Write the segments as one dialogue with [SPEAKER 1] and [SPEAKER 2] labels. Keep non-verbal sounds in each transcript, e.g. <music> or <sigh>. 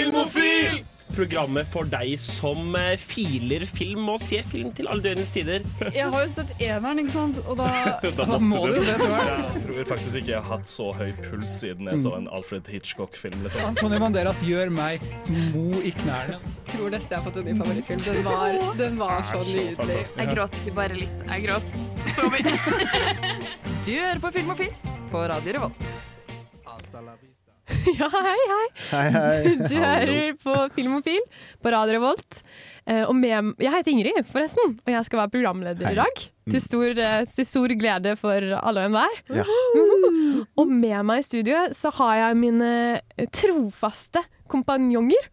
[SPEAKER 1] Filmofil! Programmet for deg som eh, filer film og ser film til alle døgnets tider.
[SPEAKER 2] Jeg har jo sett eneren, ikke sant? Og
[SPEAKER 3] <laughs>
[SPEAKER 2] da
[SPEAKER 1] Da
[SPEAKER 4] Da må
[SPEAKER 1] måtte
[SPEAKER 4] du
[SPEAKER 1] du.
[SPEAKER 4] se, tror jeg.
[SPEAKER 5] Jeg tror faktisk ikke jeg har hatt så høy puls siden jeg så en Alfred Hitchcock-film. Liksom.
[SPEAKER 4] Antonio Banderas gjør meg mo i knærne.
[SPEAKER 3] tror nesten jeg har fått en ny favorittfilm. Den var, den var så nydelig.
[SPEAKER 6] Jeg gråt ikke bare litt. Jeg gråt så mye.
[SPEAKER 3] Du hører på Filmofil på Radio Revolt. <laughs> Ja, hei, hei.
[SPEAKER 7] Hei, hei.
[SPEAKER 3] Du hører på Filmofil på Radio Revolt. Eh, Og med, jeg heter Ingrid, forresten, og jeg skal være programleder
[SPEAKER 7] Hei. Mm.
[SPEAKER 3] i dag. Til stor, eh, til stor glede for alle og enhver.
[SPEAKER 7] Ja.
[SPEAKER 3] Og med meg i studio så har jeg mine trofaste kompanjonger.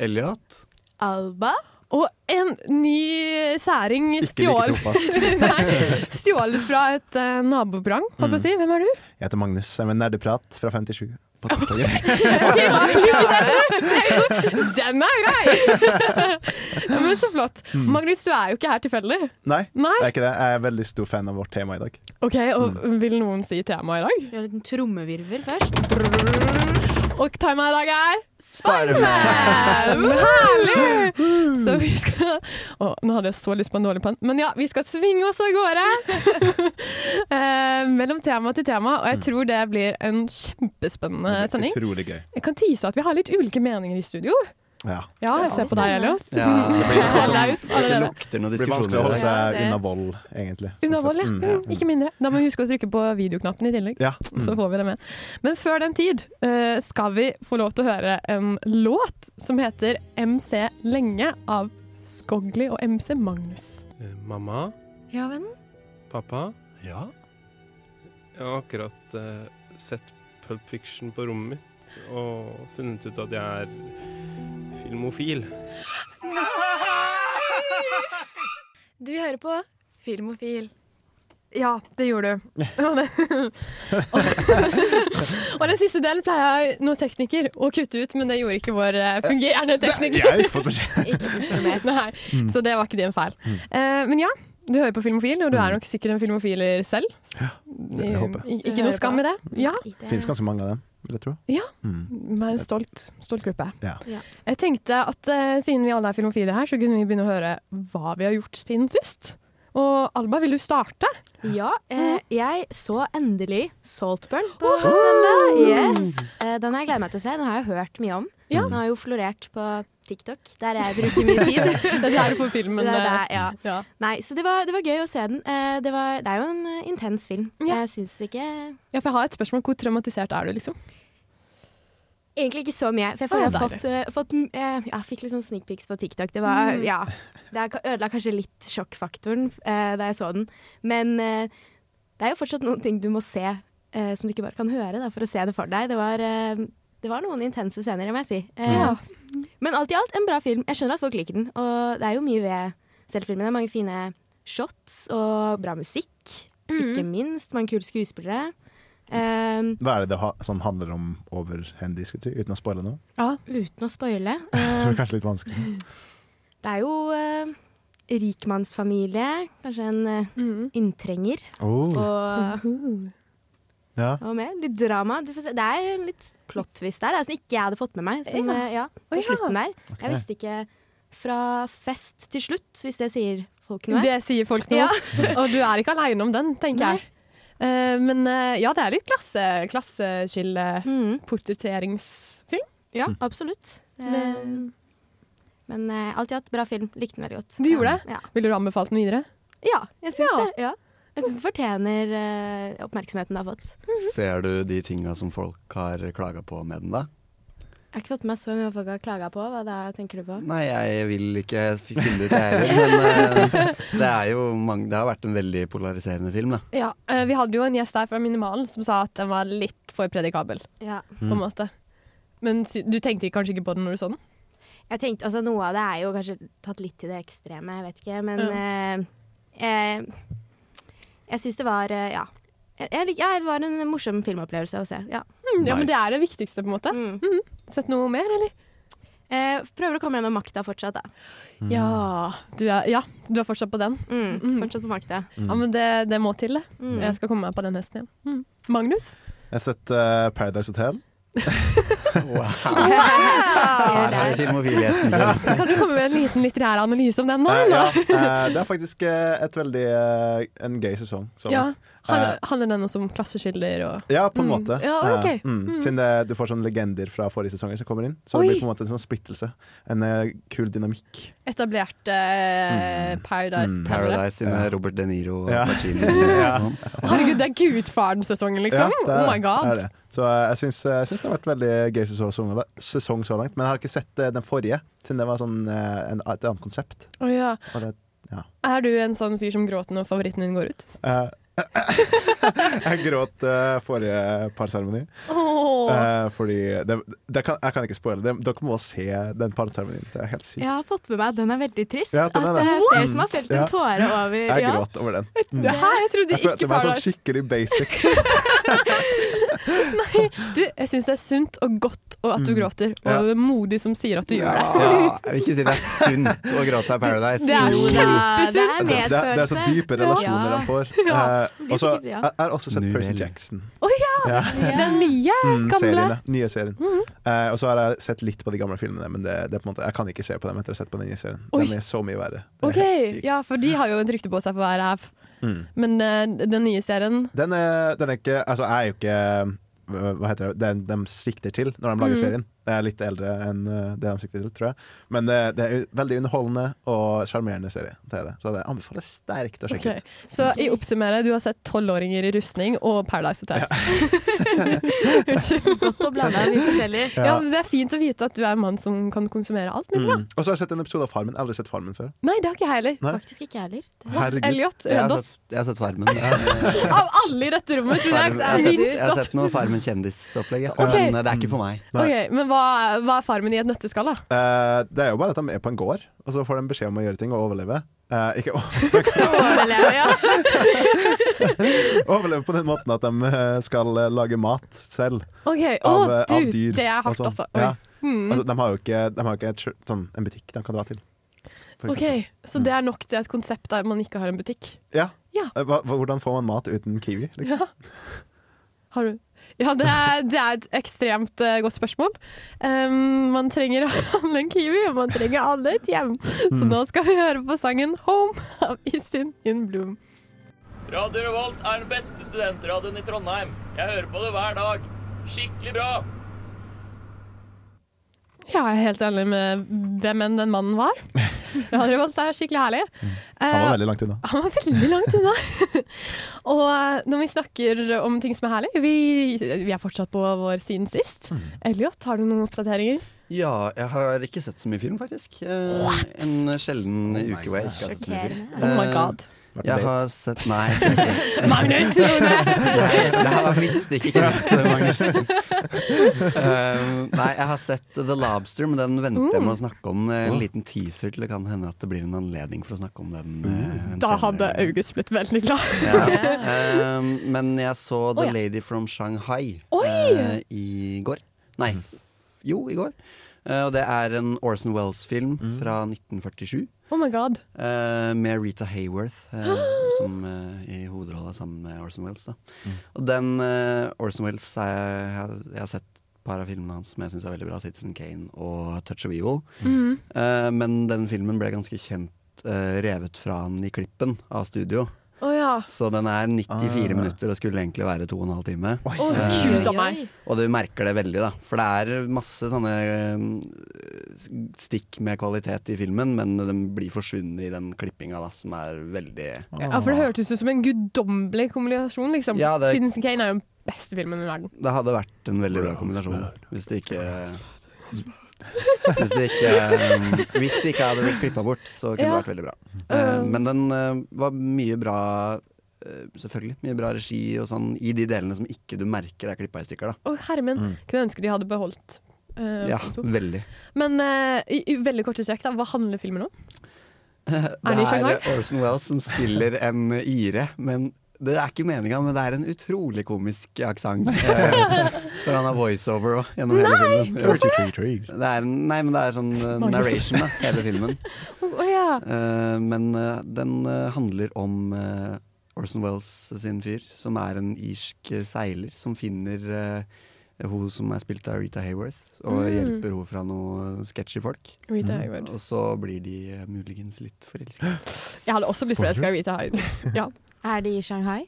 [SPEAKER 7] Elliot.
[SPEAKER 3] Alba. Og en ny særing
[SPEAKER 7] Ikke like
[SPEAKER 3] stjålet
[SPEAKER 7] trofast.
[SPEAKER 3] <laughs> Nei, Stjålet fra et uh, nabobrang, holdt
[SPEAKER 7] Mm.
[SPEAKER 3] på å si. Hvem er du?
[SPEAKER 7] Jeg heter Magnus. Jeg er med Nerdeprat fra 57.
[SPEAKER 3] <laughs>
[SPEAKER 7] På TikTok.
[SPEAKER 3] Ok, hva er det? Den er grei! <laughs> Ja, Men så flott. Magnus, du er jo ikke her tilfeldig.
[SPEAKER 7] Nei,
[SPEAKER 3] Nei.
[SPEAKER 7] jeg er ikke det. Jeg er veldig stor fan av vårt tema i dag.
[SPEAKER 3] Ok, og Vil noen si temaet i dag?
[SPEAKER 6] Gjør en liten trommevirvel først.
[SPEAKER 3] Og temaet i dag er Spiderman! <laughs> Herlig! Så vi skal Å, nå hadde jeg så lyst på en dårlig pann, men ja, vi skal svinge oss av gårde. <laughs> Eh, mellom tema til tema, og jeg tror det blir en kjempespennende Eh, sending.
[SPEAKER 7] Utrolig gøy.
[SPEAKER 3] Jeg kan tise at vi har litt ulike meninger i studio.
[SPEAKER 7] Ja.
[SPEAKER 3] Ja, jeg ser på deg,
[SPEAKER 7] <laughs>
[SPEAKER 3] Elliot.
[SPEAKER 8] Ja, det blir litt
[SPEAKER 3] Laut
[SPEAKER 8] sånn, det
[SPEAKER 3] allerede.
[SPEAKER 8] lukter noen
[SPEAKER 7] Det blir vanskelig å
[SPEAKER 8] diskusjoner
[SPEAKER 7] holde
[SPEAKER 8] i
[SPEAKER 6] Ja,
[SPEAKER 8] dag.
[SPEAKER 7] seg
[SPEAKER 6] det-
[SPEAKER 7] unna vold, egentlig. sånn
[SPEAKER 3] Underhold,
[SPEAKER 7] sett.
[SPEAKER 3] ja.
[SPEAKER 7] Mm,
[SPEAKER 3] Mm, ikke mindre. Da må vi huske å trykke på videoknappen i tillegg.
[SPEAKER 7] Ja.
[SPEAKER 3] <laughs>
[SPEAKER 7] Mm.
[SPEAKER 3] Så får vi det med. Men før den tid eh, skal vi få lov til å høre en låt som heter MC Lenge av Skogli og MC Magnus.
[SPEAKER 1] Eh, Mamma?
[SPEAKER 3] Ja, vennen.
[SPEAKER 1] Pappa? Ja? Jeg har akkurat eh, sett Pulp Fiction på rommet mitt og funnet ut at jeg er filmofil.
[SPEAKER 3] Du hører på Filmofil. Ja, det gjorde du. og og den siste delen pleier jeg nå tekniker å kutte ut, men det gjorde ikke vår eh, fungerende tekniker.
[SPEAKER 7] Jeg har ikke fått beskjed.
[SPEAKER 3] Nei,
[SPEAKER 7] Mm.
[SPEAKER 3] så det var ikke din feil. Eh, men ja, du hører på Filmofil, og du er nok sikkert en filmofiler selv. S-
[SPEAKER 7] jeg Mm. Mm. håper.
[SPEAKER 3] I- ikke noe skam i det. Ja,
[SPEAKER 7] Det finnes ganske mange av dem, vil jeg tro.
[SPEAKER 3] Ja.
[SPEAKER 7] Mm.
[SPEAKER 3] vi er en stolt, stolt gruppe.
[SPEAKER 7] Ja.
[SPEAKER 6] Ja.
[SPEAKER 3] Jeg tenkte at eh, siden vi alle er filmofile her, så kunne vi begynne å høre hva vi har gjort siden sist. Og Alba, vil du starte?
[SPEAKER 6] Ja,
[SPEAKER 3] Mm.
[SPEAKER 6] eh, jeg så endelig Saltburn på søndag. Yes. Eh, den har jeg gledet meg til å se. Den har jeg hørt mye om.
[SPEAKER 3] Ja.
[SPEAKER 6] Den har jo florert på TikTok, der jeg bruker mye
[SPEAKER 3] <laughs>
[SPEAKER 6] tid.
[SPEAKER 3] <laughs> Det er der du får filmen.
[SPEAKER 6] det er
[SPEAKER 3] eh,
[SPEAKER 6] der, ja.
[SPEAKER 3] ja.
[SPEAKER 6] Nei, så det var, det var gøy å se den. Eh, det, var, det er jo en eh, intens film.
[SPEAKER 3] Ja.
[SPEAKER 6] Jeg syns ikke
[SPEAKER 3] ja, for jeg har et spørsmål. Hvor traumatisert er du, liksom?
[SPEAKER 6] Egentlig ikke så mye. For jeg, får,
[SPEAKER 3] Å, ja,
[SPEAKER 6] jeg har fått, eh, fått mm, eh, Jeg fikk litt sånn sneak pics på TikTok. Det var
[SPEAKER 3] Mm.
[SPEAKER 6] Ja. Det er ka- ødela kanskje litt sjokkfaktoren eh, da jeg så den. Men eh, det er jo fortsatt noen ting du må se eh, som du ikke bare kan høre da, for å se det for deg. Det var, eh, det var noen intense scener, det må jeg si. Eh,
[SPEAKER 3] Ja.
[SPEAKER 6] Men alt i alt en bra film. Jeg skjønner at folk liker den. Og det er jo mye ved selv filmen. Det er mange fine shots og bra musikk,
[SPEAKER 3] Mm.
[SPEAKER 6] ikke minst. Mange kule skuespillere. Eh,
[SPEAKER 7] Hva er det det ha, som handler om over en diskusi, uten å spoile noe?
[SPEAKER 6] uten å spoile.
[SPEAKER 3] <laughs>
[SPEAKER 7] Det
[SPEAKER 6] Eh,
[SPEAKER 7] er kanskje litt vanskelig.
[SPEAKER 6] Det er jo eh, rikmannsfamilie, kanskje en eh, inntrenger og,
[SPEAKER 7] Ja.
[SPEAKER 6] og mer. Litt drama. Du får se. Det er en litt plot twist der, da, som ikke jeg hadde fått med meg. Som,
[SPEAKER 3] Ja.
[SPEAKER 6] eh, ja, på
[SPEAKER 3] Å, ja.
[SPEAKER 6] slutten der. Jeg visste ikke fra fest til slutt, hvis det sier folk noe.
[SPEAKER 3] Det sier folk nå.
[SPEAKER 6] Ja.
[SPEAKER 3] <laughs> og du er ikke aleine om den, tenker
[SPEAKER 6] Nei.
[SPEAKER 3] jeg. Eh, men eh, ja, det er litt klasse, klasseskille-portretteringsfilm.
[SPEAKER 6] Mhm. Ja, absolutt. Eh, men eh, alt i alt, bra film. Likte den veldig godt.
[SPEAKER 3] Du gjorde det?
[SPEAKER 6] Ja,
[SPEAKER 3] Ville du anbefalt den videre?
[SPEAKER 6] ja jeg syns
[SPEAKER 3] Ja.
[SPEAKER 6] det. Ja. Jeg syns den fortjener eh, oppmerksomheten det har fått.
[SPEAKER 8] Ser du de tinga som folk har klaga på med den, da?
[SPEAKER 6] Jeg har ikke fått med meg så mye hva folk har klaga på. Hva da tenker du på?
[SPEAKER 8] Nei, jeg vil ikke finne det ut, jeg heller. Men eh, det, er jo mange, det har vært en veldig polariserende film, da.
[SPEAKER 3] Ja, eh, Vi hadde jo en gjest der fra Minimalen som sa at den var litt for predikabel.
[SPEAKER 6] Ja.
[SPEAKER 3] på en måte. Men sy- du tenkte ikke- kanskje ikke på den når du så den?
[SPEAKER 6] Jeg tenkte, altså Noe av det er jo kanskje tatt litt til det ekstreme, jeg vet ikke. Men eh, eh, jeg syns det var eh, Ja. Jeg, jeg, lik- ja, det var en morsom filmopplevelse å se. Ja.
[SPEAKER 3] Mm, Ja, men
[SPEAKER 8] Nice.
[SPEAKER 3] Det er det viktigste, på en måte.
[SPEAKER 6] Mm.
[SPEAKER 3] Sett noe mer, eller?
[SPEAKER 6] Eh, prøver å komme gjennom makta fortsatt, da.
[SPEAKER 3] Ja, du er, ja, du er fortsatt på den.
[SPEAKER 6] Mm. Fortsatt på <laughs> makta.
[SPEAKER 3] Ja, men det, det må til, det. Jeg skal komme meg på den hesten igjen. Mm. Magnus?
[SPEAKER 7] Jeg har sett eh, Paradise Hotel.
[SPEAKER 6] <laughs>
[SPEAKER 8] Wow. Her har filmofilgjesten sin.
[SPEAKER 3] Kan du komme med en liten litterær analyse om den? da?
[SPEAKER 7] Eh,
[SPEAKER 3] eller?
[SPEAKER 7] ja, eh, det er faktisk eh, et veldig, eh, en gøy sesong. så
[SPEAKER 3] Ja.
[SPEAKER 7] langt. Eh.
[SPEAKER 3] Handler, handler den også om klasseskiller og
[SPEAKER 7] Ja, på en
[SPEAKER 3] Mm.
[SPEAKER 7] måte.
[SPEAKER 3] Ja, ok.
[SPEAKER 7] Eh, mm. Siden det, du får sånne legender fra forrige sesonger som kommer inn. Så
[SPEAKER 3] Oi.
[SPEAKER 7] det blir på en måte en sånn splittelse. En eh, kul dynamikk.
[SPEAKER 3] etablerte eh, Paradise Paradise.
[SPEAKER 7] Mm.
[SPEAKER 8] Paradise sine Robert De Niro og
[SPEAKER 7] Ja.
[SPEAKER 8] Pacino. og sånn.
[SPEAKER 3] Herregud, det er Gudfaren-sesongen, liksom!
[SPEAKER 7] Ja, det er
[SPEAKER 3] oh
[SPEAKER 7] det.
[SPEAKER 3] my god!
[SPEAKER 7] Det er det. Så eh, jeg syns, jeg syns det har vært veldig gøy sesong, sesong så langt. Men jeg har ikke sett eh, den forrige, siden det var sånn, eh, en, et annet konsept.
[SPEAKER 3] Å, ja. <laughs>
[SPEAKER 7] Og det,
[SPEAKER 3] Er du en sånn fyr som gråter når favoritten din går ut?
[SPEAKER 7] eh, <laughs> jeg gråt eh, forrige parseremoni.
[SPEAKER 3] Åh.
[SPEAKER 7] Eh, fordi det, det kan, Jeg kan ikke spoile det. Dere må se den parseremonien. Det er helt sykt.
[SPEAKER 6] Jeg har fått med meg at den er veldig trist.
[SPEAKER 7] Ja, den er
[SPEAKER 6] at det er
[SPEAKER 7] det.
[SPEAKER 6] flere som har felt
[SPEAKER 7] Ja.
[SPEAKER 6] en tåre over.
[SPEAKER 7] Jeg
[SPEAKER 6] ja.
[SPEAKER 7] gråt over den. Mm.
[SPEAKER 3] det her, jeg trodde
[SPEAKER 7] Eh, Jeg følte
[SPEAKER 3] ikke
[SPEAKER 7] meg sånn
[SPEAKER 3] Paradise
[SPEAKER 7] skikkelig basic.
[SPEAKER 3] Du, jeg syns det er sunt og godt og at du
[SPEAKER 7] Mm.
[SPEAKER 3] gråter, og
[SPEAKER 7] Ja.
[SPEAKER 3] det er modig som sier at du gjør det.
[SPEAKER 8] Ja, jeg vil ikke si det er sunt å gråte av Paradise.
[SPEAKER 3] Det er
[SPEAKER 6] Jo da,
[SPEAKER 3] så
[SPEAKER 6] Det
[SPEAKER 3] kjempesunt.
[SPEAKER 6] er
[SPEAKER 7] Det, det, er- det er så
[SPEAKER 6] medfølelse.
[SPEAKER 7] dype relasjoner
[SPEAKER 6] Ja.
[SPEAKER 7] de får.
[SPEAKER 3] <laughs> Ja.
[SPEAKER 7] Eh, og så-
[SPEAKER 6] sikkert, ja.
[SPEAKER 7] jeg jeg har også sett
[SPEAKER 8] Nu
[SPEAKER 7] Percy
[SPEAKER 8] vel.
[SPEAKER 7] Jackson.
[SPEAKER 3] Å
[SPEAKER 7] ja!
[SPEAKER 3] Den nye,
[SPEAKER 7] Mm,
[SPEAKER 3] gamle. Mhm.
[SPEAKER 7] serien, ja. nye serien. Eh, og så har jeg sett litt på de gamle filmene, men det, det er på en måte, jeg kan ikke se på dem etter å ha sett på den nye serien.
[SPEAKER 3] Oi.
[SPEAKER 7] De er så mye verre. Det er
[SPEAKER 3] Ok,
[SPEAKER 7] helt sykt.
[SPEAKER 3] ja, for de har jo et rykte på seg for å være ræv.
[SPEAKER 7] Mm.
[SPEAKER 3] Men eh, den nye serien
[SPEAKER 7] Den, er, den er ikke Altså, jeg er jo ikke hva hva heter det? Den de sikter til når de lager
[SPEAKER 3] Mm.
[SPEAKER 7] serien. Jeg er litt eldre enn eh, det de sikter til, tror jeg. Men det, det er jo veldig underholdende og sjarmerende serie. Det er det. Så det anbefaler sterkt å sjekke
[SPEAKER 3] Ok. Så i oppsummere, du har sett tolvåringer i rustning og Paradise Hotel. <laughs> Unnskyld.
[SPEAKER 6] Godt å blande av mye forskjellig.
[SPEAKER 7] Ja.
[SPEAKER 3] Ja, men det er fint å vite at du er en mann som kan konsumere alt.
[SPEAKER 7] ut.
[SPEAKER 3] Men ja.
[SPEAKER 7] Mm. Og så har jeg sett en episode av Farmen. Jeg har Aldri sett Farmen før.
[SPEAKER 3] Nei, det har ikke jeg heller.
[SPEAKER 7] Nei.
[SPEAKER 6] Faktisk ikke jeg heller. Det-
[SPEAKER 7] Herregud.
[SPEAKER 3] Elliot,
[SPEAKER 8] Jeg
[SPEAKER 3] redd
[SPEAKER 8] har
[SPEAKER 3] oss.
[SPEAKER 8] sett, jeg har sett Farmen. Farmen.
[SPEAKER 3] Av alle i dette rommet,
[SPEAKER 8] Jeg
[SPEAKER 3] tror jeg.
[SPEAKER 8] har sett, jeg har
[SPEAKER 3] minst
[SPEAKER 8] sett noe Farmen kjendisopplegget,
[SPEAKER 3] Ok.
[SPEAKER 8] men eh, det er ikke for meg.
[SPEAKER 7] Nei.
[SPEAKER 3] Ok, Men hva, hva er farmen i et nøtteskall, da?
[SPEAKER 7] Eh, det er jo bare at de er på en gård, og så får de beskjed om å gjøre ting og overleve. Eh, ikke o- <laughs>
[SPEAKER 6] Overleve, ja.
[SPEAKER 7] overleve på den måten at de eh, skal eh, lage mat selv
[SPEAKER 3] <laughs> Ok, Å,
[SPEAKER 7] av, eh,
[SPEAKER 3] du,
[SPEAKER 7] av dyr.
[SPEAKER 3] det er
[SPEAKER 7] og
[SPEAKER 3] hardt,
[SPEAKER 7] sånn.
[SPEAKER 3] altså. Oi.
[SPEAKER 7] Ja.
[SPEAKER 3] Mm.
[SPEAKER 7] Altså, de har jo ikke, de har jo ikke et, skjø- sånn, en butikk de kan dra til. for
[SPEAKER 3] Ok,
[SPEAKER 7] eksempel.
[SPEAKER 3] Så det er nok til et konsept der man ikke har en butikk?
[SPEAKER 7] Ja.
[SPEAKER 3] Ja.
[SPEAKER 7] Eh, Hva, hva- hvordan får man mat uten kiwi? Liksom?
[SPEAKER 3] Ja. Har du? Ja, det er, det er et ekstremt eh, godt spørsmål. Ehm, man trenger <laughs> alle en kiwi, og man trenger alle et hjem. Så
[SPEAKER 7] Mm.
[SPEAKER 3] nå skal vi høre på sangen 'Home' av Isin in Bloom.
[SPEAKER 9] Radio Revolt er den beste studentradioen i Trondheim. Jeg hører på det hver dag. Skikkelig bra!
[SPEAKER 3] Ja, jeg er helt enig med hvem enn den mannen <laughs> var. Radio Revolt er skikkelig herlig.
[SPEAKER 7] Mm. Han var
[SPEAKER 3] Eh,
[SPEAKER 7] veldig langt unna.
[SPEAKER 3] han var veldig langt unna. <laughs> og eh, når vi snakker om ting som er herlig Vi, vi er fortsatt på vår siden sist.
[SPEAKER 7] Mm.
[SPEAKER 3] Elliot, har du noen oppdateringer?
[SPEAKER 8] Ja, jeg har ikke sett så mye film, faktisk. Eh, En sjelden uke hvor jeg ikke har sett så mye film.
[SPEAKER 6] Sjokkerende.
[SPEAKER 3] Oh my
[SPEAKER 8] Eh,
[SPEAKER 3] god.
[SPEAKER 7] Vært
[SPEAKER 8] Jeg
[SPEAKER 7] late.
[SPEAKER 8] har sett Nei. <laughs> det er ikke-
[SPEAKER 3] Magnus
[SPEAKER 7] <laughs>
[SPEAKER 3] Rune!
[SPEAKER 8] Det her var mitt stikk, ikke ditt, Magnus. Um, nei, jeg har sett The Lobster, men den venter jeg med
[SPEAKER 3] Mm.
[SPEAKER 8] å snakke om. En liten teaser til det kan hende at det blir en anledning for å snakke om den. eh, en
[SPEAKER 3] Da
[SPEAKER 8] senere
[SPEAKER 3] hadde
[SPEAKER 8] gang.
[SPEAKER 3] August blitt veldig glad.
[SPEAKER 8] Ja. Um, men jeg så The
[SPEAKER 3] Å, ja.
[SPEAKER 8] Lady from Shanghai
[SPEAKER 3] Oi!
[SPEAKER 8] eh, i går. Nei, jo, i går. Eh, og det er en Orson Wells-film fra 1947.
[SPEAKER 3] Oh my god.
[SPEAKER 8] Eh, med Rita Hayworth eh, som, eh, i hovedrolla sammen med Orson Welles. Da. Og den eh, Orson Welles eh, jeg, har- jeg har sett et par av filmene hans som jeg syns er veldig bra. Citizen Kane og Touch of Evil.
[SPEAKER 3] Mm.
[SPEAKER 8] Eh, men den filmen ble ganske kjent eh, revet fra han i klippen av studio.
[SPEAKER 3] Å ja.
[SPEAKER 8] Så den er 94
[SPEAKER 7] Ah.
[SPEAKER 8] minutter og skulle egentlig være 2 12 timer.
[SPEAKER 3] Å, gud a meg.
[SPEAKER 8] Og du merker det veldig, da. For det er masse sånne eh, stikk med kvalitet i filmen, men den blir forsvunnet i den klippinga, da, som er veldig
[SPEAKER 3] Ja, for det hørtes ut som en guddommelig kommunikasjon, liksom.
[SPEAKER 8] Ja, det-
[SPEAKER 3] Siden Kane er jo den beste filmen i verden.
[SPEAKER 8] Det hadde vært en veldig bra kombinasjon hvis det ikke <laughs> hvis det, ikke, eh, hvis det ikke hadde blitt klippa bort, så kunne
[SPEAKER 3] Ja.
[SPEAKER 8] det vært veldig bra. Eh,
[SPEAKER 3] Um.
[SPEAKER 8] men den eh, var mye bra eh, Selvfølgelig mye bra regi og sånn i de delene som ikke du merker er klippa i stykker. da
[SPEAKER 3] Å, herre min. Kunne ønske de hadde beholdt eh,
[SPEAKER 8] Mm. Ja,
[SPEAKER 3] foto.
[SPEAKER 8] veldig.
[SPEAKER 3] Men eh, i, i veldig korte trekk, da, hva handler filmen om?
[SPEAKER 8] Det
[SPEAKER 3] det i
[SPEAKER 8] er
[SPEAKER 3] Shanghai?
[SPEAKER 8] Orson Wells som spiller en ire, men det er ikke meninga, men det er en utrolig komisk
[SPEAKER 3] <laughs>
[SPEAKER 8] aksent. Eh, For han har voiceover òg, gjennom hele filmen. Jo. Det er, en- nei, men det er sånn eh,
[SPEAKER 3] Magnus.
[SPEAKER 8] narration, da, hele filmen.
[SPEAKER 3] Å ja.
[SPEAKER 8] Eh, men eh, den eh, handler om eh, Orson Wells sin fyr, som er en irsk eh, seiler som finner eh, Hun som er spilt av Rita Hayworth, og
[SPEAKER 3] Mm.
[SPEAKER 8] hjelper hun fra noen sketchy folk.
[SPEAKER 3] Rita
[SPEAKER 7] Mm.
[SPEAKER 3] Hayward.
[SPEAKER 8] Og så blir de eh, muligens litt forelsket.
[SPEAKER 3] Jeg hadde også blitt forelska i Rita Hayward.
[SPEAKER 6] Er de i Shanghai?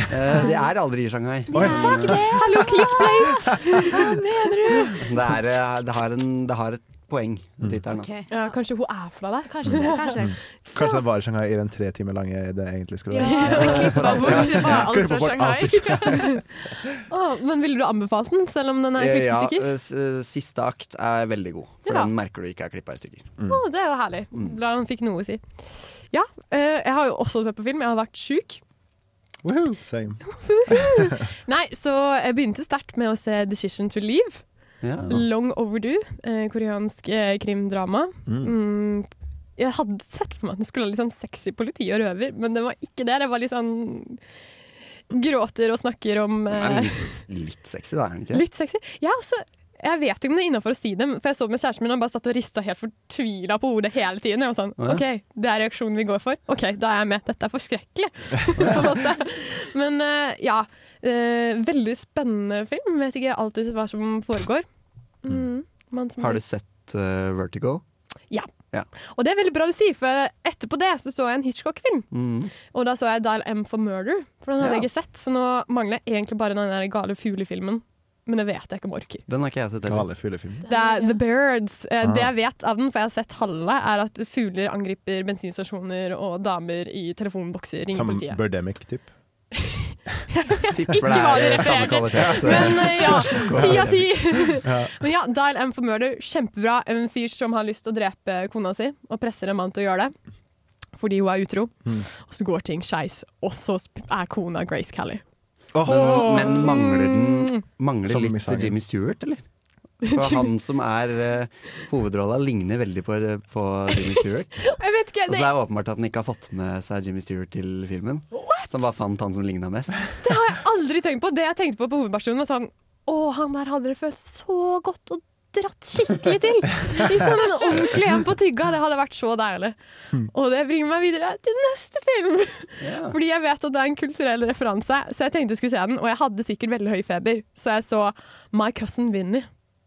[SPEAKER 8] Eh, de er aldri i Shanghai.
[SPEAKER 7] Oi.
[SPEAKER 8] Men, eh,
[SPEAKER 3] <laughs> Hallo, clickbait!
[SPEAKER 8] Det, er, eh, det, har en, det har et poeng,
[SPEAKER 7] Mm.
[SPEAKER 8] tittelen. da.
[SPEAKER 3] <laughs> Ja, kanskje hun er fra der?
[SPEAKER 6] Kanskje det.
[SPEAKER 3] <laughs>
[SPEAKER 6] Kanskje. det.
[SPEAKER 7] Kanskje den var i Shanghai i den tre timer lange det egentlig
[SPEAKER 3] <laughs>
[SPEAKER 7] skulle være.
[SPEAKER 2] Klippa bort var alt fra
[SPEAKER 7] Klippa bort alt i
[SPEAKER 2] Shanghai.
[SPEAKER 3] Å, men ville du anbefalt den, selv om den er
[SPEAKER 8] Eh,
[SPEAKER 3] klippet
[SPEAKER 8] ja,
[SPEAKER 3] sikker?
[SPEAKER 8] eh, s- eh, siste akt er veldig god, for
[SPEAKER 3] Ja.
[SPEAKER 8] den merker du ikke er klippa i stykker.
[SPEAKER 3] Å, det er jo herlig.
[SPEAKER 8] Mm.
[SPEAKER 3] La han fikk noe å si. Ja, eh, jeg har jo også sett på film. Jeg har vært sjuk.
[SPEAKER 7] Woohoo! Same.
[SPEAKER 3] Nei, så jeg begynte sterkt med å se 'Decision to Leave'.
[SPEAKER 8] Ja.
[SPEAKER 3] Long Overdue. eh, koreansk eh, krimdrama.
[SPEAKER 7] Mm.
[SPEAKER 3] Mm. Jeg hadde sett for meg at den skulle ha litt sånn sexy politi og røver, men den var ikke det. Det var litt sånn Gråter og snakker om
[SPEAKER 8] Den
[SPEAKER 3] eh,
[SPEAKER 8] er litt, litt sexy, da, er den ikke?
[SPEAKER 3] Litt sexy. Jeg, er også, jeg vet ikke om det er innafor å si det, for jeg så med kjæresten min, og han bare satt og rista helt fortvila på hodet hele tiden. Jeg var sånn,
[SPEAKER 8] Å, ja.
[SPEAKER 3] OK, det er reaksjonen vi går for. OK, da er jeg med. Dette er forskrekkelig, <laughs> på en måte. Men eh, ja. eh, veldig spennende film. Vet ikke alltid hva som foregår. Mm. Man som-
[SPEAKER 8] Har du sett eh, Vertigo?
[SPEAKER 3] Og det er veldig bra du sier, for etterpå det så, så jeg en Hitchcock-film.
[SPEAKER 8] Mm.
[SPEAKER 3] Og da så jeg Dial M for Murder, for den hadde
[SPEAKER 8] Ja.
[SPEAKER 3] jeg ikke sett. Så nå mangler jeg egentlig bare den der gale fuglefilmen. Men det vet jeg ikke om jeg orker.
[SPEAKER 8] Den har ikke jeg sett heller.
[SPEAKER 7] Gale fuglefilm.
[SPEAKER 3] Det er The Birds. Eh,
[SPEAKER 7] Ah.
[SPEAKER 3] Det jeg vet av den, for jeg har sett halve, er at fugler angriper bensinstasjoner og damer i telefonbokser ringer <laughs>
[SPEAKER 7] Som
[SPEAKER 3] politiet.
[SPEAKER 7] Birdemic, typ.
[SPEAKER 8] Tipper
[SPEAKER 3] Ikke hva de
[SPEAKER 8] eh, samme
[SPEAKER 3] refererte.
[SPEAKER 8] kvalitet.
[SPEAKER 3] Men eh,
[SPEAKER 8] <laughs>
[SPEAKER 3] ja, ti av ti!
[SPEAKER 7] Ja.
[SPEAKER 3] Men ja, Dial M for Murder, kjempebra. En fyr som har lyst til å drepe kona si, og presser en mann til å gjøre det. Fordi hun er utro.
[SPEAKER 8] Hmm.
[SPEAKER 3] Og så går ting skeis, og så sp- er kona Grace Kelly.
[SPEAKER 8] Men, men mangler den
[SPEAKER 7] Som
[SPEAKER 8] mangler
[SPEAKER 7] i
[SPEAKER 8] litt
[SPEAKER 7] sangen.
[SPEAKER 8] Jimmy Stewart, eller? For han som er eh, hovedrolla, ligner veldig på, eh, på Jimmy Stewart.
[SPEAKER 3] Jeg vet ikke,
[SPEAKER 8] Og så
[SPEAKER 3] det,
[SPEAKER 8] er det åpenbart at han ikke har fått med seg Jimmy Stewart til filmen. Så han bare fant han som ligna mest.
[SPEAKER 3] det har jeg aldri tenkt på. Det jeg tenkte på på hovedpersonen, var sånn Å, han der hadde det følt så godt og dratt skikkelig
[SPEAKER 8] <laughs>
[SPEAKER 3] til. Gitt han en ordentlig en på tygga. Det hadde vært så deilig. Og det bringer meg videre til neste film.
[SPEAKER 8] Hmm. Ja.
[SPEAKER 3] Fordi jeg vet at det er en kulturell referanse, så jeg tenkte jeg skulle se den. Og jeg hadde sikkert veldig høy feber, så jeg så My Cousin Vinny.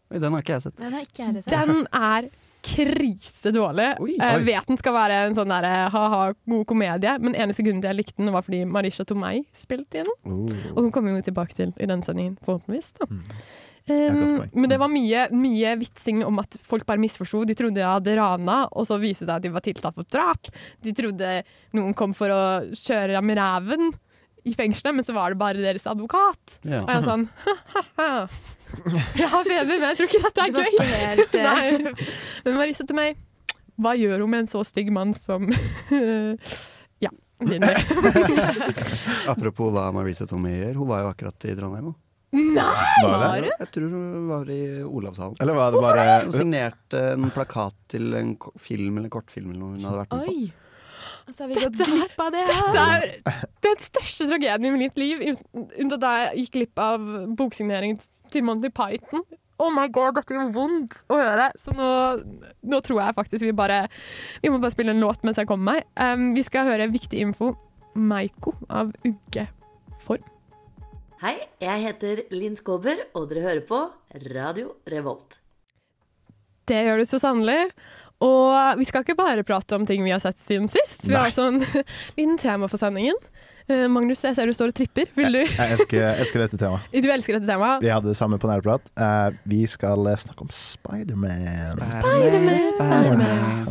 [SPEAKER 8] Oi, den har ikke jeg sett.
[SPEAKER 6] Den har ikke jeg heller sett.
[SPEAKER 3] Den er krisedårlig.
[SPEAKER 8] Oi.
[SPEAKER 3] Jeg vet den skal være en sånn derre ha-ha, god komedie, men eneste grunnen til jeg likte den, var fordi Marisha Tomei spilte i den. Og hun kommer vi jo tilbake til i denne sendingen, forhåpentligvis. Da.
[SPEAKER 7] er et Mm. godt
[SPEAKER 3] Um,
[SPEAKER 7] poeng. Mm.
[SPEAKER 3] men det var mye, mye vitsing om at folk bare misforsto. De trodde jeg hadde rana, og så viste det seg at de var tiltalt for drap. De trodde noen kom for å kjøre dem i ræven i fengselet, men så var det bare deres advokat.
[SPEAKER 8] Ja.
[SPEAKER 3] Og jeg var sånn ha-ha-ha. Jeg har feber, men jeg tror ikke dette
[SPEAKER 6] Det
[SPEAKER 3] er
[SPEAKER 6] var
[SPEAKER 3] gøy.
[SPEAKER 6] ikke helt, eh,
[SPEAKER 3] Nei. Men Marisa til meg Hva gjør hun med en så stygg mann som <laughs> Ja. Vinner.
[SPEAKER 8] Apropos hva Marisa Tomei gjør, hun var jo akkurat i Trondheim. nå.
[SPEAKER 7] Var det?
[SPEAKER 8] Jeg tror hun var i Olavshallen.
[SPEAKER 7] Eller var det bare
[SPEAKER 8] Hun signerte en plakat til en ko- film eller kortfilm eller noe hun hadde vært med på.
[SPEAKER 6] Oi! Altså, har vi
[SPEAKER 3] Dette
[SPEAKER 6] gått glipp av det her?
[SPEAKER 3] Det er den største tragedien i mitt liv, un- unntatt da jeg gikk glipp av boksigneringen til Monty Python. Oh my god, dette gjør vondt å høre. Så nå, nå tror jeg faktisk vi bare Vi må bare spille en låt mens jeg kommer meg. Um, vi skal høre viktig info. Maiko av Ugge Form.
[SPEAKER 10] Hei, jeg heter Linn Skåber, og dere hører på Radio Revolt.
[SPEAKER 3] Det gjør du så sannelig. Og vi skal ikke bare prate om ting vi har sett siden sist. Vi har også en <laughs> liten tema for sendingen. Uh, Magnus, jeg ser du står og tripper. Vil du?
[SPEAKER 7] Jeg elsker, jeg elsker dette temaet.
[SPEAKER 3] Du elsker dette temaet.
[SPEAKER 7] Vi hadde det samme på nærprat. Eh, vi skal eh, snakke om Spiderman.
[SPEAKER 3] Spiderman,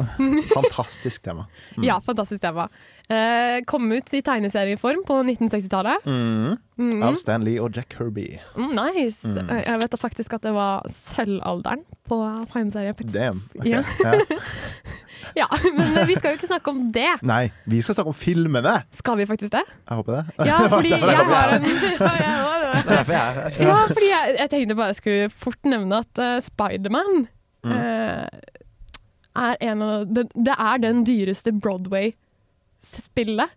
[SPEAKER 7] Fantastisk tema.
[SPEAKER 3] Ja, fantastisk tema. Eh, kom ut i tegneserieform på 1960-tallet.
[SPEAKER 7] Mm.
[SPEAKER 3] Mm.
[SPEAKER 7] Av Stan Lee og Jack Kirby.
[SPEAKER 3] Mm, nice.
[SPEAKER 7] Mm.
[SPEAKER 3] Eh, Jeg vet da faktisk at det var sølvalderen på tegneserie. faktisk.
[SPEAKER 7] Damn. ok.
[SPEAKER 3] Ja.
[SPEAKER 7] Ja.
[SPEAKER 3] ja, <laughs> Men eh, vi skal jo ikke snakke om det.
[SPEAKER 7] Nei, vi skal snakke om filmene!
[SPEAKER 3] Skal vi faktisk det?
[SPEAKER 7] Jeg håper det.
[SPEAKER 3] Ja, fordi jeg
[SPEAKER 7] derfor jeg
[SPEAKER 3] har
[SPEAKER 7] kom
[SPEAKER 3] en <laughs> Ja,
[SPEAKER 8] Derfor jeg er her.
[SPEAKER 3] fordi jeg, jeg tenkte bare jeg skulle fort nevne at uh, Spiderman
[SPEAKER 7] Mm.
[SPEAKER 3] eh, er en av den, Det er den dyreste Broadway-spillet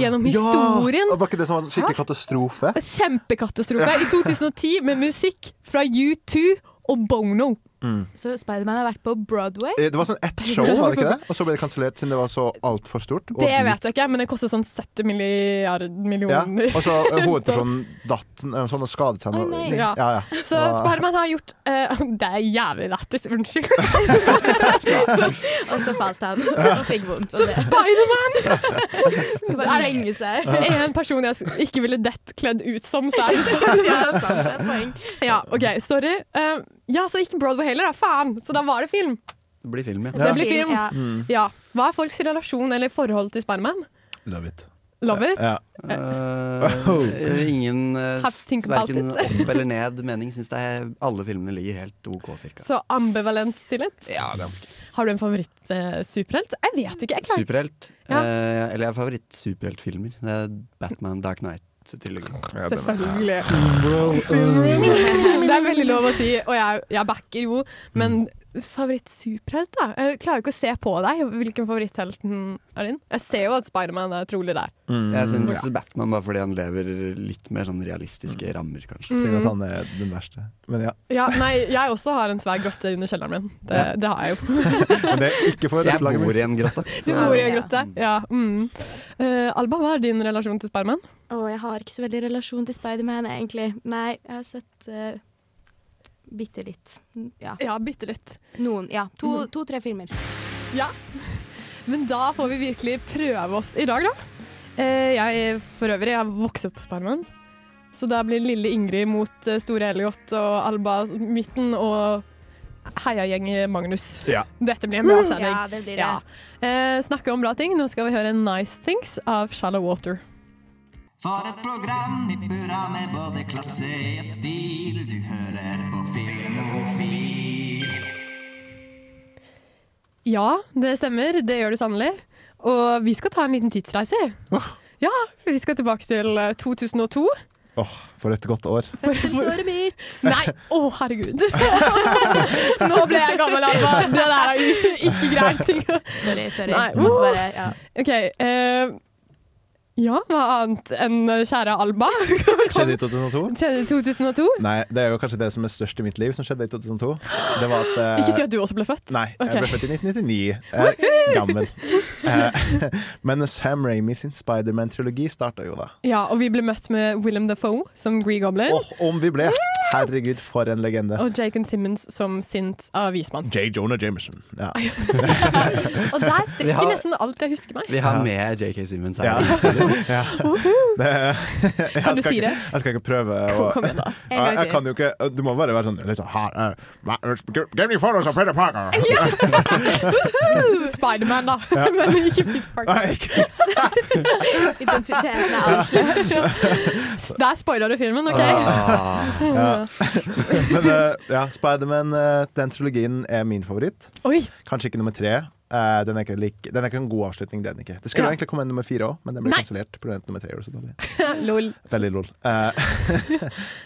[SPEAKER 3] gjennom historien.
[SPEAKER 7] Ja, var ikke det som var en skikkelig katastrofe?
[SPEAKER 3] Kjempekatastrofe i 2010 med musikk fra U2 og Bono.
[SPEAKER 7] Mm.
[SPEAKER 6] Så Spiderman har vært på Broadway?
[SPEAKER 7] Eh, Det var sånn ett show, var det ikke det? Og så ble det kansellert siden det var så altfor stort. Og
[SPEAKER 3] Det
[SPEAKER 7] dyrt.
[SPEAKER 3] vet jeg ikke, men det koster sånn 70 milliard
[SPEAKER 7] Ja.
[SPEAKER 3] millioner.
[SPEAKER 7] Og så eh, hovedpersonen datt eh, sånn og skadet seg.
[SPEAKER 3] Å, nei.
[SPEAKER 7] ja, ja.
[SPEAKER 3] Så Sparemann har gjort eh, <laughs> Det er jævlig lættis, unnskyld.
[SPEAKER 6] Og så falt
[SPEAKER 7] <laughs>
[SPEAKER 6] han og fikk vondt.
[SPEAKER 3] Som <laughs> Spiderman!
[SPEAKER 6] Skal bare slenge seg.
[SPEAKER 3] Er jeg <laughs> en person jeg s- ikke ville dett kledd ut som, så er det sånn.
[SPEAKER 6] Ja, det er sant, det er poeng.
[SPEAKER 3] <laughs> Ja, OK, sorry. Eh, ja, så ikke Broadway heller, da. Faen! Så da var det film.
[SPEAKER 8] Det blir film,
[SPEAKER 3] Det
[SPEAKER 8] ja.
[SPEAKER 3] blir film.
[SPEAKER 6] Ja.
[SPEAKER 7] Mm.
[SPEAKER 3] Ja. Hva er folks relasjon eller forhold til Spiderman?
[SPEAKER 7] Love it.
[SPEAKER 3] Love it?
[SPEAKER 7] Ja.
[SPEAKER 8] Eh, ingen uh,
[SPEAKER 3] Have to think about
[SPEAKER 8] verken
[SPEAKER 3] it.
[SPEAKER 8] opp eller ned mening. Syns alle filmene ligger helt OK, cirka.
[SPEAKER 3] Så ambivalent tillit?
[SPEAKER 8] Ja, ganske.
[SPEAKER 3] Har du en favoritt-superhelt? jeg vet ikke. Jeg klarer.
[SPEAKER 8] Superhelt.
[SPEAKER 3] Ja.
[SPEAKER 8] Eh, eller jeg har favoritt-superheltfilmer. Det er Batman Dark Knight-trilogien.
[SPEAKER 3] Selvfølgelig. Det er veldig lov å si, og jeg, jeg backer jo, men favoritt-superhelt, da? Jeg klarer ikke å se på deg hvilken favoritthelten er din. Jeg ser jo at Spiderman er trolig der.
[SPEAKER 7] Mm.
[SPEAKER 8] Jeg syns Batman bare fordi han lever litt mer sånn
[SPEAKER 7] Mm.
[SPEAKER 8] realistiske rammer, kanskje.
[SPEAKER 7] Synd
[SPEAKER 3] Mm.
[SPEAKER 7] at han er den verste. Men ja.
[SPEAKER 3] Ja, nei, jeg også har en svær grotte under kjelleren min. Det, det har jeg jo.
[SPEAKER 7] Men det er ikke for
[SPEAKER 8] Jeg bor
[SPEAKER 7] røffelagermus.
[SPEAKER 8] i en grotte.
[SPEAKER 3] Du bor i en grotte. Ja. Mm. Eh, Alba, hva er din relasjon til Spiderman?
[SPEAKER 6] Å, jeg har ikke så veldig relasjon til Spiderman, egentlig. Nei, jeg har sett uh, bitte litt. Ja.
[SPEAKER 3] Ja, bitte litt.
[SPEAKER 6] Noen. Ja. To-
[SPEAKER 3] Mhm.
[SPEAKER 6] To-tre filmer.
[SPEAKER 3] Men da får vi virkelig prøve oss i dag, da. Eh, Jeg for øvrig jeg vokste opp på Sparman, så da blir lille Ingrid mot eh, store Elliot og Alba Midten og heiagjeng Magnus.
[SPEAKER 7] Ja.
[SPEAKER 3] Dette blir en
[SPEAKER 6] Mm,
[SPEAKER 3] bra sending.
[SPEAKER 6] Ja, det blir det.
[SPEAKER 3] Ja. Eh, snakke om bra ting. Nå skal vi høre 'Nice Things' av Shallow Water.
[SPEAKER 11] For et program i burra med både klasse og stil. Du hører på Filmofil.
[SPEAKER 3] Ja, det stemmer. Det gjør du sannelig. Og vi skal ta en liten tidsreise. Ja, for vi skal tilbake til eh, 2002.
[SPEAKER 7] Åh, for et godt år.
[SPEAKER 6] Fødselsåret mitt.
[SPEAKER 3] Nei, å herregud. <laughs> Nå ble jeg gammel, Alba. Det der er jo ikke greit.
[SPEAKER 6] Sorry, sorry.
[SPEAKER 3] Nei,
[SPEAKER 6] Jeg måtte
[SPEAKER 3] uh.
[SPEAKER 6] bare, ja.
[SPEAKER 3] OK. eh, ja, hva annet enn eh, kjære Alba? <laughs>
[SPEAKER 7] Skjedde i 2002?
[SPEAKER 3] <laughs> Skjedde i 2002?
[SPEAKER 7] Nei, det er jo kanskje det som er størst i mitt liv, som skjedde i 2002. Det var at
[SPEAKER 3] <gasps>
[SPEAKER 7] eh,
[SPEAKER 3] Ikke si at du også ble født.
[SPEAKER 7] Nei, jeg ble
[SPEAKER 3] Ok.
[SPEAKER 7] født i 1999. Eh, <laughs> gammel. Eh, <laughs> men Sam Ramy sin Spiderman-trilogi starta jo da.
[SPEAKER 3] Ja, og vi ble møtt med Willem Dafoe som Gree Goblin.
[SPEAKER 7] Åh, om vi ble! Herregud, for en legende.
[SPEAKER 3] Og Jacob Simmons som sint
[SPEAKER 7] <laughs>
[SPEAKER 3] avismann.
[SPEAKER 7] J. Jonah Jameson. Ja.
[SPEAKER 3] Og der
[SPEAKER 8] Vi
[SPEAKER 3] strekker
[SPEAKER 8] har-
[SPEAKER 3] nesten alt jeg husker meg.
[SPEAKER 8] Vi har med JK Simmons
[SPEAKER 7] Ja.
[SPEAKER 8] her.
[SPEAKER 7] <laughs> Ja. Det, <laughs> jeg
[SPEAKER 3] Kan du
[SPEAKER 7] skal
[SPEAKER 3] si
[SPEAKER 7] ikke-
[SPEAKER 3] det?
[SPEAKER 7] Jeg skal ikke prøve å
[SPEAKER 3] Kom, kom igjen, da.
[SPEAKER 6] En gang
[SPEAKER 7] jeg, jeg
[SPEAKER 6] til.
[SPEAKER 7] kan jo ikke Du må bare være sånn liksom, her, eh, hva- Give me photos of Peter Parker!
[SPEAKER 3] <laughs> Spiderman, da. <laughs> Men ikke Peter Parker.
[SPEAKER 7] <laughs> Nei, ikke-
[SPEAKER 6] Identiteten er avslørt.
[SPEAKER 3] Der spoiler du filmen, OK?
[SPEAKER 8] <laughs> Ah,
[SPEAKER 7] ja. <laughs> Men eh, ja, Spiderman, eh, den trilogien er min favoritt.
[SPEAKER 3] <laughs> Oi. <laughs>
[SPEAKER 7] Kanskje ikke nummer tre. Eh, den, er ikke like, den er ikke en god avslutning, det er den ikke. Det skulle
[SPEAKER 3] Ja.
[SPEAKER 7] egentlig komme en nummer fire òg, men den ble
[SPEAKER 3] Nei.
[SPEAKER 7] kansellert pga. nummer tre. gjorde det så dårlig.
[SPEAKER 3] Lol.
[SPEAKER 7] Veldig lol. Eh,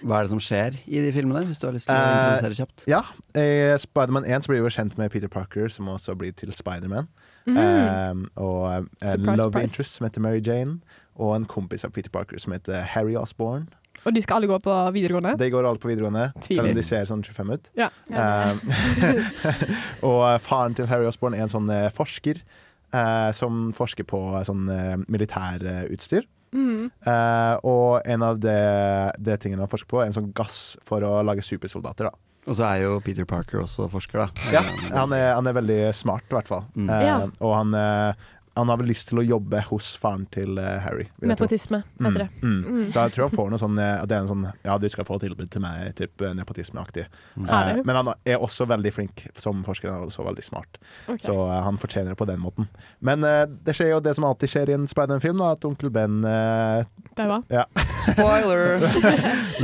[SPEAKER 8] hva er det som skjer i de filmene, hvis du har lyst til å
[SPEAKER 7] Eh,
[SPEAKER 8] introdusere kjapt?
[SPEAKER 7] Ja, i Spiderman 1 så blir vi jo kjent med Peter Parker, som også blir til Spiderman. Um, og
[SPEAKER 3] Mm.
[SPEAKER 7] en
[SPEAKER 3] Surprise,
[SPEAKER 7] love
[SPEAKER 3] surprise.
[SPEAKER 7] interest som heter Mary Jane, og en kompis av Peter Parker som heter Harry Osborne.
[SPEAKER 3] Og de skal alle gå på videregående?
[SPEAKER 7] De går alle på videregående, selv om
[SPEAKER 3] Tviler.
[SPEAKER 7] de ser sånn 25 ut.
[SPEAKER 3] Ja.
[SPEAKER 7] Um, Eh, <laughs> og faren til Harry Osborne er en sånn eh, forsker eh, som forsker på eh, sånn eh, militærutstyr.
[SPEAKER 3] Mm.
[SPEAKER 7] Eh, og en av de, de tingene han forsker på, er en sånn gass for å lage supersoldater. da
[SPEAKER 8] Og så er jo Peter Parker også forsker, da.
[SPEAKER 7] Ja, han er, han er veldig smart i hvert fall.
[SPEAKER 8] Mm.
[SPEAKER 7] Eh,
[SPEAKER 3] Ja.
[SPEAKER 7] og han, eh, han har vel lyst til å jobbe hos faren til eh, Harry. vil jeg tro.
[SPEAKER 3] Nepotisme, heter det.
[SPEAKER 7] Mm. Mm. Så jeg tror han får noe sånn eh, at det er en sånn Ja, du skal få tilbud til meg, typ eh, nepotismeaktig. Eh,
[SPEAKER 3] Herlig.
[SPEAKER 7] men han er også veldig flink som forsker, han er også veldig smart.
[SPEAKER 3] Ok.
[SPEAKER 7] Så eh, han fortjener det på den måten. Men eh, det skjer jo det som alltid skjer i en Spiderman-film, da, at onkel Ben eh, <laughs>
[SPEAKER 3] Der var.
[SPEAKER 8] Spoiler!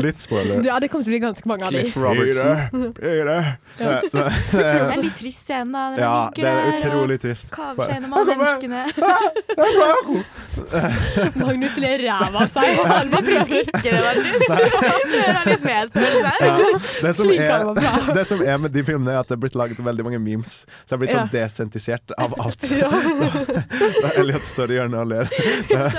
[SPEAKER 7] Litt spoiler.
[SPEAKER 3] Ja, det kommer til å bli ganske mange av de.
[SPEAKER 8] Cliff Robertson.
[SPEAKER 7] Peter! Eh, så,
[SPEAKER 6] Det er en litt trist scene da, når
[SPEAKER 7] ja,
[SPEAKER 6] han ligger
[SPEAKER 7] det er
[SPEAKER 6] der og
[SPEAKER 3] <laughs>
[SPEAKER 7] utrolig trist.
[SPEAKER 6] kaver seg gjennom alle
[SPEAKER 7] Jeg kommer.
[SPEAKER 6] menneskene.
[SPEAKER 3] <laughs> Magnus ler ræva av seg.
[SPEAKER 6] Nei.
[SPEAKER 3] Han bare
[SPEAKER 6] Jeg synes
[SPEAKER 3] prøver.
[SPEAKER 6] ikke det var
[SPEAKER 3] <laughs>
[SPEAKER 6] trist. Han prøver å ha litt medfølelse her.
[SPEAKER 7] Ja. <laughs> Det, som
[SPEAKER 3] Flink, han var
[SPEAKER 7] er, <laughs>
[SPEAKER 3] bra.
[SPEAKER 7] det som er med de filmene, er at det er blitt laget veldig mange memes. Så jeg er blitt sånn desentisert av alt. <laughs> Så Elliot står i hjørnet og ler.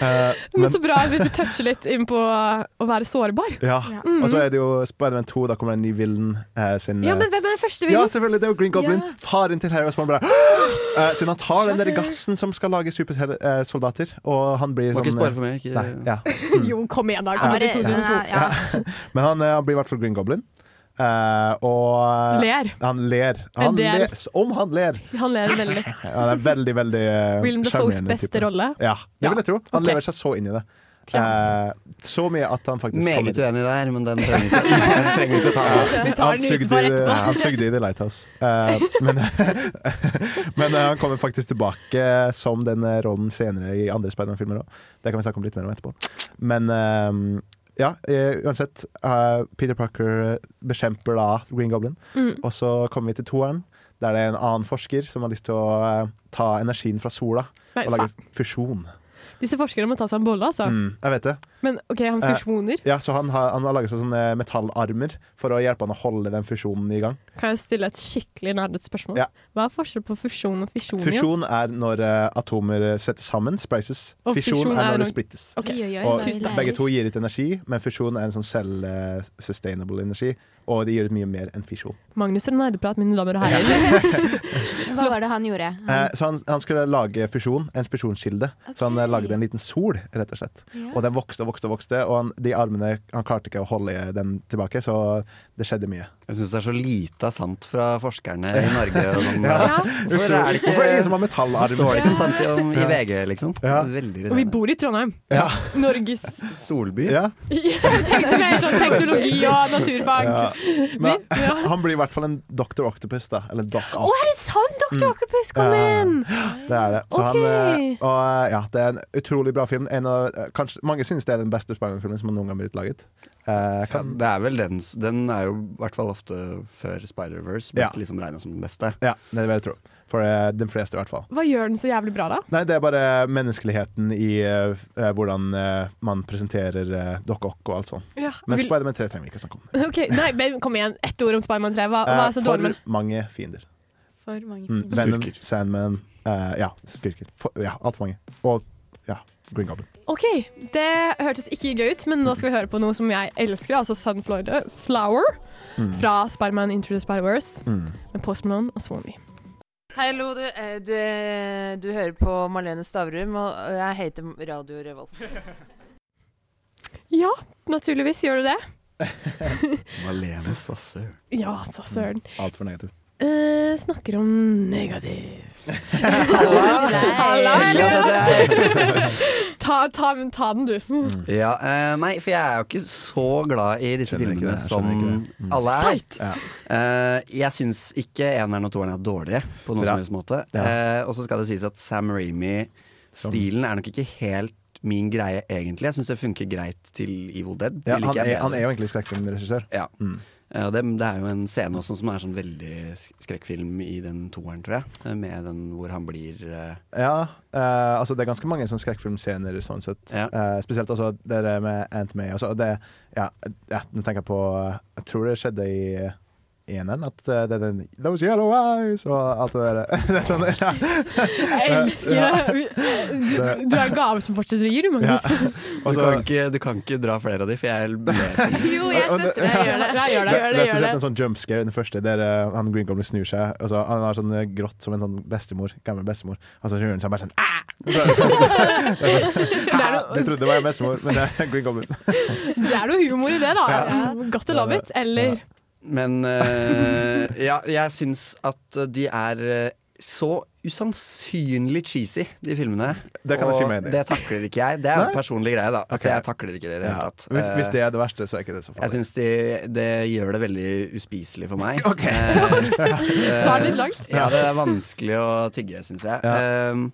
[SPEAKER 7] Eh,
[SPEAKER 3] Men så bra hvis vi toucher litt inn på å være sårbar.
[SPEAKER 7] ja.
[SPEAKER 3] Mm.
[SPEAKER 7] Og så er det jo Spiderman 2, da kommer det en ny villen eh, sin
[SPEAKER 3] Ja,
[SPEAKER 7] eh,
[SPEAKER 3] men hvem er den første vi
[SPEAKER 7] Ja, selvfølgelig, det er jo Green Goblin. Faren til Harry Osborn bare <gasps> Eh, Siden han tar den der gassen som skal lage supersoldater, og han blir
[SPEAKER 8] Må
[SPEAKER 7] sånn
[SPEAKER 8] ikke spare for meg, ikke-
[SPEAKER 7] Nei, ja.
[SPEAKER 3] Jo, kom igjen, da.
[SPEAKER 7] Ja.
[SPEAKER 3] Kommer til
[SPEAKER 7] Ja.
[SPEAKER 3] 2002.
[SPEAKER 7] Ja. Men han, eh, han blir i hvert fall Green Goblin. Eh, og
[SPEAKER 3] Ler.
[SPEAKER 7] Han ler.
[SPEAKER 3] Men
[SPEAKER 7] Han
[SPEAKER 3] det er-
[SPEAKER 7] ler. Om han ler!
[SPEAKER 3] Han ler veldig.
[SPEAKER 7] Ja, han er veldig, veldig eh,
[SPEAKER 3] <laughs> William Dafoes
[SPEAKER 7] sjarmerende
[SPEAKER 3] beste
[SPEAKER 7] type.
[SPEAKER 3] rolle.
[SPEAKER 7] Ja, det vil jeg tro. Han
[SPEAKER 3] ok.
[SPEAKER 7] lever seg så inn i det. Eh, så mye at han faktisk
[SPEAKER 8] Meget
[SPEAKER 7] uenig
[SPEAKER 8] der, men den trenger ikke- den trenger vi ikke ta. Vi tar
[SPEAKER 7] Han
[SPEAKER 8] den utenfor
[SPEAKER 7] sugde i-
[SPEAKER 8] etterpå.
[SPEAKER 7] ja, Han sugde i The Lighthouse. Eh, men <laughs> men eh, han kommer faktisk tilbake som den eh, rollen senere i andre Spiderman-filmer òg. Det kan vi snakke om litt mer om etterpå. Men eh, ja, eh, uansett. eh, Peter Parker bekjemper da Green Goblin.
[SPEAKER 12] Mm.
[SPEAKER 7] Og så kommer vi til toeren, der det er en annen forsker som har lyst til å eh, ta energien fra sola
[SPEAKER 3] Nei,
[SPEAKER 7] og lage fusjon.
[SPEAKER 3] Disse forskerne må ta seg en bolle, altså.
[SPEAKER 7] Mm, jeg vet det.
[SPEAKER 3] Men OK, han
[SPEAKER 7] Eh,
[SPEAKER 3] fusjoner.
[SPEAKER 7] Ja, så han har, han har laget seg sånne metallarmer for å hjelpe han å holde den fusjonen i gang.
[SPEAKER 3] Kan jeg stille et skikkelig nerdete spørsmål?
[SPEAKER 7] Ja.
[SPEAKER 3] Hva er forskjellen på fusjon og fisjon? igjen?
[SPEAKER 7] Fusjon er når eh, atomer settes sammen, splices.
[SPEAKER 3] Og
[SPEAKER 7] Fisjon er når det
[SPEAKER 3] noe-
[SPEAKER 7] splittes.
[SPEAKER 3] Ok.
[SPEAKER 7] Og
[SPEAKER 3] Tusen takk.
[SPEAKER 7] begge to gir ut energi, men fusjon er en sånn selv-sustainable energi. Og det gir ut mye mer enn fisjon.
[SPEAKER 3] Magnus og nerdeprat, mine damer og herrer.
[SPEAKER 6] Hva var det han gjorde?
[SPEAKER 3] Mm.
[SPEAKER 7] Eh, så han, han skulle lage fusjon, en fusjonskilde. Så han eh, lagde en liten sol, rett og slett.
[SPEAKER 6] Ja.
[SPEAKER 7] Og den vokste og vokste, og vokste og han, de armene Han klarte ikke å holde den tilbake, så det skjedde mye.
[SPEAKER 8] Jeg syns det er så lite er sant fra forskerne i Norge. Og
[SPEAKER 7] <laughs>
[SPEAKER 8] sånn.
[SPEAKER 7] Ja.
[SPEAKER 8] Hvorfor er det ikke
[SPEAKER 7] Hvorfor er det ingen som har metallarmer?
[SPEAKER 8] Hvorfor Står det ikke om sant i, om, i
[SPEAKER 7] Ja.
[SPEAKER 8] VG, liksom? Veldig
[SPEAKER 3] Og vi
[SPEAKER 8] irriterende.
[SPEAKER 3] bor i Trondheim.
[SPEAKER 7] Ja.
[SPEAKER 3] Norges
[SPEAKER 8] Solby?
[SPEAKER 7] Ja.
[SPEAKER 3] Jeg tenkte mer sånn teknologi og naturfag. <laughs>
[SPEAKER 7] Ja. Men
[SPEAKER 3] Vi- ja.
[SPEAKER 7] han blir i hvert fall en Dr. Octopus, da. Eller Doc
[SPEAKER 3] Å, er det sant? Dr.
[SPEAKER 7] Mm.
[SPEAKER 3] Octopus kommer
[SPEAKER 7] Ja.
[SPEAKER 3] inn!
[SPEAKER 7] Det er det. Så han,
[SPEAKER 3] Ok.
[SPEAKER 7] eh, og, eh, ja, det er en utrolig bra film. En av, eh, kanskje, mange synes det er den beste Spiderman-filmen som noen gang blitt laget. Eh, kan,
[SPEAKER 8] Det er vel den s- Den er jo i hvert fall ofte før Spider-Verse blitt liksom regna som den beste.
[SPEAKER 7] ja, det vil jeg tro. For eh, de fleste, i hvert fall.
[SPEAKER 3] Hva gjør den så jævlig bra, da?
[SPEAKER 7] Nei, det er bare menneskeligheten i eh, f- eh, hvordan eh, man presenterer uh, Doc Ock og alt sånt.
[SPEAKER 3] Ja,
[SPEAKER 7] Men
[SPEAKER 3] vil-
[SPEAKER 7] Spiderman 3 trenger vi ikke snakke om.
[SPEAKER 3] Ok, nei, men Kom igjen, ett ord om Spiderman 3. Hva, Ah, hva
[SPEAKER 7] Eh,
[SPEAKER 3] er så
[SPEAKER 7] for
[SPEAKER 3] dårlig med den?
[SPEAKER 7] mange fiender.
[SPEAKER 6] For mange
[SPEAKER 7] Mm, Venom, Sandman, eh, ja, skurker. For, ja, altfor mange. Og ja, Green Goblin.
[SPEAKER 3] OK, det hørtes ikke gøy ut, men nå skal vi høre på noe som jeg elsker, altså Sunflower Flower
[SPEAKER 7] Mm.
[SPEAKER 3] fra Spiderman Into the Spider-Verse
[SPEAKER 7] Mm.
[SPEAKER 3] med Post Malone og Swanee.
[SPEAKER 13] Hallo, du, eh, du, eh, du hører på Marlene Stavrum, og jeg heter Radio Revolt.
[SPEAKER 3] Ja, naturligvis gjør du det.
[SPEAKER 8] Malene Sasser.
[SPEAKER 3] <laughs> Ja, så søren.
[SPEAKER 7] Altfor negativ.
[SPEAKER 3] Eh, snakker om negativ.
[SPEAKER 8] Halla, Elias.
[SPEAKER 3] <laughs> ta, ta, ta den, du.
[SPEAKER 8] Ja, eh, nei, for jeg er jo ikke så glad i disse
[SPEAKER 7] Skjønner ikke
[SPEAKER 8] filmene
[SPEAKER 7] det, skjønner
[SPEAKER 8] som
[SPEAKER 7] ikke det. Mm.
[SPEAKER 8] alle er.
[SPEAKER 7] Fight! Ja.
[SPEAKER 8] Eh, jeg syns ikke eneren og toeren er dårlige på noen
[SPEAKER 7] Bra.
[SPEAKER 8] som helst måte.
[SPEAKER 7] Ja.
[SPEAKER 8] Eh, og så skal det sies at Sam Ramy-stilen er nok ikke helt min greie, egentlig. Jeg syns det funker greit til Evil Dead. Det
[SPEAKER 7] Ja,
[SPEAKER 8] liker
[SPEAKER 7] han,
[SPEAKER 8] jeg
[SPEAKER 7] er, han
[SPEAKER 8] bedre.
[SPEAKER 7] er jo egentlig skrekkfilmregissør.
[SPEAKER 8] Ja.
[SPEAKER 7] Mm.
[SPEAKER 8] Eh, og det, det er jo en scene også som er sånn veldig sk- skrekkfilm i den toeren, tror jeg. Eh, Med den hvor han blir eh,
[SPEAKER 7] Ja, eh, altså det er ganske mange sånne skrekkfilmscener sånn sett. Eh, spesielt også det der med Aunt May. Også, og det, ja, ja, nå tenker jeg på Jeg tror det skjedde i eneren, at eh, det er den Those yellow eyes og alt det der. <laughs> det er sånn, ja.
[SPEAKER 3] Jeg elsker
[SPEAKER 7] Ja.
[SPEAKER 3] det. Du, du er en gave som fortsetter å gi, du, Magnus.
[SPEAKER 8] du, kan ikke, du kan ikke dra flere av de, for jeg ler.
[SPEAKER 3] <laughs> Jo, jeg støtter det. Jeg gjør det. Jeg gjør det.
[SPEAKER 7] Det er spesielt en sånn jump scare i den første, der eh, han Green Goblin snur seg. Og så, han har sånn eh, grått som en sånn bestemor, gammel bestemor, og så snur han seg bare sånn «Ah!»
[SPEAKER 3] <laughs>
[SPEAKER 7] <laughs> Det trodde jeg var en bestemor, men det er Green Goblin.
[SPEAKER 3] Det er noe humor i det, da.
[SPEAKER 7] Ja.
[SPEAKER 3] Got to love it, eller
[SPEAKER 8] Men
[SPEAKER 7] <laughs>
[SPEAKER 8] eh, ja, jeg syns at de er eh, så usannsynlig cheesy, de filmene.
[SPEAKER 7] Det kan jeg
[SPEAKER 8] og
[SPEAKER 7] si meg enig i.
[SPEAKER 8] det takler ikke jeg. Det er
[SPEAKER 7] Nei?
[SPEAKER 8] en personlig greie, da. At
[SPEAKER 7] Ok.
[SPEAKER 8] jeg takler ikke det i det
[SPEAKER 7] Ja.
[SPEAKER 8] hele tatt.
[SPEAKER 7] Hvis, hvis
[SPEAKER 8] Eh,
[SPEAKER 7] det er det verste, så er ikke det så farlig.
[SPEAKER 8] jeg syns de, det gjør det veldig uspiselig for meg.
[SPEAKER 7] <laughs> Ok.
[SPEAKER 8] Eh,
[SPEAKER 7] Så er det litt langt.
[SPEAKER 8] Ja, det er vanskelig å tygge, syns jeg. Eh,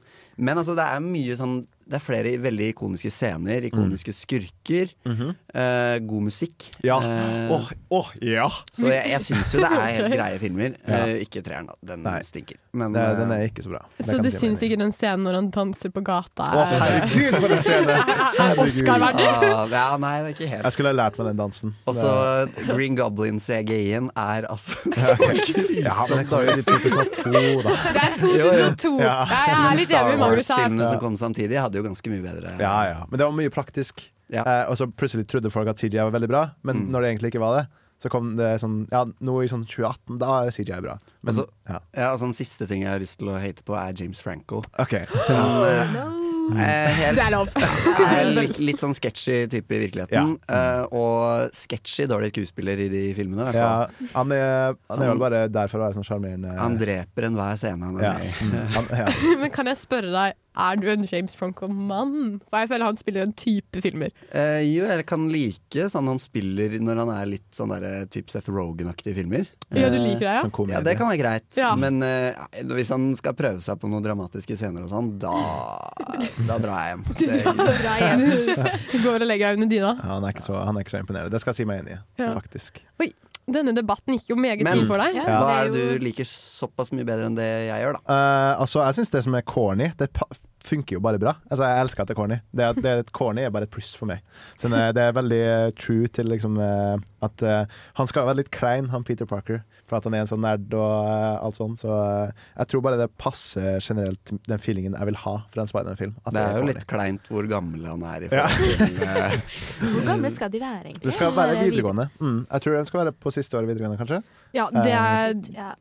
[SPEAKER 8] men altså, det er mye sånn det er flere veldig ikoniske scener, ikoniske skurker, eh, god musikk.
[SPEAKER 7] Mm. Mhm. Ja.
[SPEAKER 8] Eh,
[SPEAKER 7] Åh, åh, ja.
[SPEAKER 8] Så jeg, jeg syns jo det er helt greie filmer.
[SPEAKER 7] Ja.
[SPEAKER 8] Eh, ikke treeren, da. Den stinker. Men,
[SPEAKER 7] Det- den
[SPEAKER 8] eh,
[SPEAKER 7] er ikke så bra. Det
[SPEAKER 3] Så
[SPEAKER 7] kan
[SPEAKER 3] du
[SPEAKER 7] jeg si meg
[SPEAKER 3] syns ikke den scenen når han danser på gata
[SPEAKER 7] Å,
[SPEAKER 3] er-
[SPEAKER 7] herregud, for en scene!
[SPEAKER 3] <laughs>
[SPEAKER 7] Herregud.
[SPEAKER 3] Oscar-verdig?
[SPEAKER 8] Ah, ja, nei, det er ikke helt
[SPEAKER 7] Jeg skulle ha lært meg den dansen.
[SPEAKER 8] Og så Green Goblin CGI-en er altså
[SPEAKER 7] Ja,
[SPEAKER 8] så
[SPEAKER 7] ok. <laughs> Ja, men det
[SPEAKER 8] grusomt
[SPEAKER 7] kom jo i 2002,
[SPEAKER 8] dårlig.
[SPEAKER 7] da.
[SPEAKER 3] Det er 2002.
[SPEAKER 8] Jo, jo.
[SPEAKER 3] Ja, jeg er
[SPEAKER 8] Men
[SPEAKER 3] litt enig med Magnus her.
[SPEAKER 8] Star
[SPEAKER 7] Ja.
[SPEAKER 8] Wars-filmene som kom samtidig, hadde jo ganske mye bedre
[SPEAKER 7] Ja, ja. Men det var mye praktisk. Eh, og så plutselig trodde folk at CGI var veldig bra, men
[SPEAKER 8] Mm.
[SPEAKER 7] når det egentlig ikke var det, så kom det sånn Ja, nå i sånn 2018, da er CGI bra. Men,
[SPEAKER 8] Altså,
[SPEAKER 7] ja.
[SPEAKER 8] ja, altså Den siste ting jeg har lyst til å hate på, er James Franco. <laughs>
[SPEAKER 7] Ok.
[SPEAKER 8] Som eh, eh, helt,
[SPEAKER 3] Det er lov. <laughs>
[SPEAKER 8] er litt, litt sånn sketchy type i virkeligheten. eh, og sketchy dårlig skuespiller i de filmene, i hvert
[SPEAKER 7] Ja,
[SPEAKER 8] fall.
[SPEAKER 7] han er, han er vel bare der for å være sånn sjarmerende
[SPEAKER 8] Han dreper enhver scene han er
[SPEAKER 7] Ja.
[SPEAKER 8] med i.
[SPEAKER 7] Mm. Han, ja.
[SPEAKER 3] Men kan jeg spørre deg, er du en James Franco-mann? For jeg føler han spiller en type filmer.
[SPEAKER 8] Eh, jo, jeg kan like sånn han spiller når han er litt sånn der, typ Seth Rogan-aktige filmer.
[SPEAKER 3] Ja, du liker det, ja?
[SPEAKER 8] Eh,
[SPEAKER 3] <laughs> Sånn komedie.
[SPEAKER 8] ja, det kan være greit.
[SPEAKER 3] Ja.
[SPEAKER 8] Men eh, hvis han skal prøve seg på noen dramatiske scener og sånn, da, da drar
[SPEAKER 3] <laughs>
[SPEAKER 8] jeg hjem. Det-
[SPEAKER 7] <laughs>
[SPEAKER 3] Du går og legger deg under dyna.
[SPEAKER 7] Han, er ikke så, han er ikke så imponerende. Det skal jeg si meg enig i,
[SPEAKER 3] Ja.
[SPEAKER 7] faktisk.
[SPEAKER 3] Oi, denne debatten gikk jo meget
[SPEAKER 8] Men
[SPEAKER 3] tid for deg.
[SPEAKER 8] hva er det du liker såpass mye bedre enn det jeg gjør, da?
[SPEAKER 7] Eh, altså, jeg syns det som er corny, det pa- funker jo bare bra. Altså, jeg elsker at det er corny. Det, at det er et corny er bare et pluss for meg. Så det, det er veldig eh, true til liksom eh, at eh, Han skal være litt klein, han Peter Parker, for at han er en sånn nerd og eh, alt sånt. Så eh, jeg tror bare det passer generelt den feelingen jeg vil ha fra en Spiderman-film. at
[SPEAKER 8] Det er jo
[SPEAKER 7] corny.
[SPEAKER 8] litt kleint hvor gammel han er i
[SPEAKER 7] Ja.
[SPEAKER 8] forhold
[SPEAKER 7] <laughs>
[SPEAKER 8] til eh,
[SPEAKER 6] Hvor gamle skal de være, egentlig?
[SPEAKER 7] Det skal være videregående. Mm. Jeg tror den skal være på siste året videregående, kanskje.
[SPEAKER 3] Ja, det
[SPEAKER 7] Eh,
[SPEAKER 3] er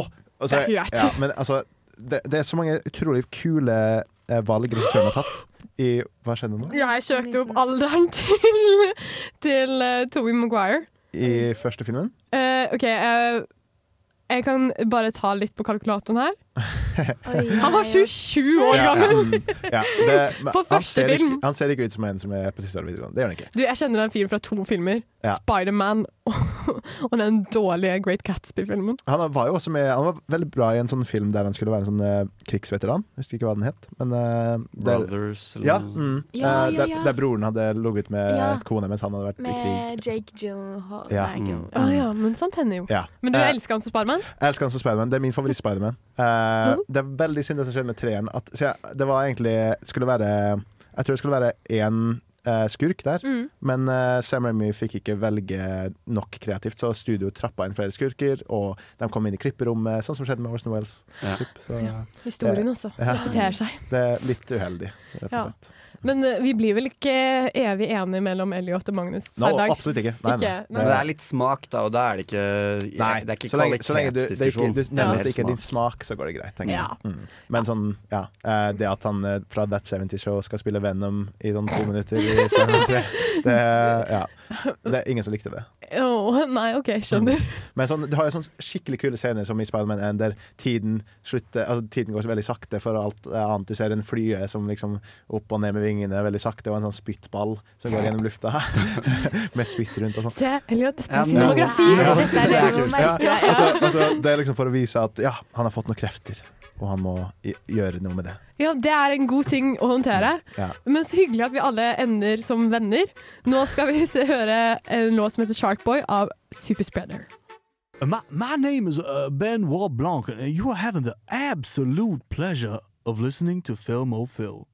[SPEAKER 7] Åh, altså,
[SPEAKER 3] Det er greit.
[SPEAKER 7] Ja, men altså, det, det er så mange utrolig kule eh, valg regissøren har tatt i Hva skjedde nå?
[SPEAKER 3] Ja, jeg søkte opp alderen til, til eh, Tobey Maguire.
[SPEAKER 7] I første filmen.
[SPEAKER 3] Eh, OK, eh, jeg kan bare ta litt på kalkulatoren her. Han var 27 år
[SPEAKER 7] Ja, ja.
[SPEAKER 3] gammel!
[SPEAKER 7] Mm, ja. Det- men
[SPEAKER 3] For
[SPEAKER 7] han
[SPEAKER 3] første
[SPEAKER 7] ser ikke-
[SPEAKER 3] film.
[SPEAKER 7] Han ser ikke ut som en som er på siste året videregående. Det gjør han ikke.
[SPEAKER 3] Du, jeg kjenner den fyren fra to filmer.
[SPEAKER 7] Ja.
[SPEAKER 3] Spiderman og, og den dårlige Great Gatsby-filmen.
[SPEAKER 7] Han var jo også med Han var veldig bra i en sånn film der han skulle være en sånn eh, krigsveteran. Jeg husker ikke hva den het. Men, eh, det,
[SPEAKER 8] Brothers eller
[SPEAKER 7] ja,
[SPEAKER 8] noe sånt.
[SPEAKER 7] mm,
[SPEAKER 6] Ja,
[SPEAKER 7] Eh,
[SPEAKER 6] ja,
[SPEAKER 7] der,
[SPEAKER 6] ja.
[SPEAKER 7] der broren hadde ligget med
[SPEAKER 6] Ja.
[SPEAKER 7] kona mens han hadde vært i krig.
[SPEAKER 6] Med Jake Gyllenhaal
[SPEAKER 7] liksom. Ja.
[SPEAKER 6] Nei, ikke-
[SPEAKER 7] Mm.
[SPEAKER 3] Å Ah, ja, men sånt hender jo.
[SPEAKER 7] Ja.
[SPEAKER 3] Men du
[SPEAKER 7] Eh,
[SPEAKER 3] elsker han som Spiderman?
[SPEAKER 7] Jeg elsker han som Spiderman. Det er min favoritt-Spiderman. Uh, det er veldig synd det som skjedde med treeren. At, så jeg, det var egentlig skulle være Jeg tror det skulle være én eh, skurk der,
[SPEAKER 3] Mm.
[SPEAKER 7] men eh, Sam Remy fikk ikke velge nok kreativt, så studio trappa inn flere skurker, og de kom inn i klipperommet, sånn som skjedde med Orson Wells. Typ, så,
[SPEAKER 3] Historien,
[SPEAKER 7] eh,
[SPEAKER 3] altså.
[SPEAKER 7] ja.
[SPEAKER 3] Repeterer seg.
[SPEAKER 7] Det er litt uheldig, rett og
[SPEAKER 3] Ja.
[SPEAKER 7] slett.
[SPEAKER 3] Men eh, vi blir vel ikke evig enige mellom Elliot og Magnus
[SPEAKER 7] No,
[SPEAKER 3] hver dag?
[SPEAKER 7] absolutt ikke. Nei, nei.
[SPEAKER 3] Ikke?
[SPEAKER 8] Men det er litt smak, da, og da er det ikke Det er ikke
[SPEAKER 7] så lenge, så lenge du, det er ikke,
[SPEAKER 8] kvalitetsdiskusjon.
[SPEAKER 7] du nevner at det ikke er
[SPEAKER 8] helt
[SPEAKER 7] din smak, så går det greit. tenker jeg.
[SPEAKER 8] Ja.
[SPEAKER 7] Mm. Men sånn, ja. eh, Det at han eh, fra That 70 Show skal spille Venom i sånn to minutter i Spiderman 3, det, ja. det er ingen som likte det.
[SPEAKER 3] Åh, nei, OK, skjønner.
[SPEAKER 7] Men sånn, du har jo sånn skikkelig kule scener som i Spiderman 1, der tiden, slutter, altså, tiden går så veldig sakte for alt eh, annet. Du ser en flye som liksom opp og ned med vingene veldig sakte, og en sånn spyttball som går gjennom lufta <laughs> med spytt rundt og sånn.
[SPEAKER 3] Se, Elliot, dette
[SPEAKER 7] Ja,
[SPEAKER 3] er
[SPEAKER 7] nå-
[SPEAKER 3] scenografi!
[SPEAKER 7] Ja,
[SPEAKER 3] Dette er det
[SPEAKER 7] kult.
[SPEAKER 3] vi merker.
[SPEAKER 7] Ja, altså, altså, det er liksom for å vise at ja, han har fått noen krefter, og han må i- gjøre noe med det. Mm.
[SPEAKER 3] Ja, det er en god ting å håndtere.
[SPEAKER 7] Ja.
[SPEAKER 3] Men så hyggelig at vi alle ender som venner. Nå skal vi se, høre en låt som heter Sharkboy av Superspreader.
[SPEAKER 12] My, my name is uh, Benoit Blanc, and you are having the absolute pleasure of listening to Film O Phil.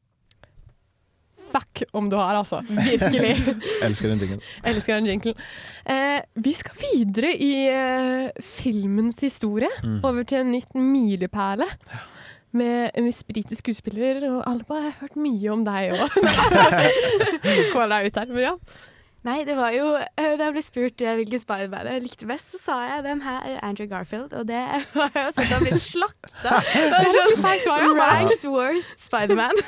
[SPEAKER 3] Fuck om du har, altså. Virkelig.
[SPEAKER 7] <laughs> Elsker den tingen.
[SPEAKER 3] Jeg elsker den jinglen. Eh, vi skal videre i eh, filmens historie.
[SPEAKER 7] Mm.
[SPEAKER 3] Over til en nytt milepæle. Med en viss britisk skuespiller. Og Alba, jeg har hørt mye om deg òg. Kål deg ut her. Men ja.
[SPEAKER 6] Nei, det var jo eh, Da jeg ble spurt eh, hvilken Spiderman jeg likte best, så sa jeg den her, eh, Andrew Garfield. Og det <laughs> var jo sånn at jeg har blitt
[SPEAKER 7] <laughs>
[SPEAKER 6] slakta.
[SPEAKER 3] Det er litt feil svar, ja.
[SPEAKER 6] Ranked sånn, worst Spiderman.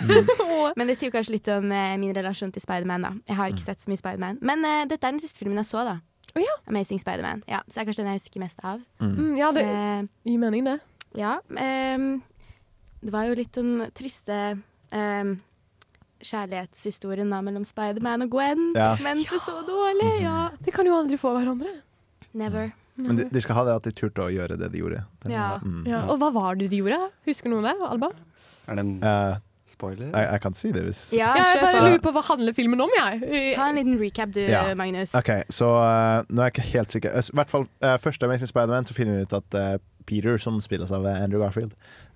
[SPEAKER 6] Men det sier jo kanskje litt om eh, min relasjon til Spiderman, da. Jeg
[SPEAKER 7] Mm.
[SPEAKER 6] har ikke sett så mye Spiderman. Men eh, dette er den siste filmen jeg så, da. Amazing Spiderman. Ja, så det er kanskje den jeg husker mest av. Eh,
[SPEAKER 3] Mm, ja, det gir mening, det.
[SPEAKER 6] Ja. ehm, det var jo litt den triste ehm, kjærlighetshistorien da mellom Spiderman og Gwen.
[SPEAKER 7] Ja.
[SPEAKER 6] Men det så dårlig,
[SPEAKER 7] Mhm.
[SPEAKER 6] ja.
[SPEAKER 3] De kan jo aldri få hverandre.
[SPEAKER 6] Never.
[SPEAKER 7] Men de, de skal ha det at de turte å gjøre det de gjorde. Det-
[SPEAKER 3] Ja.
[SPEAKER 7] Mm.
[SPEAKER 3] Ja. Og hva var det de gjorde? Husker noen det, Alba?
[SPEAKER 8] Er det en
[SPEAKER 7] Eh,
[SPEAKER 8] Spoiler?
[SPEAKER 7] Jeg, jeg kan si det hvis
[SPEAKER 6] Ja,
[SPEAKER 3] jeg
[SPEAKER 6] kjør
[SPEAKER 3] bare
[SPEAKER 6] på.
[SPEAKER 3] lurer på hva handler filmen om, jeg.
[SPEAKER 6] Ta en liten recap, du,
[SPEAKER 7] Ja.
[SPEAKER 6] Magnus.
[SPEAKER 7] Ok, så eh, nå er jeg ikke helt sikker. I hvert fall eh, første Amazing Spider-Man så finner vi ut at eh, Peter, som spilles av eh, Andrew Garfield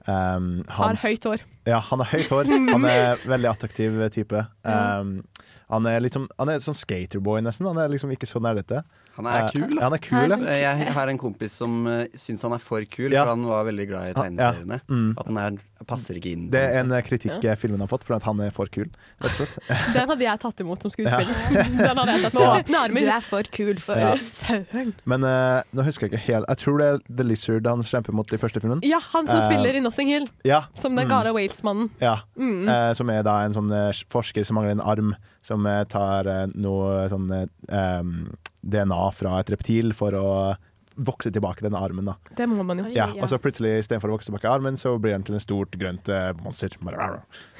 [SPEAKER 7] ehm,
[SPEAKER 3] Har
[SPEAKER 7] hans-
[SPEAKER 3] høyt hår.
[SPEAKER 7] Ja, han har høyt
[SPEAKER 3] <laughs>
[SPEAKER 7] hår. Han er veldig attraktiv type. Ehm, han, er liksom, han er sånn skaterboy, nesten. Han er liksom ikke så nerdete.
[SPEAKER 8] Han er
[SPEAKER 7] Eh,
[SPEAKER 8] kul, da.
[SPEAKER 7] ja, han er kul, ja.
[SPEAKER 8] Jeg har en kompis som uh, syns han er for kul, for han var veldig glad i
[SPEAKER 7] Han- ja.
[SPEAKER 8] tegneseriene.
[SPEAKER 7] Mm.
[SPEAKER 8] At han er, passer ikke inn.
[SPEAKER 7] Det er en eh, kritikk
[SPEAKER 3] Ja.
[SPEAKER 7] eh, filmen har fått, for at han er for kul. Rett og slett.
[SPEAKER 3] Den hadde jeg tatt imot som skuespiller. <laughs>
[SPEAKER 7] Ja.
[SPEAKER 3] Den hadde jeg tatt med
[SPEAKER 7] Ja.
[SPEAKER 3] åpne armer.
[SPEAKER 6] Du er for kul for
[SPEAKER 7] Ja.
[SPEAKER 3] Søren.
[SPEAKER 7] Men eh, nå husker jeg ikke helt Jeg tror det er The Lizard han kjemper mot i første filmen.
[SPEAKER 3] Ja, han som
[SPEAKER 7] Eh,
[SPEAKER 3] spiller i Nothing Hill.
[SPEAKER 7] ja.
[SPEAKER 3] Som den
[SPEAKER 7] Mm.
[SPEAKER 3] Gara Waits-mannen.
[SPEAKER 7] Ja,
[SPEAKER 3] Mm.
[SPEAKER 7] eh, som er da en sånn eh, forsker som mangler en arm, som eh, tar eh, noe sånn eh, em, DNA fra et reptil for å vokse tilbake den armen. da.
[SPEAKER 3] Det må man jo.
[SPEAKER 7] Ja, og så plutselig, istedenfor å vokse tilbake armen, så blir den til en stort, grønt eh, <laughs> monster.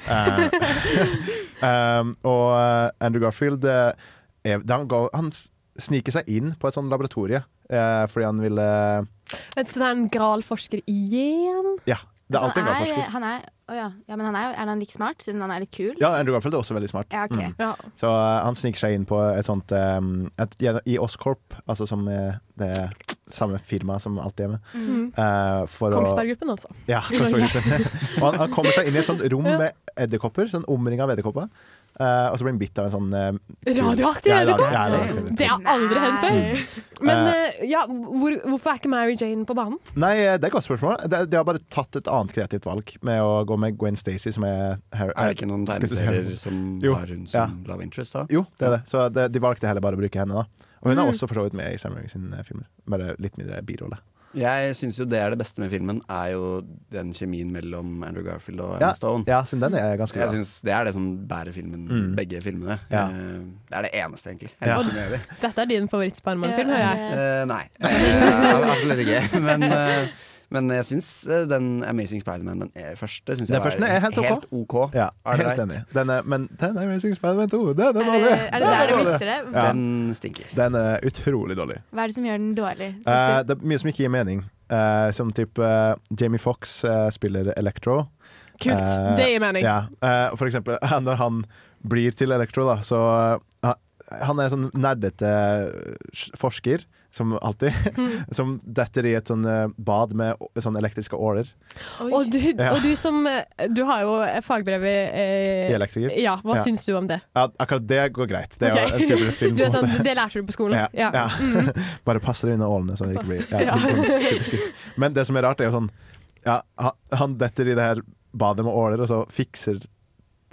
[SPEAKER 7] Eh, em, og eh, Andrew Garfield eh, er, han, går, han s- sniker seg inn på et sånt laboratorie eh, fordi han ville
[SPEAKER 3] Vet du, så det er en gral forsker igjen.
[SPEAKER 7] Ja, det er
[SPEAKER 6] Så
[SPEAKER 7] alltid
[SPEAKER 6] han
[SPEAKER 7] en glad
[SPEAKER 6] Altså, er-
[SPEAKER 7] forsker.
[SPEAKER 6] Han er, å ja. ja, men han er, jo- er han like smart, siden han er litt kul?
[SPEAKER 7] Ja, Andrew Garfield er også veldig smart.
[SPEAKER 6] Ja, ok.
[SPEAKER 7] Mm. Så eh, han sniker seg inn på et sånt um, et, I Oscorp, altså som eh, det samme firma som alt det med.
[SPEAKER 3] Mm.
[SPEAKER 7] eh, for å-
[SPEAKER 3] Kongsberg-gruppen, altså.
[SPEAKER 7] Ja, Kongsberg-gruppen. <laughs> og han, han kommer seg inn i et sånt rom med edderkopper, sånn omringa av edderkopper. eh, og så blir han bitt av en sånn eh, kul-
[SPEAKER 3] Radioaktiv
[SPEAKER 7] Ja, radio-
[SPEAKER 3] edderkopp?
[SPEAKER 7] ja, radioaktiv edderkopp.
[SPEAKER 3] Det har aldri hendt før. Men
[SPEAKER 7] Eh.
[SPEAKER 3] eh, ja, hvor, hvorfor er ikke Mary Jane på banen?
[SPEAKER 7] Nei, eh, det er et godt spørsmål. De, de har bare tatt et annet kreativt valg med å gå med Gwen Stacy, som er her,
[SPEAKER 8] Er det ikke noen
[SPEAKER 7] skal vi si-
[SPEAKER 8] tegneserier som
[SPEAKER 7] Jo,
[SPEAKER 8] har hun som love interest, da?
[SPEAKER 7] Jo, det er det. Så det, de valgte heller bare å bruke henne, da. Og hun er
[SPEAKER 8] Mm.
[SPEAKER 7] også for så vidt med i Sam Raimi sine filmer, bare litt mindre birolle.
[SPEAKER 8] Jeg syns jo det er det beste med filmen, er jo den kjemien mellom Andrew Garfield og Emma
[SPEAKER 7] Ja,
[SPEAKER 8] Stone.
[SPEAKER 7] ja, siden den er ganske
[SPEAKER 8] Jeg
[SPEAKER 7] bra.
[SPEAKER 8] synes Det er det som bærer filmen,
[SPEAKER 7] Mm.
[SPEAKER 8] begge filmene.
[SPEAKER 7] Ja.
[SPEAKER 8] Eh, Det er det eneste, egentlig. Jeg
[SPEAKER 7] Ja.
[SPEAKER 8] er ikke med i det.
[SPEAKER 3] Dette er din favoritt-Sparman-film,
[SPEAKER 8] Ja,
[SPEAKER 3] hører jeg.
[SPEAKER 8] Eh, nei, Eh, <laughs> absolutt ikke. Men, eh, men jeg syns eh, den Amazing Spiderman, den eh, første, syns jeg
[SPEAKER 7] Den første
[SPEAKER 8] var
[SPEAKER 7] er helt ok.
[SPEAKER 8] helt ok.
[SPEAKER 7] Ja,
[SPEAKER 8] All
[SPEAKER 7] helt
[SPEAKER 8] right.
[SPEAKER 7] enig. Den er, men den er Amazing Spider-Man 2. Den er dårlig.
[SPEAKER 6] er det
[SPEAKER 7] Den
[SPEAKER 6] der du
[SPEAKER 7] dårlig.
[SPEAKER 6] mister det?
[SPEAKER 8] Den stinker.
[SPEAKER 7] Den er utrolig dårlig.
[SPEAKER 6] Hva er det som gjør den dårlig? synes
[SPEAKER 7] Eh,
[SPEAKER 6] du?
[SPEAKER 7] det er mye som ikke gir mening. Eh, som type Jamie Foxx eh, spiller Electro.
[SPEAKER 3] Kult.
[SPEAKER 7] Eh,
[SPEAKER 3] Det gir mening.
[SPEAKER 7] Ja. Eh, for eksempel <laughs> når han blir til Electro, da, så eh, Han er sånn nerdete eh, forsker, som
[SPEAKER 3] <laughs>
[SPEAKER 7] alltid, som detter i et sånn eh, bad med å- sånn elektriske åler.
[SPEAKER 3] Og du,
[SPEAKER 7] Ja.
[SPEAKER 3] og du som eh, Du har jo eh, fagbrev i eh,
[SPEAKER 7] I elektriker.
[SPEAKER 3] Ja, hva
[SPEAKER 7] Ja.
[SPEAKER 3] syns du om det?
[SPEAKER 7] Ja, akkurat det går greit. Det er
[SPEAKER 3] Ok.
[SPEAKER 7] jo en superfilm.
[SPEAKER 3] <laughs> Du er
[SPEAKER 7] på en
[SPEAKER 3] sånn,
[SPEAKER 7] måte.
[SPEAKER 3] det lærte du på skolen.
[SPEAKER 7] Ja.
[SPEAKER 3] Ja.
[SPEAKER 7] ja.
[SPEAKER 3] Mm.
[SPEAKER 7] <laughs> Bare pass deg unna ålene, så det ikke
[SPEAKER 3] Pass.
[SPEAKER 7] blir
[SPEAKER 3] Ja.
[SPEAKER 7] ja, det blir superskutt. Men det som er rart, er jo sånn ja, han, han detter i det her badet med åler, og så fikser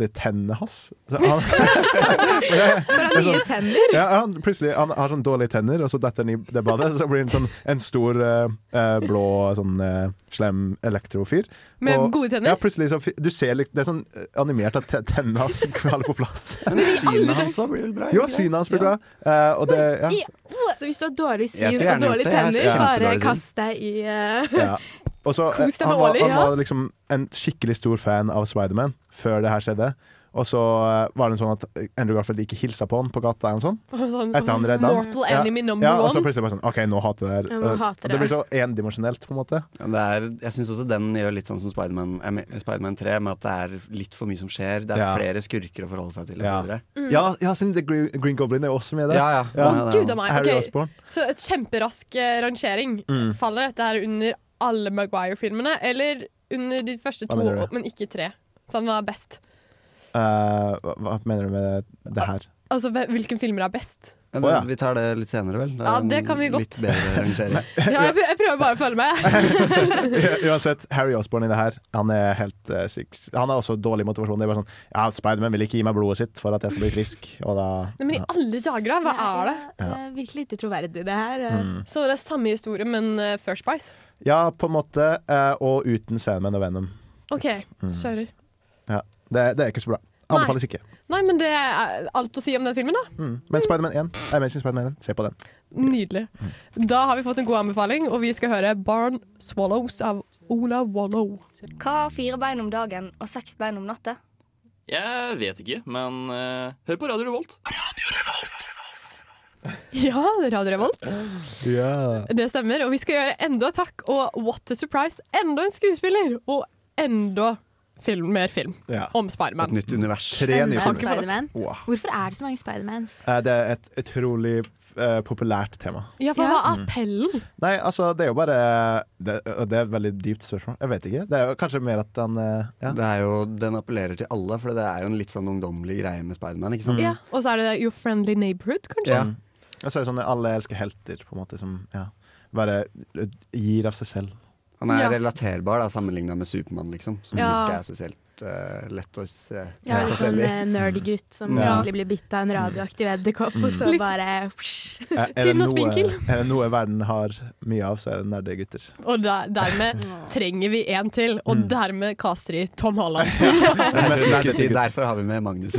[SPEAKER 7] det tennene hans. Så
[SPEAKER 3] <laughs>
[SPEAKER 7] han, <laughs>
[SPEAKER 6] For han har
[SPEAKER 7] sånn-
[SPEAKER 6] nye tenner.
[SPEAKER 7] ja, han, plutselig han har sånn dårlige tenner, og så detter han i det badet. Så blir han sånn en stor eh, eh, blå sånn eh, slem elektrofyr.
[SPEAKER 3] Med
[SPEAKER 7] Og-
[SPEAKER 3] gode tenner?
[SPEAKER 7] Ja, plutselig så fi- Du ser litt Det er sånn eh, animert at te- tennene hans <laughs> faller på plass.
[SPEAKER 8] Men synet hans da blir vel bra?
[SPEAKER 7] Jo,
[SPEAKER 8] ikke det?
[SPEAKER 7] synet hans blir bra. Eh, og det, ja.
[SPEAKER 6] Så hvis du har dårlig
[SPEAKER 7] Jeg
[SPEAKER 6] syn og
[SPEAKER 7] skulle gjerne
[SPEAKER 6] dårlige
[SPEAKER 7] gjort det. Jeg har
[SPEAKER 6] tenner,
[SPEAKER 7] kjempedårlig
[SPEAKER 6] bare
[SPEAKER 7] syn.
[SPEAKER 6] kast deg i eh,
[SPEAKER 7] Ja. Og så,
[SPEAKER 6] Kos deg
[SPEAKER 7] eh, han,
[SPEAKER 6] med
[SPEAKER 7] var,
[SPEAKER 6] Ollie,
[SPEAKER 7] han
[SPEAKER 6] ja.
[SPEAKER 7] var liksom en skikkelig stor fan av Spiderman før det her skjedde. Og så eh, var det sånn at Andrew Garfield ikke hilsa på han på gata. eller noe sånt.
[SPEAKER 3] Og sånn,
[SPEAKER 7] Etter han redda han.
[SPEAKER 3] Mortal
[SPEAKER 7] Ja.
[SPEAKER 3] enemy number
[SPEAKER 7] ja, Og så
[SPEAKER 3] one.
[SPEAKER 7] plutselig bare sånn OK, nå hater jeg
[SPEAKER 3] Ja,
[SPEAKER 7] det her.
[SPEAKER 3] nå
[SPEAKER 7] Eh,
[SPEAKER 3] hater
[SPEAKER 7] og det
[SPEAKER 3] jeg.
[SPEAKER 7] blir så endimensjonelt, på en måte.
[SPEAKER 8] Ja, Det er, jeg syns også den gjør litt sånn som Spiderman eh, Spiderman 3, med at det er litt for mye som skjer. Det er
[SPEAKER 7] Ja.
[SPEAKER 8] flere skurker å forholde seg til. Og så
[SPEAKER 7] Ja.
[SPEAKER 8] videre.
[SPEAKER 7] Ja, ja, siden The Green, Green Goblin er jo også med der.
[SPEAKER 8] Ja, ja. Ja, det er
[SPEAKER 3] Gud a meg.
[SPEAKER 7] Harry
[SPEAKER 3] ok.
[SPEAKER 7] Osborn.
[SPEAKER 3] Så et kjemperask eh, rangering.
[SPEAKER 7] Mm.
[SPEAKER 3] Faller dette her under alle Maguire-filmene, eller under de første
[SPEAKER 7] Hva
[SPEAKER 3] to,
[SPEAKER 7] mener du?
[SPEAKER 3] men ikke tre? Så han var best.
[SPEAKER 7] Eh, hva, hva mener du med det her?
[SPEAKER 3] Altså, hve- hvilken filmer er
[SPEAKER 7] <laughs>
[SPEAKER 3] best?
[SPEAKER 8] Men
[SPEAKER 7] Å, ja.
[SPEAKER 8] Vi tar det litt senere, vel?
[SPEAKER 3] Ja, det kan vi godt.
[SPEAKER 8] Litt bedre rangering.
[SPEAKER 3] Ja, jeg, jeg prøver bare å følge med.
[SPEAKER 7] U- Uansett, Harry Osborn i det her, han er helt eh, syk. Han har også dårlig motivasjon. Det er bare sånn Ja, Spiderman vil ikke gi meg blodet sitt for at jeg skal bli frisk, og da
[SPEAKER 3] Nei, men i
[SPEAKER 7] ja.
[SPEAKER 3] alle dager, da! <laughs> Hva er det?
[SPEAKER 7] Ja.
[SPEAKER 6] Det er Eh, virkelig ikke troverdig, det her.
[SPEAKER 7] Mm.
[SPEAKER 3] Så det er samme historie, men eh, First Price?
[SPEAKER 7] Ja, på en måte. eh, Og uten Sandman og Venom.
[SPEAKER 3] OK,
[SPEAKER 7] Mm.
[SPEAKER 3] sører.
[SPEAKER 7] Ja. Det, det er ikke så bra. Anbefales ikke.
[SPEAKER 3] Nei, men det er alt å si om den filmen, da.
[SPEAKER 7] Mm. Men Spiderman 1, Amazing Spiderman 1, se på den.
[SPEAKER 3] Nydelig.
[SPEAKER 7] Mm.
[SPEAKER 3] Da har vi fått en god anbefaling, og vi skal høre Barn Swallows av Ola Wallow.
[SPEAKER 14] Hva har fire bein om dagen og seks bein om natta?
[SPEAKER 9] Jeg vet ikke, men eh, hør på Radio Revolt.
[SPEAKER 3] Ja, Radio Revolt.
[SPEAKER 7] Ja.
[SPEAKER 3] Det stemmer. Og vi skal gjøre enda et takk og What a surprise! Enda en skuespiller! Og enda film, mer film
[SPEAKER 7] Ja.
[SPEAKER 3] om Spiderman.
[SPEAKER 7] Et nytt univers. Tre nye
[SPEAKER 6] Hvem Eh, er
[SPEAKER 7] filmer.
[SPEAKER 6] Spiderman?
[SPEAKER 7] Wow.
[SPEAKER 6] Hvorfor er det så mange Spidermans?
[SPEAKER 7] Eh, Det er et utrolig eh, populært tema.
[SPEAKER 3] Ja, for hva
[SPEAKER 7] Mm.
[SPEAKER 3] er appellen?
[SPEAKER 7] Nei, altså, det er jo bare Det, og det er et veldig dypt spørsmål. Jeg vet ikke. Det er jo kanskje mer at den eh, ja.
[SPEAKER 8] Det er jo, den appellerer til alle, for det er jo en litt sånn ungdommelig greie med Spiderman. ikke sant?
[SPEAKER 3] Ja, og så er det Your Friendly Neighborhood, kanskje?
[SPEAKER 7] Mm. Ja. Og så er det sånn at alle elsker helter, på en måte, som ja, bare gir av seg
[SPEAKER 3] <laughs>
[SPEAKER 7] selv.
[SPEAKER 8] Han er
[SPEAKER 3] Ja.
[SPEAKER 8] relaterbar da, sammenligna med Supermann, liksom. Som
[SPEAKER 6] Ja.
[SPEAKER 8] ikke er spesielt eh, lett å se
[SPEAKER 6] Jeg er
[SPEAKER 8] seg
[SPEAKER 6] litt sånn
[SPEAKER 8] selv i.
[SPEAKER 6] eh, nerdy gutt
[SPEAKER 7] Mm.
[SPEAKER 6] som
[SPEAKER 8] Ja.
[SPEAKER 6] plutselig blir bitt av en radioaktiv edderkopp, og så
[SPEAKER 3] Litt-
[SPEAKER 6] bare
[SPEAKER 7] Eh, er det
[SPEAKER 3] Tynn og
[SPEAKER 7] noe-
[SPEAKER 3] spinkel.
[SPEAKER 7] <laughs> Er det noe verden har mye av, så er det
[SPEAKER 3] <laughs>
[SPEAKER 7] nerdegutter.
[SPEAKER 3] Og der, dermed trenger vi en til, og
[SPEAKER 7] Mm.
[SPEAKER 3] dermed kaster de Tom
[SPEAKER 7] <laughs>
[SPEAKER 3] Holland.
[SPEAKER 8] Jeg
[SPEAKER 7] mest
[SPEAKER 8] skulle skulle si,
[SPEAKER 7] lærte
[SPEAKER 8] derfor har vi med <laughs> Magnus.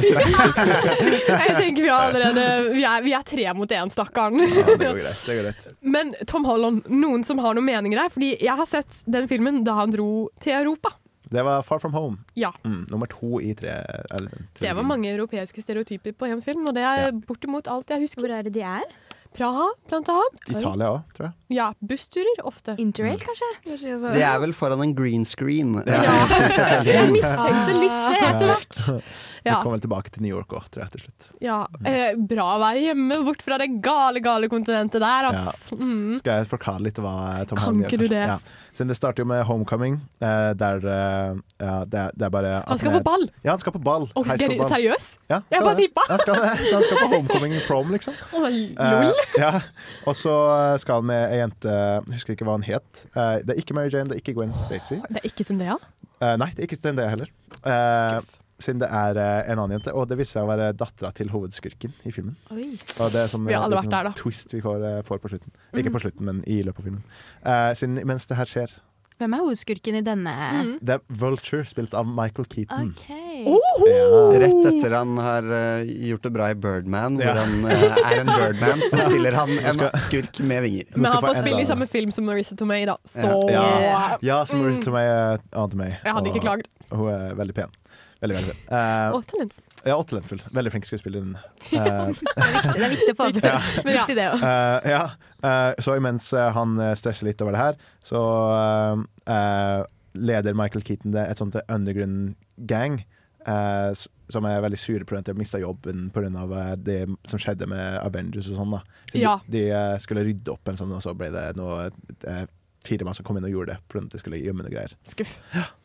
[SPEAKER 3] Jeg tenker vi har allerede Vi er, vi er tre mot én, stakkaren.
[SPEAKER 7] Det går greit. Det går greit.
[SPEAKER 3] Men Tom Holland, noen som har noen meninger der? Fordi jeg har sett den filmen da han dro til Europa.
[SPEAKER 7] Det var Far From Home.
[SPEAKER 3] Ja.
[SPEAKER 7] Mm, nummer to i tre eller,
[SPEAKER 3] Det var mange europeiske stereotyper på én film, og det er bortimot alt jeg husker. Hvor er det de er? Praha, blant annet.
[SPEAKER 7] Italia òg, tror jeg.
[SPEAKER 3] Ja, bussturer ofte.
[SPEAKER 6] Interrail,
[SPEAKER 7] Mm.
[SPEAKER 6] kanskje?
[SPEAKER 8] De er vel foran en green screen.
[SPEAKER 3] Ja.
[SPEAKER 8] eh, stort sett hele
[SPEAKER 3] Jeg
[SPEAKER 8] tiden.
[SPEAKER 3] mistenkte litt det etter hvert.
[SPEAKER 7] Vi
[SPEAKER 3] Ja.
[SPEAKER 7] kommer vel tilbake til New York òg, tror jeg, til slutt.
[SPEAKER 3] Ja, eh, bra å være hjemme, bort fra det gale, gale kontinentet der, ass.
[SPEAKER 7] Ja.
[SPEAKER 3] Mm.
[SPEAKER 7] Skal jeg forklare litt hva Tom
[SPEAKER 3] Kan
[SPEAKER 7] Holland
[SPEAKER 3] ikke du
[SPEAKER 7] først?
[SPEAKER 3] det?
[SPEAKER 7] Ja. Siden det starter jo med Homecoming, eh, der eh, ja, det, er, det er bare at
[SPEAKER 3] Han skal
[SPEAKER 7] er-
[SPEAKER 3] på ball?
[SPEAKER 7] Ja, han skal på ball.
[SPEAKER 3] Å,
[SPEAKER 7] High
[SPEAKER 3] seri-
[SPEAKER 7] school ball.
[SPEAKER 3] seriøs?
[SPEAKER 7] Ja, han
[SPEAKER 3] Jeg
[SPEAKER 7] skal
[SPEAKER 3] bare
[SPEAKER 7] det.
[SPEAKER 3] tippa.
[SPEAKER 7] Han skal, det. han skal på Homecoming prom, liksom.
[SPEAKER 3] Å,
[SPEAKER 7] Eh,
[SPEAKER 3] lol.
[SPEAKER 7] ja. Og så skal han med ei jente Jeg husker ikke hva hun het. Eh, det er ikke Mary Jane, det er ikke Gwen Stacy.
[SPEAKER 3] Det er ikke Zendaya?
[SPEAKER 7] Eh, nei, det er ikke Zendaya heller. Eh, siden det er eh, en annen jente. Og det viste seg å være dattera til hovedskurken i filmen.
[SPEAKER 3] Oi.
[SPEAKER 7] Og det er sånn,
[SPEAKER 3] Vi har alle vært
[SPEAKER 7] liten
[SPEAKER 3] der, da.
[SPEAKER 7] twist vi får, eh, får på slutten.
[SPEAKER 6] Mhm.
[SPEAKER 7] Ikke på slutten, men i løpet av filmen. Eh, siden, mens det her skjer
[SPEAKER 6] Hvem er hovedskurken i denne?
[SPEAKER 3] Mm.
[SPEAKER 7] Det er Vulture, spilt av Michael Keaton.
[SPEAKER 6] OK.
[SPEAKER 3] Oh!
[SPEAKER 8] Rett etter han har eh, gjort det bra i Birdman, hvor han eh, er en Birdman, så spiller han en skurk med vinger.
[SPEAKER 3] Men han får spille i samme film som Marissa Tomei, da, så
[SPEAKER 7] Ja, ja. ja som Marissa
[SPEAKER 3] Mm.
[SPEAKER 7] Tomei er ante meg.
[SPEAKER 3] Jeg hadde ikke klagd.
[SPEAKER 7] Hun er veldig pen. Veldig, veldig pen. Eh,
[SPEAKER 3] Å, talentfull.
[SPEAKER 7] ja, og talentfull. Veldig flink
[SPEAKER 3] <laughs>
[SPEAKER 7] skuespiller.
[SPEAKER 3] Ja.
[SPEAKER 7] Eh,
[SPEAKER 6] Det er viktig å få det til. Men viktig det også.
[SPEAKER 7] Eh, ja. Eh, så imens eh, han eh, stresser litt over det her, så eh, eh, leder Michael Keaton det et sånt undergrunn gang. eh, s- som er veldig sure på grunn av at de mista jobben pga. Uh, det som skjedde med Avengers og sånn. da så
[SPEAKER 3] Ja.
[SPEAKER 7] De, de eh, skulle rydde opp en sånn, og så ble det noe eh, firma som kom inn og gjorde det pga. at de skulle gjemme noe greier.
[SPEAKER 3] Skuff.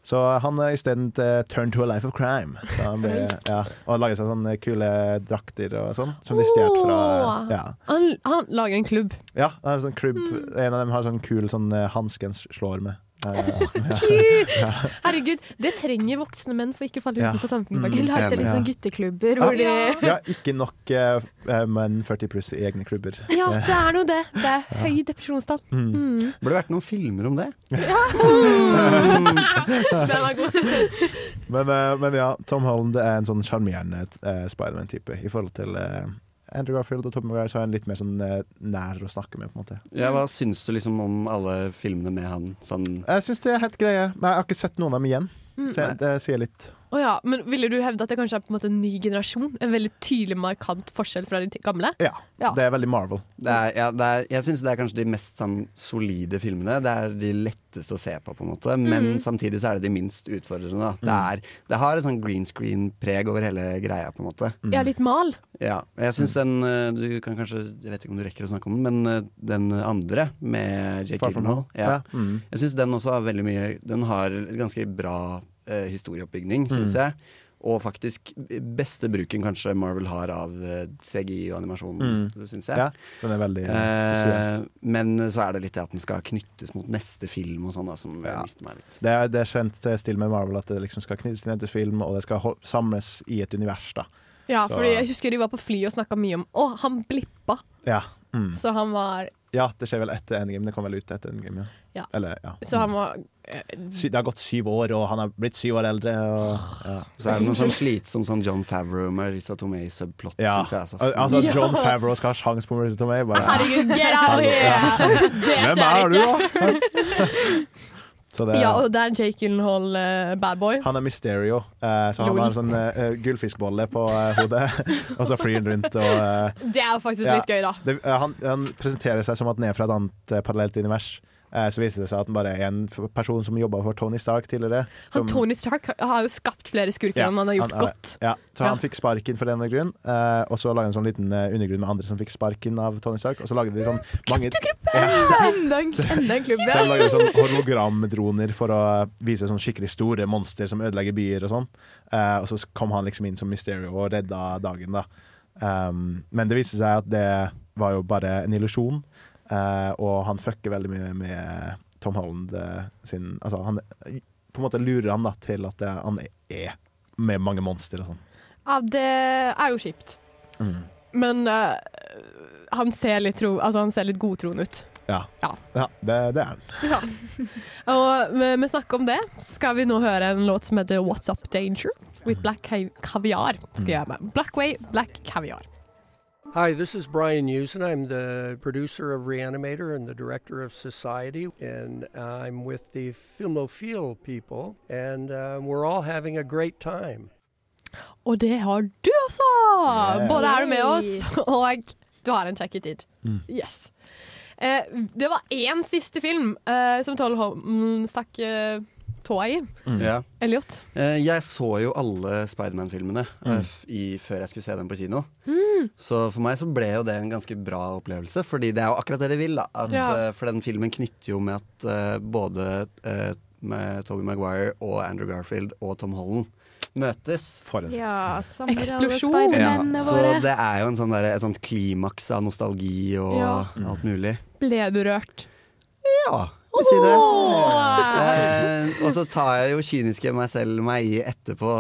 [SPEAKER 7] Så han uh, isteden uh, turned to a life of crime. Så han ble, ja, og laget seg sånne kule drakter og sånn, som de stjal fra
[SPEAKER 3] Åh.
[SPEAKER 7] ja.
[SPEAKER 3] Han, han lager en klubb.
[SPEAKER 7] Ja, han har sånn klubb. En av dem har sånn kul sånn eh, hanske han slår med.
[SPEAKER 3] <laughs>
[SPEAKER 7] Eh,
[SPEAKER 3] Cute! Herregud, det trenger voksne menn for ikke å falle
[SPEAKER 7] Ja.
[SPEAKER 3] utenfor
[SPEAKER 7] Mm.
[SPEAKER 3] samfunnet.
[SPEAKER 7] Vil
[SPEAKER 3] faktisk.
[SPEAKER 7] ha seg litt Ja. sånn
[SPEAKER 6] gutteklubber
[SPEAKER 7] hvor de- ja, ikke nok eh, eh, menn 40 pluss i egne klubber.
[SPEAKER 3] Ja, det
[SPEAKER 7] Eh,
[SPEAKER 3] er noe det. Det er høy depresjonstall.
[SPEAKER 7] Mm.
[SPEAKER 3] Mm.
[SPEAKER 8] Burde vært noen filmer om det.
[SPEAKER 3] Den er god.
[SPEAKER 7] men, eh, men ja, Tom Holland er en sånn sjarmerende eh, Spiderman-type i forhold til eh, Andrew Garfield og Tobey Maguire, så er han litt mer sånn eh, nær å snakke med, på en måte.
[SPEAKER 8] Ja, hva syns du liksom om alle filmene med han? Sånn
[SPEAKER 7] Jeg syns det er helt greie, men jeg har ikke sett noen av dem igjen.
[SPEAKER 3] Mm.
[SPEAKER 7] Så jeg, det sier litt.
[SPEAKER 3] Å ja, men Ville du hevde at det kanskje er på en måte en ny generasjon? En veldig tydelig, markant forskjell fra de gamle?
[SPEAKER 7] Ja.
[SPEAKER 3] Ja.
[SPEAKER 7] Det er veldig Marvel.
[SPEAKER 8] det er, ja, det er, jeg syns det er kanskje de mest sånn, solide filmene. Det er de letteste å se på, på en måte. Men
[SPEAKER 3] Mhm.
[SPEAKER 8] samtidig så er det de minst utfordrende. Da. Det, er, det har et sånn green screen-preg over hele greia, på en måte.
[SPEAKER 7] Mm.
[SPEAKER 3] Ja, litt mal.
[SPEAKER 8] Ja, og jeg synes den eh, Du kan kanskje, jeg vet ikke om du rekker å snakke om den, men eh, den andre med Jake
[SPEAKER 7] Far From
[SPEAKER 8] Gyllenhaal
[SPEAKER 7] Home.
[SPEAKER 8] ja.
[SPEAKER 7] Ja, mm.
[SPEAKER 8] Jeg synes den også har veldig mye Den har ganske bra eh, historieoppbygning, synes
[SPEAKER 7] Mm.
[SPEAKER 8] jeg. Og faktisk beste bruken kanskje Marvel har av eh, CGI og animasjon,
[SPEAKER 7] Mm.
[SPEAKER 8] synes jeg.
[SPEAKER 7] Ja, den er veldig
[SPEAKER 8] Eh, men så er det litt det at den skal knyttes mot neste film og sånn, da, som eh, mister meg litt.
[SPEAKER 7] Det er, det er kjent eh, stil med Marvel at det liksom skal knyttes til en film, og det skal hol- samles i et univers. da
[SPEAKER 3] Ja,
[SPEAKER 7] Så-
[SPEAKER 3] fordi Jeg husker de var på flyet og snakka mye om Å, han blippa!
[SPEAKER 7] ja. Mm.
[SPEAKER 3] Så han var
[SPEAKER 7] ja, det skjer vel etter Endgame. Det kom vel ut etter Endgame, ja.
[SPEAKER 3] Ja.
[SPEAKER 7] Eller, ja.
[SPEAKER 3] Så han var eh,
[SPEAKER 7] Sy det har gått syv år, og han har blitt syv år eldre. Og, ja.
[SPEAKER 8] Så er det noe sånn slitsom sånn John Favreau med Marissa Tomei-subplot,
[SPEAKER 7] ja.
[SPEAKER 8] synes jeg. Altså.
[SPEAKER 7] Altså,
[SPEAKER 8] Ja.
[SPEAKER 7] John Favreau skal ha sjans på Marissa Tomei. Bare,
[SPEAKER 3] Herregud, get out of here! <laughs> Det
[SPEAKER 7] Hvem er
[SPEAKER 3] skjer
[SPEAKER 7] du,
[SPEAKER 3] ikke!
[SPEAKER 7] da? Så det,
[SPEAKER 3] Ja, og det er Jake Gyllenhaal, eh, bad boy.
[SPEAKER 7] han er Mysterio, eh, så han
[SPEAKER 3] Lol.
[SPEAKER 7] har en sånn eh, gullfiskbolle på eh, hodet, <laughs> og så flyr han rundt og eh,
[SPEAKER 3] Det er jo faktisk litt gøy, da.
[SPEAKER 7] Det, eh, han, han presenterer seg som at han er fra et annet eh, parallelt univers. Eh, Så viser det seg at han bare er en f- person som jobba for Tony Stark tidligere.
[SPEAKER 3] Han
[SPEAKER 7] som-
[SPEAKER 3] Tony Stark har jo skapt flere skurker
[SPEAKER 7] Ja,
[SPEAKER 3] enn han har gjort
[SPEAKER 7] er-
[SPEAKER 3] godt.
[SPEAKER 7] Ja, så han
[SPEAKER 3] Ja.
[SPEAKER 7] fikk sparken for denne grunn, eh, og så lagde han en sånn liten eh, undergrunn med andre som fikk sparken av Tony Stark, og så lagde de sånn mange
[SPEAKER 3] Enda en,
[SPEAKER 7] <laughs>
[SPEAKER 3] enda en klubb,
[SPEAKER 7] De lager sånn hologramdroner for å vise sånn skikkelig store monster som ødelegger byer og sånn. Eh, og så kom han liksom inn som Mysterio og redda dagen, da. Um, men det viste seg at det var jo bare en illusjon, eh, og han fucker veldig mye med Tom Holland eh, sin Altså, han på en måte lurer han da til at eh, han er med mange monster og sånn.
[SPEAKER 3] Ja, det er jo kjipt.
[SPEAKER 7] Mm.
[SPEAKER 3] Men eh, han ser litt, tro, altså, han ser litt godtroende ut.
[SPEAKER 7] Ja. Ja, det, det er han.
[SPEAKER 3] <laughs> Ja. <laughs> Og eh, med, med snakk om det skal vi nå høre en låt som heter What's Up Danger with Black Ca- Caviar. Skal jeg ha med. Blackway, Black Caviar.
[SPEAKER 15] Hi, this is Brian Usen. I'm the producer of Reanimator and the director of Society, and I'm with the Filmophile people, and uh, we're all having a great time.
[SPEAKER 3] Og det har du også!
[SPEAKER 15] Yeah.
[SPEAKER 3] Både er du med oss,
[SPEAKER 15] Yay.
[SPEAKER 3] og du har en check-it-tid.
[SPEAKER 15] Mm.
[SPEAKER 3] Yes. Eh, det var én siste film eh, som Toll Holm stakk eh, tåa i.
[SPEAKER 8] Mm. Ja.
[SPEAKER 3] Elliot.
[SPEAKER 8] Eh, Jeg så jo alle Spiderman-filmene eh, f- i- før jeg skulle se dem på kino.
[SPEAKER 3] Mm.
[SPEAKER 8] Så for meg så ble jo det en ganske bra opplevelse, fordi det er jo akkurat det de vil. da at,
[SPEAKER 3] Ja.
[SPEAKER 8] eh, For den filmen knytter jo med at eh, både eh, med Toby Maguire og Andrew Garfield og Tom Holland møtes.
[SPEAKER 6] Ja, samler alle
[SPEAKER 3] Eksplosjon.
[SPEAKER 6] Spidermennene
[SPEAKER 8] Så
[SPEAKER 6] våre.
[SPEAKER 8] det er jo en sånn der, et sånt klimaks av nostalgi og
[SPEAKER 3] Ja.
[SPEAKER 8] alt mulig.
[SPEAKER 3] Ble du rørt?
[SPEAKER 8] Ja, vi sier det.
[SPEAKER 3] Åh!
[SPEAKER 8] Eh, og så tar jeg jo kyniske meg selv meg i etterpå.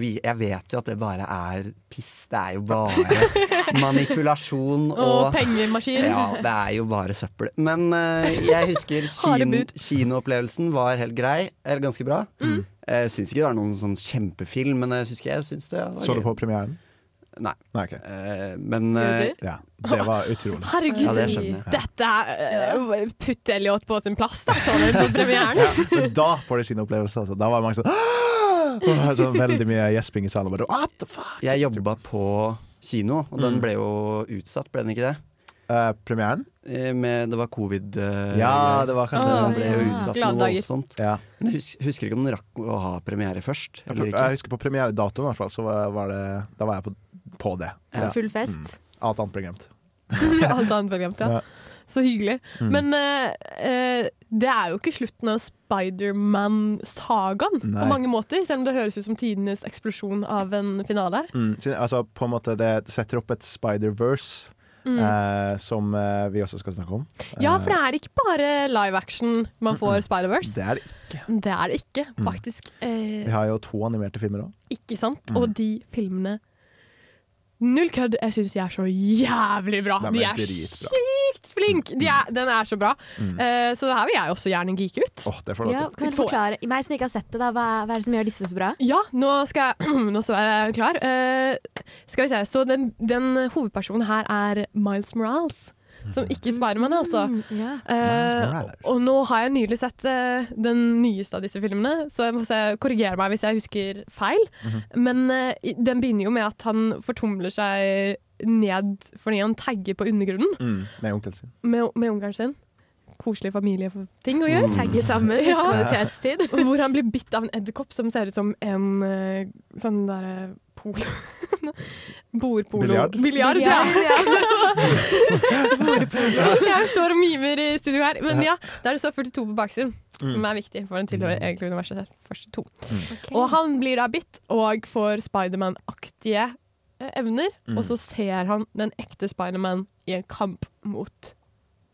[SPEAKER 8] Vi, jeg vet jo at det bare er piss. Det er jo bare manipulasjon og,
[SPEAKER 3] Og pengemaskin.
[SPEAKER 8] Ja, det er jo bare søppel. Men eh, jeg husker
[SPEAKER 3] <laughs> Harde
[SPEAKER 8] kin, kinoopplevelsen var helt grei, eller ganske bra.
[SPEAKER 3] Mm.
[SPEAKER 8] Eh, Jeg syns ikke det var noen sånn kjempefilm, men jeg husker jeg syns det. var
[SPEAKER 7] Så du
[SPEAKER 8] gøy.
[SPEAKER 7] på premieren?
[SPEAKER 8] Nei.
[SPEAKER 7] ok.
[SPEAKER 8] Eh, men
[SPEAKER 3] Gjorde du?
[SPEAKER 7] Ja, det var utrolig.
[SPEAKER 3] Herregud,
[SPEAKER 8] Ja, det skjønner jeg.
[SPEAKER 3] dette er eh, Putt Elliot på sin plass, da, så du på premieren.
[SPEAKER 7] Ja, men da får du sin opplevelse, altså. Da var det mange sånn Åh, sånn veldig mye gjesping i salen. og Bare, What the fuck?
[SPEAKER 8] Jeg jobba på kino, og den
[SPEAKER 7] Mm.
[SPEAKER 8] ble jo utsatt, ble den ikke det?
[SPEAKER 7] Eh, premieren?
[SPEAKER 8] Eh, Med, det var covid. eh,
[SPEAKER 7] Ja,
[SPEAKER 8] greier,
[SPEAKER 7] det var
[SPEAKER 8] så
[SPEAKER 7] kanskje
[SPEAKER 8] den
[SPEAKER 7] det.
[SPEAKER 8] ble jo
[SPEAKER 3] Ah,
[SPEAKER 8] utsatt
[SPEAKER 7] Glade
[SPEAKER 8] noe
[SPEAKER 7] dager.
[SPEAKER 8] voldsomt.
[SPEAKER 7] Ja.
[SPEAKER 8] Men jeg hus husker ikke om den rakk å ha premiere først.
[SPEAKER 7] Jeg,
[SPEAKER 8] Eller
[SPEAKER 7] pl-
[SPEAKER 8] ikke.
[SPEAKER 7] jeg husker på premieredatoen, i hvert fall, så var var det, da var jeg på, på det.
[SPEAKER 3] Ja. Full fest.
[SPEAKER 7] Mm. Alt annet ble glemt.
[SPEAKER 3] <laughs> Alt annet ble glemt, ja.
[SPEAKER 7] Mhm. Ja.
[SPEAKER 3] Så hyggelig.
[SPEAKER 7] Mm.
[SPEAKER 3] Men eh, eh, det er jo ikke slutten av Spiderman-sagaen
[SPEAKER 7] Nei.
[SPEAKER 3] på mange måter, selv om det høres ut som tidenes eksplosjon av en finale.
[SPEAKER 7] Mm. siden- Altså, på en måte, det setter opp et Spider-Verse,
[SPEAKER 3] Mm.
[SPEAKER 7] eh, som eh, vi også skal snakke om.
[SPEAKER 3] Ja,
[SPEAKER 7] Eh,
[SPEAKER 3] for det er ikke bare live action man får Spider-Verse.
[SPEAKER 7] det er det.
[SPEAKER 3] Det er det ikke,
[SPEAKER 7] Mm.
[SPEAKER 3] faktisk. Eh,
[SPEAKER 7] Vi har jo to animerte filmer òg.
[SPEAKER 3] Ikke sant?
[SPEAKER 7] Mm.
[SPEAKER 3] Og de filmene Null kødd, jeg syns de er så jævlig bra!
[SPEAKER 7] De er
[SPEAKER 3] De er
[SPEAKER 7] dritbra.
[SPEAKER 3] sykt flinke! De er, den er så bra.
[SPEAKER 7] Mm.
[SPEAKER 3] Eh, så her vil jeg også gjerne geeke ut.
[SPEAKER 7] Åh, det får du lov
[SPEAKER 6] Ja,
[SPEAKER 7] til.
[SPEAKER 6] kan du forklare, i meg som ikke har sett det, da, hva, hva er det som gjør disse så bra?
[SPEAKER 3] Ja, nå, skal jeg, <clears throat> nå så er jeg klar. Eh, skal vi se. Så den, den hovedpersonen her er Miles Morales. Som ikke Spiderman, altså.
[SPEAKER 6] Mm,
[SPEAKER 3] <laughs> Eh, og nå har jeg nylig sett eh, den nyeste av disse filmene, så jeg må se, korrigere meg hvis jeg husker feil. Men eh, i- den begynner jo med at han fortumler seg ned fordi han tagger på undergrunnen
[SPEAKER 7] Mm, med onkelen sin.
[SPEAKER 3] med, med ungeren sin. Koselig familieting å gjøre.
[SPEAKER 6] Mm. Tagge sammen, litt kvalitetstid.
[SPEAKER 3] <laughs> Hvor han blir bitt av en edderkopp som ser ut som en eh, sånn derre polo <laughs> Bordpolo
[SPEAKER 2] Biljard?
[SPEAKER 3] Biljard, <laughs> ja. <laughs> Bordpolo. Jeg står og mimer i studio her. Men ja, der det står 42 på baksiden, som
[SPEAKER 2] Mm.
[SPEAKER 3] er viktig, for den tilhører egentlig universet første to.
[SPEAKER 2] Mm.
[SPEAKER 3] Og han blir da bitt, og får Spiderman-aktige eh, evner.
[SPEAKER 2] Mm.
[SPEAKER 3] Og så ser han den ekte Spiderman i en kamp mot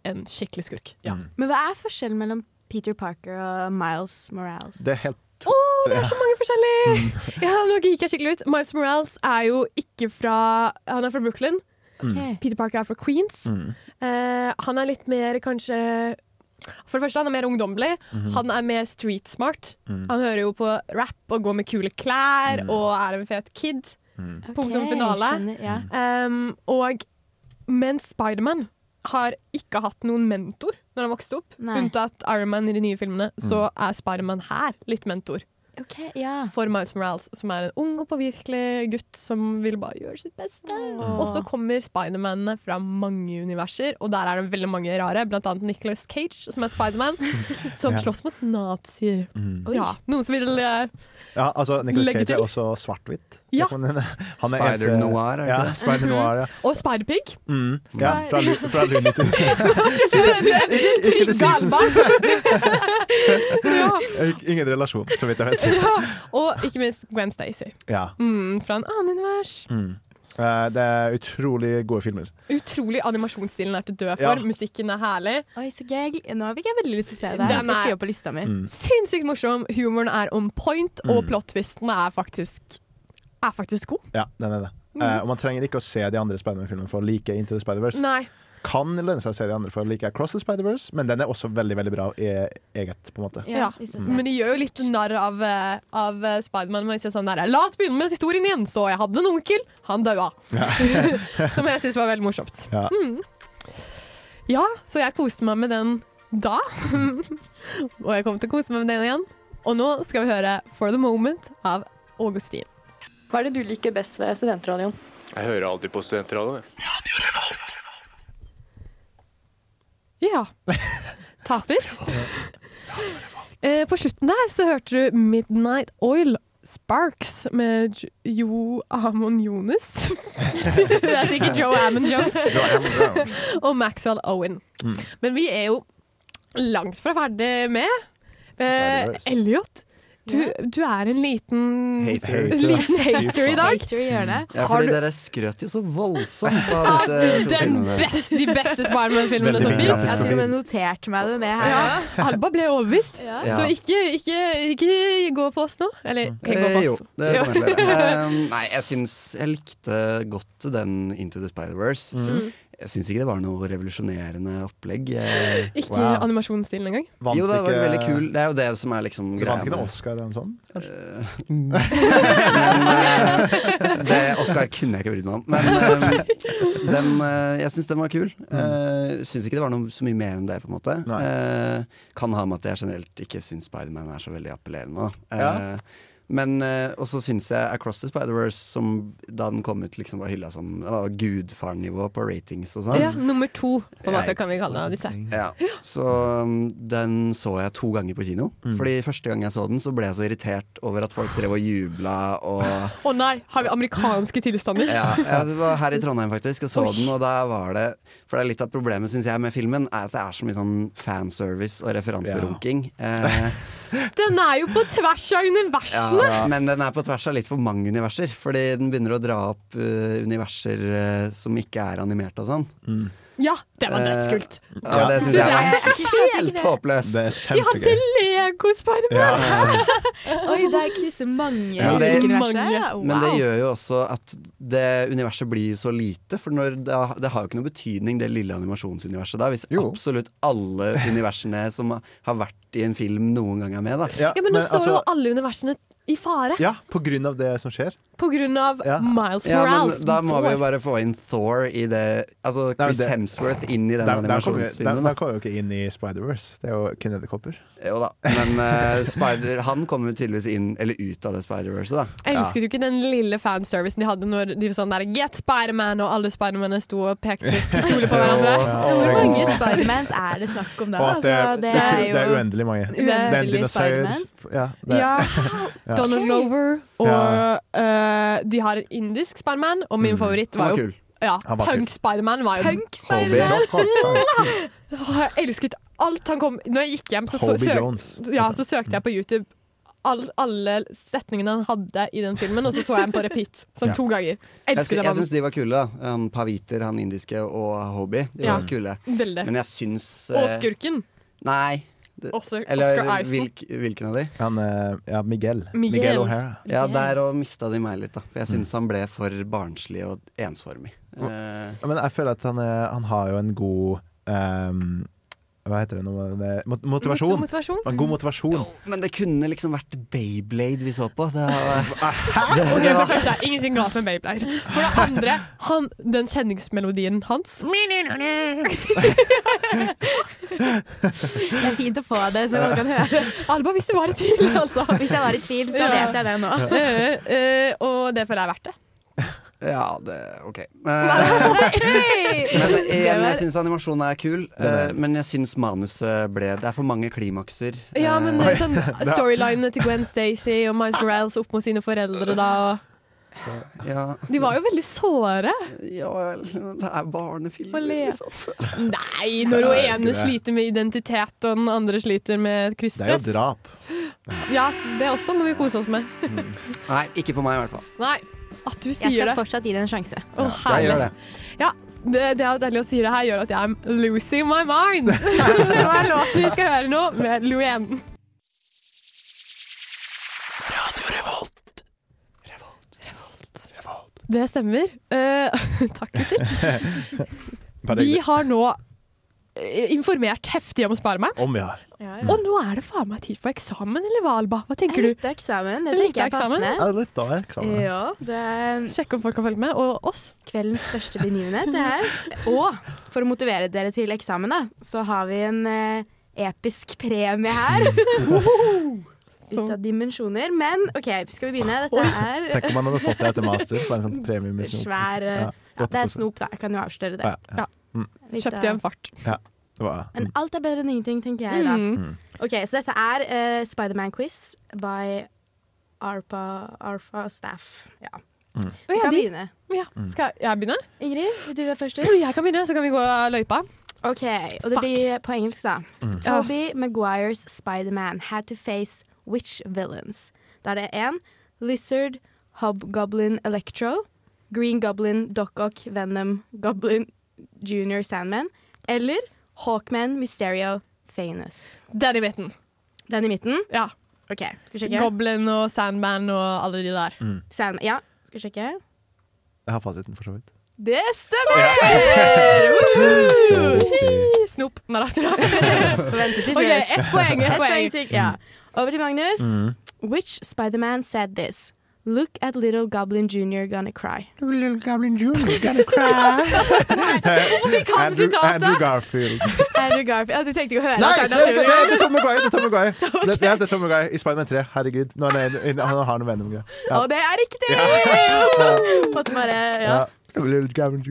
[SPEAKER 3] en skikkelig skurk. Ja.
[SPEAKER 6] Men hva er forskjellen mellom Peter Parker og Miles Morales?
[SPEAKER 7] Det er helt
[SPEAKER 3] Å, det er så mange forskjellige! <laughs> Ja, nå gikk jeg skikkelig ut. Miles Morales er jo ikke fra Han er fra Brooklyn.
[SPEAKER 7] mm.
[SPEAKER 2] Ok.
[SPEAKER 3] Peter Parker er fra Queens.
[SPEAKER 2] Mm.
[SPEAKER 3] Eh, han er litt mer kanskje For det første, han er mer ungdommelig.
[SPEAKER 2] Mhm.
[SPEAKER 3] Han er mer street smart.
[SPEAKER 2] Mm.
[SPEAKER 3] Han hører jo på rap og går med kule klær
[SPEAKER 2] Mm.
[SPEAKER 3] og er en fet kid.
[SPEAKER 2] Mm.
[SPEAKER 3] Punktum
[SPEAKER 2] Ok,
[SPEAKER 3] finale.
[SPEAKER 2] skjønner, ja.
[SPEAKER 7] Mm.
[SPEAKER 3] Um, og mens Spiderman har ikke hatt noen mentor når han vokste opp,
[SPEAKER 2] Nei. Mm.
[SPEAKER 3] unntatt Iron Man i de nye filmene, så er Spiderman her litt mentor.
[SPEAKER 6] Ok, ja.
[SPEAKER 3] for Miles Morales, som er en ung og påvirkelig gutt som vil bare gjøre sitt beste. Og så kommer Spidermanene fra mange universer, og der er det veldig mange rare. Blant annet Nicholas Cage, som er
[SPEAKER 7] <laughs>
[SPEAKER 3] Spiderman, som
[SPEAKER 7] Ja.
[SPEAKER 3] slåss mot nazier.
[SPEAKER 7] Mm.
[SPEAKER 3] Ja, noen som vil eh,
[SPEAKER 7] Ja, altså, Nicholas
[SPEAKER 3] Legge
[SPEAKER 7] Cage
[SPEAKER 3] til.
[SPEAKER 7] er også svart-hvitt.
[SPEAKER 3] Ja.
[SPEAKER 7] <laughs> Han er eneste-
[SPEAKER 8] Spider-noir, er det ikke
[SPEAKER 7] ja,
[SPEAKER 8] det?
[SPEAKER 7] Spider-noir, ja.
[SPEAKER 3] Og
[SPEAKER 7] <laughs>
[SPEAKER 3] Spiderpig.
[SPEAKER 7] Mm. ja
[SPEAKER 3] Spider-
[SPEAKER 7] fra, Lu- fra Looney
[SPEAKER 8] <laughs>
[SPEAKER 7] Tunes.
[SPEAKER 3] Ikke
[SPEAKER 7] til Simpsons. sånn.
[SPEAKER 3] <laughs>
[SPEAKER 7] Ingen relasjon, så vidt jeg vet.
[SPEAKER 3] ja. Og ikke minst Gwen Stacy.
[SPEAKER 7] <laughs> Ja.
[SPEAKER 3] Mm, fra en annen univers.
[SPEAKER 7] Mm. Eh, Det er utrolig gode filmer.
[SPEAKER 3] Utrolig animasjonsstilen er til å dø for.
[SPEAKER 7] Ja.
[SPEAKER 3] Musikken er herlig.
[SPEAKER 6] Oi, så gøy. Nå fikk jeg veldig lyst til å se det.
[SPEAKER 3] Den
[SPEAKER 6] Jeg skal
[SPEAKER 3] er-
[SPEAKER 6] skrive på lista mi.
[SPEAKER 7] Mm.
[SPEAKER 3] Sinnssykt morsom. Humoren er on point, og plot-twisten er faktisk er faktisk god.
[SPEAKER 7] Ja, den er det.
[SPEAKER 3] Mm.
[SPEAKER 7] Eh, og Man trenger ikke å se de andre Spider-Man-filmene for å like Into the Spider-Verse.
[SPEAKER 3] Nei.
[SPEAKER 7] Kan lønne seg å se de andre for å like Across the Spider-Verse, men den er også veldig veldig bra i eget, på en måte.
[SPEAKER 3] Ja,
[SPEAKER 7] Mm.
[SPEAKER 3] Men de gjør jo litt narr av, eh, av eh, Spiderman. Men de sier sånn der, La oss begynne med historien igjen. Så jeg hadde en onkel, han daua. <laughs> Som jeg syns var veldig morsomt.
[SPEAKER 7] Ja.
[SPEAKER 3] Mm. ja, så jeg koste meg med den da. <laughs> og jeg kommer til å kose meg med den igjen. Og nå skal vi høre For the Moment av Augustin.
[SPEAKER 16] Hva er det du liker best ved studentradioen?
[SPEAKER 17] Jeg hører alltid på studentradioen.
[SPEAKER 3] Ja. Taper. Eh, På slutten der så hørte du Midnight Oil Sparks med J- Jo Amon Jones. Det er sikkert Joe Amon Jones. Og Maxwell Owen.
[SPEAKER 2] Mm.
[SPEAKER 3] Men vi er jo langt fra ferdig med. Eh, Elliot, du, du er en liten
[SPEAKER 8] Hater.
[SPEAKER 3] liten hater i dag.
[SPEAKER 6] Hater i hjørnet.
[SPEAKER 8] Ja,
[SPEAKER 3] Har
[SPEAKER 8] fordi
[SPEAKER 3] du-
[SPEAKER 8] dere skrøt jo så voldsomt
[SPEAKER 3] <laughs>
[SPEAKER 8] av
[SPEAKER 3] Av
[SPEAKER 8] disse to
[SPEAKER 3] den
[SPEAKER 8] filmene.
[SPEAKER 3] best, de beste Spiderman-filmene som
[SPEAKER 8] Veldig bra.
[SPEAKER 3] fins.
[SPEAKER 6] Jeg til og med noterte meg det ned her.
[SPEAKER 3] Ja. Alba ble overbevist,
[SPEAKER 8] Ja.
[SPEAKER 3] så ikke, ikke, ikke gå på oss nå. Eller ikke gå
[SPEAKER 8] Eh,
[SPEAKER 3] på
[SPEAKER 8] jo,
[SPEAKER 3] oss.
[SPEAKER 8] det
[SPEAKER 3] Jo.
[SPEAKER 8] kommer jeg til å gjøre. Um, Nei, jeg syns jeg likte godt den Into the Spider-Verse.
[SPEAKER 7] Mm.
[SPEAKER 3] Mhm.
[SPEAKER 8] Jeg syns ikke det var noe revolusjonerende opplegg. Jeg-
[SPEAKER 3] <laughs> Ikke
[SPEAKER 8] Wow.
[SPEAKER 3] animasjonsstilen engang.
[SPEAKER 8] Jo, det var veldig kul. Det er jo det som er liksom
[SPEAKER 7] Det vant
[SPEAKER 8] greia
[SPEAKER 7] ikke noen
[SPEAKER 8] med
[SPEAKER 7] Oscar eller noe sånt? kanskje?
[SPEAKER 8] <laughs> Men, eh, det Oscar kunne jeg ikke brydd meg om. Men eh, den, eh, jeg syns den var kul. Uh, syns ikke det var noe så mye mer enn det, på en måte. Eh, kan ha med at jeg generelt ikke syns Spiderman er så veldig appellerende. da. Eh, Men, eh, og så syns jeg Across the Spider-Verse, som da den kom ut, liksom var hylla som det var gudfarnivå på ratings og sånn.
[SPEAKER 3] Ja, nummer to, på en
[SPEAKER 8] Ja.
[SPEAKER 3] måte, kan vi kalle disse.
[SPEAKER 8] Ja. Så um, den så jeg to ganger på kino. Fordi første gang jeg så den, så ble jeg så irritert over at folk drev og jubla og
[SPEAKER 3] Å nei, har vi amerikanske tilstander?
[SPEAKER 8] ja, <laughs> ja, det var her i Trondheim faktisk, og så
[SPEAKER 3] Oi.
[SPEAKER 8] den, og da var det For det er litt av problemet, syns jeg, med filmen, er at det er så mye sånn fanservice og referanserunking. Eh, <laughs>
[SPEAKER 3] Den er jo på tvers av universene!
[SPEAKER 8] ja, men den er på tvers av litt for mange universer, fordi den begynner å dra opp eh, universer eh, som ikke er animert og sånn.
[SPEAKER 3] Ja, det var
[SPEAKER 8] Eh,
[SPEAKER 3] dødskult.
[SPEAKER 8] Ja, det syns jeg var helt håpløst.
[SPEAKER 3] De hadde Lego-Spiderman!
[SPEAKER 6] Oi, der krysser mange
[SPEAKER 8] Men det-
[SPEAKER 6] ulike universer. ja. Wow.
[SPEAKER 8] Men det gjør jo også at det universet blir så lite, for når det, har- det har jo ikke noe betydning, det lille animasjonsuniverset da, hvis absolutt alle universene som har vært i en film noen gang er med, da.
[SPEAKER 3] Ja, men nå står
[SPEAKER 7] altså,
[SPEAKER 3] jo alle universene i fare.
[SPEAKER 8] altså- Ja, på grunn av det som skjer.
[SPEAKER 3] På grunn av Miles
[SPEAKER 8] Ja,
[SPEAKER 3] Morales.
[SPEAKER 8] men da må vi jo
[SPEAKER 3] vår.
[SPEAKER 8] bare få inn Thor i det Altså
[SPEAKER 7] Nei, men
[SPEAKER 8] Chris
[SPEAKER 7] det-
[SPEAKER 8] Hemsworth inn i den
[SPEAKER 7] Der- der kom jo- der-
[SPEAKER 8] animasjonsfilmen.
[SPEAKER 7] Der
[SPEAKER 8] da.
[SPEAKER 7] kom jo ikke inn i Spider-Verse. Det er jo kun edderkopper.
[SPEAKER 8] Jo da, men eh, Spider, han kommer tydeligvis inn, eller ut av det Spider-Verset, da.
[SPEAKER 3] Elsket du ikke den lille fanservicen de hadde når de var sånn der Get Spiderman, og alle Spidermennene sto og
[SPEAKER 7] <laughs>
[SPEAKER 3] pekte pistoler på hverandre?
[SPEAKER 6] Hvor mange Spidermans er det snakk om da?
[SPEAKER 7] Og at det,
[SPEAKER 6] Altså,
[SPEAKER 7] det, er, det er uendelig mange. Det er en
[SPEAKER 6] Uendelige
[SPEAKER 7] dinosaur.
[SPEAKER 6] Spidermans.
[SPEAKER 7] Ja, det,
[SPEAKER 3] Ja.
[SPEAKER 7] <laughs> Ja.
[SPEAKER 3] Donald Glover og
[SPEAKER 7] Ja.
[SPEAKER 3] eh, De har en indisk Spiderman, og min
[SPEAKER 7] Mm.
[SPEAKER 3] favoritt
[SPEAKER 7] Han
[SPEAKER 3] var
[SPEAKER 7] var
[SPEAKER 3] jo
[SPEAKER 7] kul.
[SPEAKER 3] ja,
[SPEAKER 7] Han var kul.
[SPEAKER 3] Punk Spiderman. var jo-
[SPEAKER 6] Punk
[SPEAKER 7] Spiderman. Hobie.
[SPEAKER 3] Åh, Jeg elsket alt han kom Når jeg gikk hjem, <laughs> så, så,
[SPEAKER 7] Hobie
[SPEAKER 3] søk,
[SPEAKER 7] Jones.
[SPEAKER 3] ja, så søkte jeg på YouTube all, alle setningene han hadde i den filmen, og så så jeg den på
[SPEAKER 7] <laughs>
[SPEAKER 3] repeat. Sånn
[SPEAKER 8] Ja.
[SPEAKER 3] to ganger.
[SPEAKER 8] Jeg, sy-
[SPEAKER 3] Elsket
[SPEAKER 8] jeg
[SPEAKER 3] den.
[SPEAKER 8] syns de var kule. da. Han Paviter, han indiske, og Hobby. De
[SPEAKER 3] Ja,
[SPEAKER 8] var kule.
[SPEAKER 3] veldig.
[SPEAKER 8] Men jeg syns
[SPEAKER 3] Og
[SPEAKER 8] eh,
[SPEAKER 3] skurken.
[SPEAKER 8] Nei. Det-
[SPEAKER 3] Også
[SPEAKER 8] Eller
[SPEAKER 3] Oscar Ison.
[SPEAKER 8] hvilk, hvilken av de?
[SPEAKER 7] eh, ja, Miguel.
[SPEAKER 3] Miguel. Miguel O'Hara.
[SPEAKER 8] Ja, der òg mista de meg litt, da. For jeg syns han ble for barnslig og ensformig. Eh,
[SPEAKER 7] eh, Men jeg føler at han, er, han har jo en god ehm, Hva heter det nå? Det- mot- Motivasjon.
[SPEAKER 3] Mot- motivasjon?
[SPEAKER 7] En God motivasjon.
[SPEAKER 8] Men det kunne liksom vært Bayblade vi så på. Det var,
[SPEAKER 3] Ok,
[SPEAKER 8] det,
[SPEAKER 3] for
[SPEAKER 8] det
[SPEAKER 3] det
[SPEAKER 8] var,
[SPEAKER 3] første, ingenting galt med Bayblade. For det andre, han, den kjenningsmelodien hans
[SPEAKER 6] Det er fint å få det, så man kan høre.
[SPEAKER 3] Alba, hvis du var i tvil, altså.
[SPEAKER 6] Hvis jeg var i tvil, da
[SPEAKER 3] Ja.
[SPEAKER 6] vet jeg det nå.
[SPEAKER 3] Eh, eh, og det føler jeg er verdt det.
[SPEAKER 8] ja, det OK. Eh,
[SPEAKER 3] <laughs>
[SPEAKER 8] Men
[SPEAKER 3] Men
[SPEAKER 8] igjen, jeg syns animasjonen er kul, eh, men jeg syns manuset ble Det er for mange klimakser.
[SPEAKER 3] Ja,
[SPEAKER 8] eh, <laughs>
[SPEAKER 3] men eh, sånn <laughs> storylinene til Gwen Stacy og Miles Morales opp mot sine foreldre da og
[SPEAKER 8] Ja.
[SPEAKER 3] De var jo veldig såre.
[SPEAKER 8] Ja vel, det er barnefilmer,
[SPEAKER 3] Å le.
[SPEAKER 8] liksom.
[SPEAKER 3] Nei, når hun
[SPEAKER 7] Det er jo
[SPEAKER 3] ene
[SPEAKER 7] ikke det.
[SPEAKER 3] sliter med identitet, og den andre sliter med
[SPEAKER 7] Det er
[SPEAKER 3] krysspress.
[SPEAKER 7] jo drap.
[SPEAKER 3] Ja, det er også noe vi koser oss med.
[SPEAKER 8] Nei, ikke for meg i hvert fall.
[SPEAKER 3] Nei, at du
[SPEAKER 6] Jeg
[SPEAKER 3] sier
[SPEAKER 6] skal
[SPEAKER 3] det.
[SPEAKER 6] fortsatt gi det en sjanse.
[SPEAKER 3] Å,
[SPEAKER 8] Jeg
[SPEAKER 3] herlig.
[SPEAKER 8] gjør det.
[SPEAKER 3] Ja, det, det at Ellie sier det her, gjør at jeg er losing
[SPEAKER 6] <laughs>
[SPEAKER 3] my mind. Så er låten vi skal høre nå, med Luene. Det stemmer. Eh, <laughs> takk, gutter.
[SPEAKER 7] Bare
[SPEAKER 3] Vi
[SPEAKER 7] hyggelig.
[SPEAKER 3] har nå eh, informert heftig om Sparemann.
[SPEAKER 7] Om vi har.
[SPEAKER 3] Og nå er det faen meg tid for eksamen, eller hva, Alba? Hva tenker du?
[SPEAKER 6] Litt av eksamen, det tenker jeg er
[SPEAKER 7] Ja,
[SPEAKER 6] passende.
[SPEAKER 7] litt av eksamen.
[SPEAKER 6] Ja, det er
[SPEAKER 3] Sjekk om folk har fulgt med, og oss.
[SPEAKER 6] Kveldens største begivenhet det
[SPEAKER 3] <laughs>
[SPEAKER 6] er. Og for å motivere dere til eksamen, da, så har vi en eh, episk premie
[SPEAKER 3] <laughs>
[SPEAKER 6] her.
[SPEAKER 3] Sånn.
[SPEAKER 6] Ut av dimensjoner. Men OK, skal vi begynne? Dette er
[SPEAKER 7] Tenk om man hadde fått det etter master. Bare en sånn premie med snop.
[SPEAKER 6] Svær eh,
[SPEAKER 7] Ja,
[SPEAKER 6] ja,
[SPEAKER 7] godt
[SPEAKER 6] Det er
[SPEAKER 7] pose.
[SPEAKER 6] snop, da. Jeg kan jo avsløre det.
[SPEAKER 7] Ja, Mm. ja. Mm.
[SPEAKER 6] Litt
[SPEAKER 3] Kjøpte i en
[SPEAKER 6] av-
[SPEAKER 3] fart.
[SPEAKER 7] Ja, det var
[SPEAKER 6] Men alt er bedre enn ingenting, tenker jeg da.
[SPEAKER 7] Mm.
[SPEAKER 6] Ok, Så dette er eh, Spiderman-quiz by ARPA, ARPA Staff. Ja.
[SPEAKER 7] Mm.
[SPEAKER 6] Vi
[SPEAKER 3] ja,
[SPEAKER 6] kan
[SPEAKER 3] de-
[SPEAKER 6] begynne.
[SPEAKER 3] Ja. Skal jeg begynne?
[SPEAKER 6] Ingrid, vil du være først ut?
[SPEAKER 3] Jeg kan begynne, så kan vi gå løypa.
[SPEAKER 6] Ok, og det
[SPEAKER 3] Fuck.
[SPEAKER 6] blir på engelsk, da.
[SPEAKER 3] Mm.
[SPEAKER 6] Toby Maguires Spider-Man had to face which villains? Da er det én Lizard, Hobgoblin Electro. Green Goblin, Doc Ock, Venom, Goblin Junior Sandman. Eller Hawkman, Mysterio, Thanos.
[SPEAKER 3] Den i midten.
[SPEAKER 6] Den i midten?
[SPEAKER 3] Ja.
[SPEAKER 6] Ok, skal vi sjekke?
[SPEAKER 3] Goblin og Sandman og alle de der.
[SPEAKER 7] Mm.
[SPEAKER 6] Sand ja, skal vi sjekke?
[SPEAKER 7] Jeg har fasiten, for så vidt.
[SPEAKER 3] Det stemmer! <laughs> Woohoo! Snop. Nei da.
[SPEAKER 6] Vente til
[SPEAKER 3] Ok,
[SPEAKER 6] slutt.
[SPEAKER 3] ett poeng, ett
[SPEAKER 6] Ett
[SPEAKER 3] poeng.
[SPEAKER 6] til, ja. Over til Magnus.
[SPEAKER 7] Mm.
[SPEAKER 6] Which Spider-Man said this? Look at little Goblin Jr. gonna cry.
[SPEAKER 7] Little Goblin Jr. gonna cry. Hvorfor
[SPEAKER 3] fikk han
[SPEAKER 7] Andrew,
[SPEAKER 3] sitatet?
[SPEAKER 7] Andrew Garfield.
[SPEAKER 6] Andrew Garfield. Ja, du tenkte ikke å høre
[SPEAKER 7] Nei, det, det, det, det er
[SPEAKER 6] alternativet.
[SPEAKER 7] Tom Maguire! Det er Tom Maguire, det, det, er Tom Maguire i Spiderman 3. Herregud. Nå er han, inne- han har noe Venom-greier. Ja.
[SPEAKER 6] <laughs> Og det er riktig! <laughs> Måtte bare, ja. Mm.
[SPEAKER 7] Little Goblin Jr.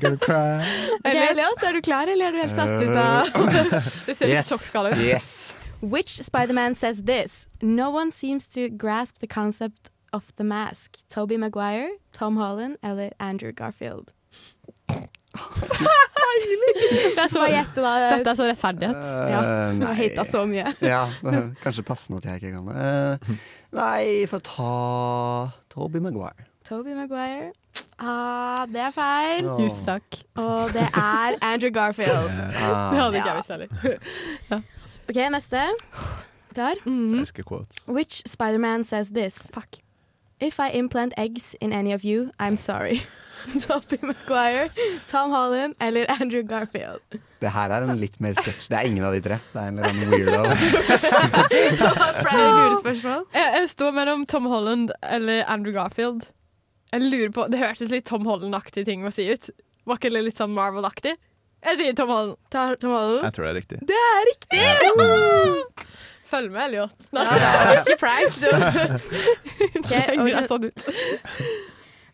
[SPEAKER 7] gonna cry.
[SPEAKER 6] Elliot,
[SPEAKER 3] er du klar, eller er du helt
[SPEAKER 7] satt ut Eh.
[SPEAKER 6] <laughs> av
[SPEAKER 3] Det ser litt sjokkskada ut.
[SPEAKER 6] Which Spider-Man says this? No one seems to grasp the concept of the mask. Toby Maguire, Tom Holland eller Andrew Garfield? <laughs>
[SPEAKER 3] Det er så,
[SPEAKER 6] gjette, da.
[SPEAKER 3] dette er så rettferdighet.
[SPEAKER 6] uh, Ja, du
[SPEAKER 8] Eh,
[SPEAKER 6] altså. har
[SPEAKER 8] nei.
[SPEAKER 6] hatet så mye.
[SPEAKER 8] <laughs> Ja, det er kanskje passende at jeg ikke kan det. Eh, nei, får ta Toby Maguire.
[SPEAKER 6] Toby Maguire. Ah, det er feil.
[SPEAKER 8] Ja. You suck.
[SPEAKER 6] Og det er Andrew Garfield.
[SPEAKER 8] Ah.
[SPEAKER 3] Det hadde ikke jeg visst heller.
[SPEAKER 6] OK, neste. Klar?
[SPEAKER 3] Mm.
[SPEAKER 7] <laughs>
[SPEAKER 6] Which Spider-Man says this?
[SPEAKER 3] Fuck.
[SPEAKER 6] If I implant eggs in any of you, I'm sorry. <laughs> Toby Maguire, Tom Holland eller Andrew Garfield?
[SPEAKER 8] Det her er en litt mer sketsj. Det er ingen av de tre. Det er en eller annen weirdo.
[SPEAKER 6] Flere lurespørsmål?
[SPEAKER 3] Jeg, jeg står mellom Tom Holland eller Andrew Garfield. Jeg lurer på, Det hørtes litt Tom Holland-aktig ting å si ut. Var ikke det litt sånn Marvel-aktig? Jeg sier Tom Holland.
[SPEAKER 6] Tom Holland?
[SPEAKER 7] Jeg tror det er riktig.
[SPEAKER 3] Det er riktig! Woo! Følg med, Elliot. Nei,
[SPEAKER 6] Ikke prank,
[SPEAKER 3] <laughs>
[SPEAKER 6] du.
[SPEAKER 3] jeg
[SPEAKER 6] over til-
[SPEAKER 3] angrer jeg sånn ut.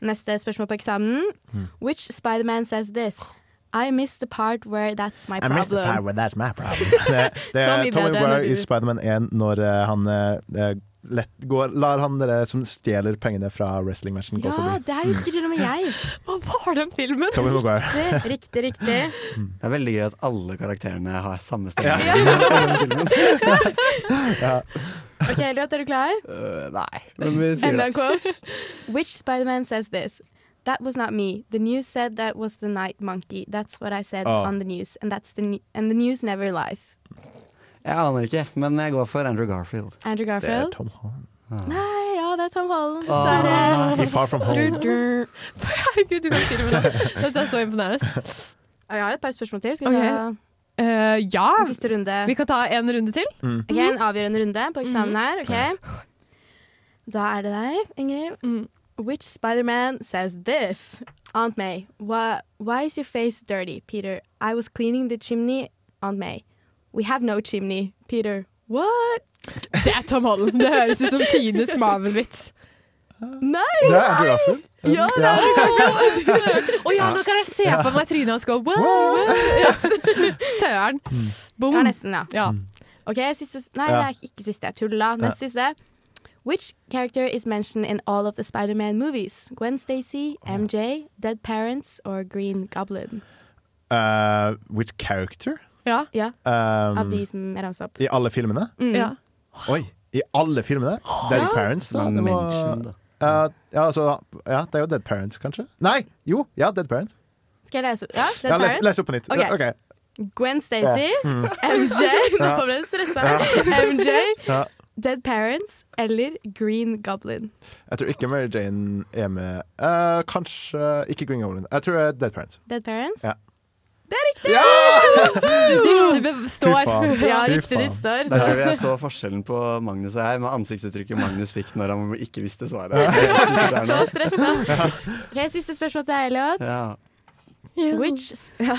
[SPEAKER 6] Neste spørsmål på eksamen.
[SPEAKER 7] Hmm.
[SPEAKER 6] Which Spider-Man says this? I miss the part where that's my
[SPEAKER 7] I missed the
[SPEAKER 6] problem. Sånn
[SPEAKER 7] power, that's my
[SPEAKER 6] <laughs>
[SPEAKER 7] problem. <laughs> det, det
[SPEAKER 6] Så
[SPEAKER 7] er
[SPEAKER 6] mye
[SPEAKER 7] Tommy
[SPEAKER 6] bedre enn
[SPEAKER 7] Maguire
[SPEAKER 6] når
[SPEAKER 7] i
[SPEAKER 6] du-
[SPEAKER 7] Spiderman 1 når eh, han eh, lett går, lar han dere som stjeler pengene fra wrestlingmatchen, gå
[SPEAKER 6] Ja,
[SPEAKER 7] forbi.
[SPEAKER 6] det her husker til og med
[SPEAKER 7] <laughs>
[SPEAKER 6] jeg.
[SPEAKER 3] Hva var den filmen?
[SPEAKER 7] Tommy Maguire.
[SPEAKER 6] Riktig, riktig, riktig.
[SPEAKER 8] Det er veldig gøy at alle karakterene har samme stemme.
[SPEAKER 7] Ja.
[SPEAKER 8] <laughs>
[SPEAKER 6] Ok, Elliot, er du klar?
[SPEAKER 8] Eh, nei, men vi sier
[SPEAKER 6] Enda en
[SPEAKER 8] det.
[SPEAKER 6] quote. Which Spider-Man says this? That was not me. The news said that was the night monkey. That's what I said
[SPEAKER 7] Oh.
[SPEAKER 8] Ah.
[SPEAKER 6] on the news. And, that's the ne- and the news never lies.
[SPEAKER 8] Jeg aner ikke, men jeg går for Andrew Garfield.
[SPEAKER 6] Andrew Garfield?
[SPEAKER 7] Tom Holland. Oh,
[SPEAKER 6] Nei, ja, det er Tom Holland.
[SPEAKER 8] Ah,
[SPEAKER 6] Dessverre.
[SPEAKER 8] he far from home.
[SPEAKER 6] Du, du.
[SPEAKER 3] Herregud, du kan filme det. Dette er så imponerende.
[SPEAKER 6] Ja, Jeg har et par spørsmål til. Skal vi
[SPEAKER 3] Ok.
[SPEAKER 6] ta
[SPEAKER 3] Eh, ja.
[SPEAKER 6] En siste runde.
[SPEAKER 3] Vi kan ta en runde til.
[SPEAKER 6] Mm. Ok, En avgjørende runde på eksamen her. ok? Da er det deg, Ingrid.
[SPEAKER 3] Mm.
[SPEAKER 6] Which Spider-Man says this? Aunt May. Why, why is your face dirty, Peter? I was cleaning the chimney. Aunt May. We have no chimney, Peter. What?
[SPEAKER 3] Det er Tom Holland. Det høres ut som tidenes Marvel-vits.
[SPEAKER 6] Nei!
[SPEAKER 7] Det er Andrew Garfield.
[SPEAKER 3] Ja, det er Andrew Garfield. Å <laughs> ja, nå kan jeg se
[SPEAKER 7] Ja.
[SPEAKER 3] for meg trynet hans gå wow. Ja. Søren. Boom.
[SPEAKER 6] Ja, nesten, ja.
[SPEAKER 3] Ja.
[SPEAKER 6] Ok, siste Nei,
[SPEAKER 3] Ja.
[SPEAKER 6] det er ikke siste. Jeg tulla. Nest
[SPEAKER 3] Ja.
[SPEAKER 6] siste. Which character is mentioned in all of the Spider-Man movies? Gwen Stacy, MJ, Dead Parents or Green Goblin?
[SPEAKER 7] <laughs> Eh, which character?
[SPEAKER 3] Ja.
[SPEAKER 7] Um,
[SPEAKER 6] Av de som er ramsa opp.
[SPEAKER 7] I alle filmene?
[SPEAKER 6] Mm. Ja.
[SPEAKER 7] Oi, i alle filmene? Dead Parents?
[SPEAKER 8] Som
[SPEAKER 7] det må-
[SPEAKER 8] mentioned,
[SPEAKER 7] Eh, ja, altså, ja, det er jo Dead Parents, kanskje? Nei! Jo, ja, Dead Parents.
[SPEAKER 6] Skal jeg lese opp? Ja, Dead
[SPEAKER 7] Ja, les,
[SPEAKER 6] Parents?
[SPEAKER 7] les opp på nytt.
[SPEAKER 6] Ok.
[SPEAKER 7] Ja, ok.
[SPEAKER 6] Gwen Stacy,
[SPEAKER 7] Ja. Mm.
[SPEAKER 6] MJ Nå
[SPEAKER 7] Ja.
[SPEAKER 6] ble jeg stressa.
[SPEAKER 7] Ja.
[SPEAKER 6] MJ,
[SPEAKER 7] Ja.
[SPEAKER 6] Dead Parents eller Green Goblin?
[SPEAKER 7] Jeg tror ikke Mary Jane er med. Eh, kanskje ikke Green Goblin. Jeg tror det er Dead Parents.
[SPEAKER 6] Dead Parents?
[SPEAKER 7] Ja.
[SPEAKER 6] Det er riktig!
[SPEAKER 3] Riktig består.
[SPEAKER 8] Fy faen.
[SPEAKER 6] Ja,
[SPEAKER 8] Fy
[SPEAKER 6] riktig ditt står.
[SPEAKER 8] Der tror jeg jeg så forskjellen på Magnus og jeg, med ansiktsuttrykket Magnus fikk når han ikke visste svaret.
[SPEAKER 6] Så stressa. Ok, Siste spørsmål til deg, Elliot.
[SPEAKER 8] Ja.
[SPEAKER 6] Which, sp- ja.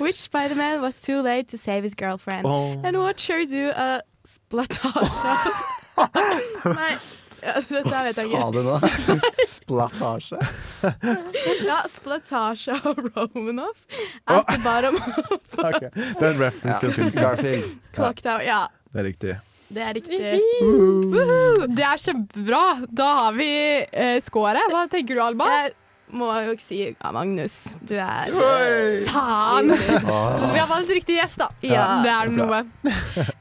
[SPEAKER 6] Which Spider-Man was too late to save his girlfriend?
[SPEAKER 8] Åh.
[SPEAKER 6] And what sure do a splatasje Nei, ja, dette vet jeg
[SPEAKER 8] Sa du
[SPEAKER 6] ikke.
[SPEAKER 8] nå?
[SPEAKER 6] <laughs>
[SPEAKER 8] Splatasje?
[SPEAKER 6] Ja, splatasje av Romanoff at the bottom of
[SPEAKER 7] Ok, Det er en reference til filmen.
[SPEAKER 8] Garfield.
[SPEAKER 7] Ja,
[SPEAKER 3] Clock tower, ja.
[SPEAKER 7] det er riktig.
[SPEAKER 3] Det er riktig. Woohoo! Det er kjempebra. Da har vi uh, scoret. Hva tenker du, Alba?
[SPEAKER 6] Må jo ikke si ja, Magnus. Du er
[SPEAKER 3] Oi! Faen!
[SPEAKER 6] Ah.
[SPEAKER 3] Vi har valgt riktig gjest, da.
[SPEAKER 6] Ja.
[SPEAKER 3] det er noe.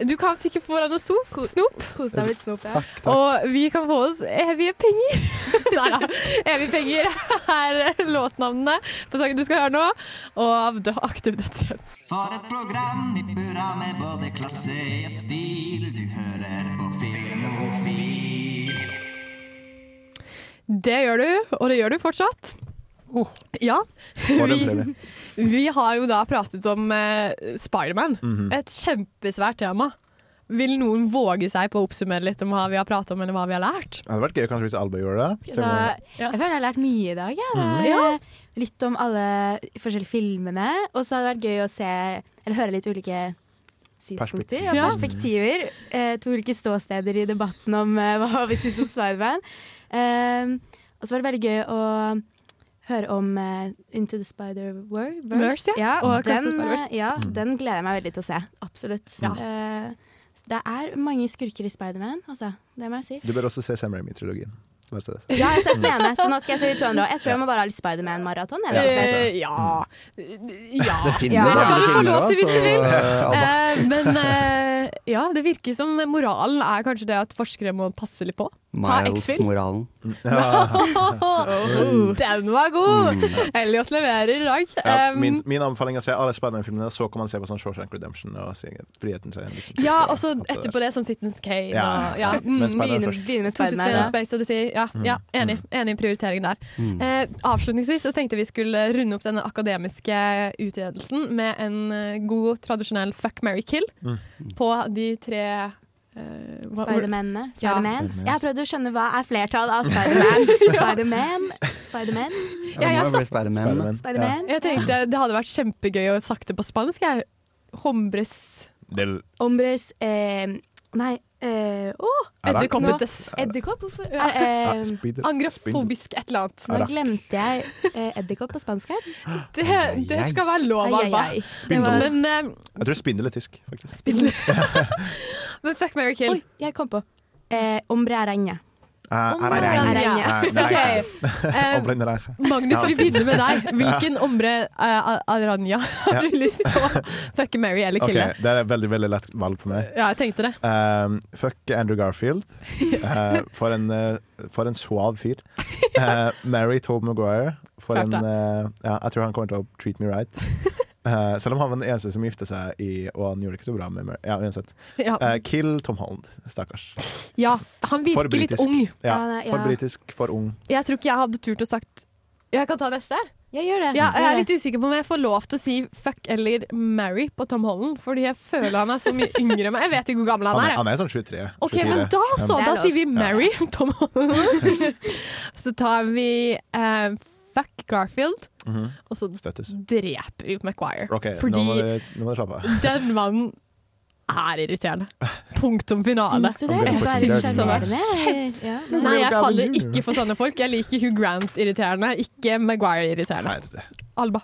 [SPEAKER 3] Du kan sikkert få deg noe sop, snop.
[SPEAKER 6] Kos deg med litt snop. Ja.
[SPEAKER 3] Og vi kan få oss evige
[SPEAKER 6] <laughs>
[SPEAKER 3] penger. Nei da. Evige penger er låtnavnene på sangen du skal høre nå. Og av Dø- Aktiv Dødshjelp.
[SPEAKER 11] For et program i burra med både klasse og stil. Du hører på Filmofil.
[SPEAKER 3] Det gjør du, og det gjør du fortsatt. Ja.
[SPEAKER 7] For en
[SPEAKER 3] Vi,
[SPEAKER 7] premie.
[SPEAKER 3] vi har jo da pratet om eh, Spiderman.
[SPEAKER 7] Mhm.
[SPEAKER 3] Et kjempesvært tema. Vil noen våge seg på å oppsummere litt om hva vi har pratet om, eller hva vi har lært? Eh,
[SPEAKER 7] Det hadde vært gøy kanskje hvis Alba gjorde det.
[SPEAKER 6] Da, Jeg føler jeg har lært mye i dag. jeg.
[SPEAKER 3] Mm.
[SPEAKER 7] Mhm.
[SPEAKER 6] Det er, eh, Litt om alle forskjellige filmene. Og så hadde det vært gøy å se, eller høre litt ulike synspunkter og
[SPEAKER 3] Ja.
[SPEAKER 6] perspektiver. Eh, to ulike ståsteder i debatten om eh, hva vi syns om Spiderman. Um, og så var det veldig gøy å høre om eh, Into the Spider-Verse.
[SPEAKER 3] Verse, ja. Og Across the
[SPEAKER 6] den, eh,
[SPEAKER 3] Spider-Verse.
[SPEAKER 6] ja,
[SPEAKER 3] Mm.
[SPEAKER 6] den gleder jeg meg veldig til å se. Absolutt. Eh, det er mange skurker i Spiderman, altså. Det må jeg si.
[SPEAKER 7] Du bør også se Sam Raimi-trilogien. Bare så
[SPEAKER 6] Ja,
[SPEAKER 7] det er sagt.
[SPEAKER 6] jeg har sett den ene, så nå skal jeg se de to andre òg. Jeg tror jeg må bare ha litt Spiderman-maraton. jeg, rett og slett.
[SPEAKER 3] ja. ja.
[SPEAKER 8] Det finnes
[SPEAKER 3] Ja.
[SPEAKER 8] andre
[SPEAKER 3] Det skal du få
[SPEAKER 8] filmer
[SPEAKER 3] lov til
[SPEAKER 8] også,
[SPEAKER 3] hvis du vil.
[SPEAKER 8] eh, Alba.
[SPEAKER 3] Eh, men eh, ja, det virker som moralen er kanskje det at forskere må passe litt på. Ta X-Fill.
[SPEAKER 8] Miles-moralen.
[SPEAKER 3] <laughs> Den var god! Elliot leverer i dag.
[SPEAKER 7] Ja,
[SPEAKER 3] Um,
[SPEAKER 7] min, min anbefaling er å se alle Spiderman-filmene, så kan man se på sånn Shawshank Redemption og se friheten seg. Liksom.
[SPEAKER 3] ja, og så etterpå det sånn Citizens Kane
[SPEAKER 7] Ja,
[SPEAKER 3] og
[SPEAKER 7] ja.
[SPEAKER 3] ja. mm,
[SPEAKER 7] Men Spider-Man
[SPEAKER 3] begynner-
[SPEAKER 7] først.
[SPEAKER 6] begynner med
[SPEAKER 3] 2001
[SPEAKER 6] Spider-Man, ja.
[SPEAKER 3] Space Odyssey. Ja, ja enig, enig i prioriteringen der.
[SPEAKER 6] Mm.
[SPEAKER 3] Eh, avslutningsvis så tenkte jeg vi skulle runde opp denne akademiske utredelsen med en eh, god, tradisjonell fuck, marry, kill
[SPEAKER 7] Mm.
[SPEAKER 3] på de tre eh, hva-
[SPEAKER 6] Spidermennene.
[SPEAKER 3] Ja.
[SPEAKER 6] Spidermans. Jeg har prøvd å skjønne hva er flertall av <laughs> Spiderman. Spiderman. Spiderman.
[SPEAKER 3] Ja, jeg
[SPEAKER 8] Det må jo bli Spider-Man.
[SPEAKER 7] Spider-Man.
[SPEAKER 6] Spiderman.
[SPEAKER 3] Jeg tenkte det hadde vært kjempegøy å sagt det på spansk. Jeg. Hombres
[SPEAKER 7] Del
[SPEAKER 6] Ombres eh, Nei eh, å!
[SPEAKER 3] Edderkoppetes.
[SPEAKER 6] Nå- Edderkopp? Hvorfor?
[SPEAKER 7] Ah,
[SPEAKER 6] Eh,
[SPEAKER 7] spider-
[SPEAKER 3] Angrafobisk et eller annet.
[SPEAKER 6] nå glemte jeg eh, edderkopp på spansk her.
[SPEAKER 3] Det, det skal være lov,
[SPEAKER 6] Ai, ai,
[SPEAKER 3] Alba.
[SPEAKER 6] ai.
[SPEAKER 7] Spindel.
[SPEAKER 3] Men, eh,
[SPEAKER 7] Jeg tror spindel er tysk, faktisk. <laughs>
[SPEAKER 3] men fuck, marry, kill.
[SPEAKER 6] Oi, jeg kom på. Eh, ombre araña.
[SPEAKER 7] Eh, er det
[SPEAKER 3] Ombre
[SPEAKER 7] regn?
[SPEAKER 3] araña.
[SPEAKER 7] Eh, det
[SPEAKER 3] <laughs>
[SPEAKER 7] er regn.
[SPEAKER 3] Ok. Eh,
[SPEAKER 7] Ombre araña.
[SPEAKER 3] Magnus,
[SPEAKER 7] Ja,
[SPEAKER 3] vi
[SPEAKER 7] fint.
[SPEAKER 3] begynner med deg.
[SPEAKER 7] <laughs> Ja.
[SPEAKER 3] Hvilken ombre uh, aranja har du lyst til å fucke, marry eller
[SPEAKER 7] Ok,
[SPEAKER 3] kille?
[SPEAKER 7] det er et veldig, veldig lett valg for meg.
[SPEAKER 3] Ja, jeg tenkte det.
[SPEAKER 7] Um, fuck Andrew
[SPEAKER 3] <laughs>
[SPEAKER 7] Garfield. Eh, for, en, eh, for en suav fyr. Eh, Mary Tobe Maguire. For
[SPEAKER 3] Klart
[SPEAKER 7] en,
[SPEAKER 3] det.
[SPEAKER 7] eh, ja, jeg tror han kommer til å treat me
[SPEAKER 3] <laughs>
[SPEAKER 7] right. Eh, selv om han var den eneste som gifta seg, i, og han gjorde ikke så bra med Mary. Ja, uansett.
[SPEAKER 3] Ja.
[SPEAKER 7] Eh, kill Tom Holland. Stakkars.
[SPEAKER 3] Ja, han
[SPEAKER 7] For
[SPEAKER 3] virker litt
[SPEAKER 7] britisk.
[SPEAKER 3] ung.
[SPEAKER 7] Ja, for britisk, for ung.
[SPEAKER 3] Jeg tror ikke jeg hadde turt å sagt Jeg kan ta neste.
[SPEAKER 6] Jeg gjør det.
[SPEAKER 3] Ja, jeg er litt usikker på om jeg får lov til å si fuck eller marry på Tom Holland, fordi jeg føler han er så mye yngre enn meg. Jeg vet ikke hvor gammel
[SPEAKER 7] Han
[SPEAKER 3] han
[SPEAKER 7] er,
[SPEAKER 3] er.
[SPEAKER 7] han er sånn 23.
[SPEAKER 3] Ok,
[SPEAKER 7] 24.
[SPEAKER 3] men da så,
[SPEAKER 7] Ja.
[SPEAKER 3] da sier vi <laughs> marry Tom Holland. så tar vi eh, fuck Garfield,
[SPEAKER 7] Mhm.
[SPEAKER 3] og så
[SPEAKER 7] Støttes.
[SPEAKER 3] dreper vi Maguire.
[SPEAKER 7] Ok, nå må
[SPEAKER 3] fordi
[SPEAKER 7] dere, nå må dere slappe av.
[SPEAKER 3] den mannen er irriterende. Punktum finale.
[SPEAKER 6] Syns du det? Jeg synes
[SPEAKER 3] Jeg
[SPEAKER 6] det er
[SPEAKER 3] syns han er
[SPEAKER 6] sjarmerende.
[SPEAKER 3] kjempe-
[SPEAKER 6] Ja.
[SPEAKER 3] Nei, jeg faller ikke for sånne folk. Jeg liker Hugh Grant irriterende, ikke Maguire irriterende. Alba.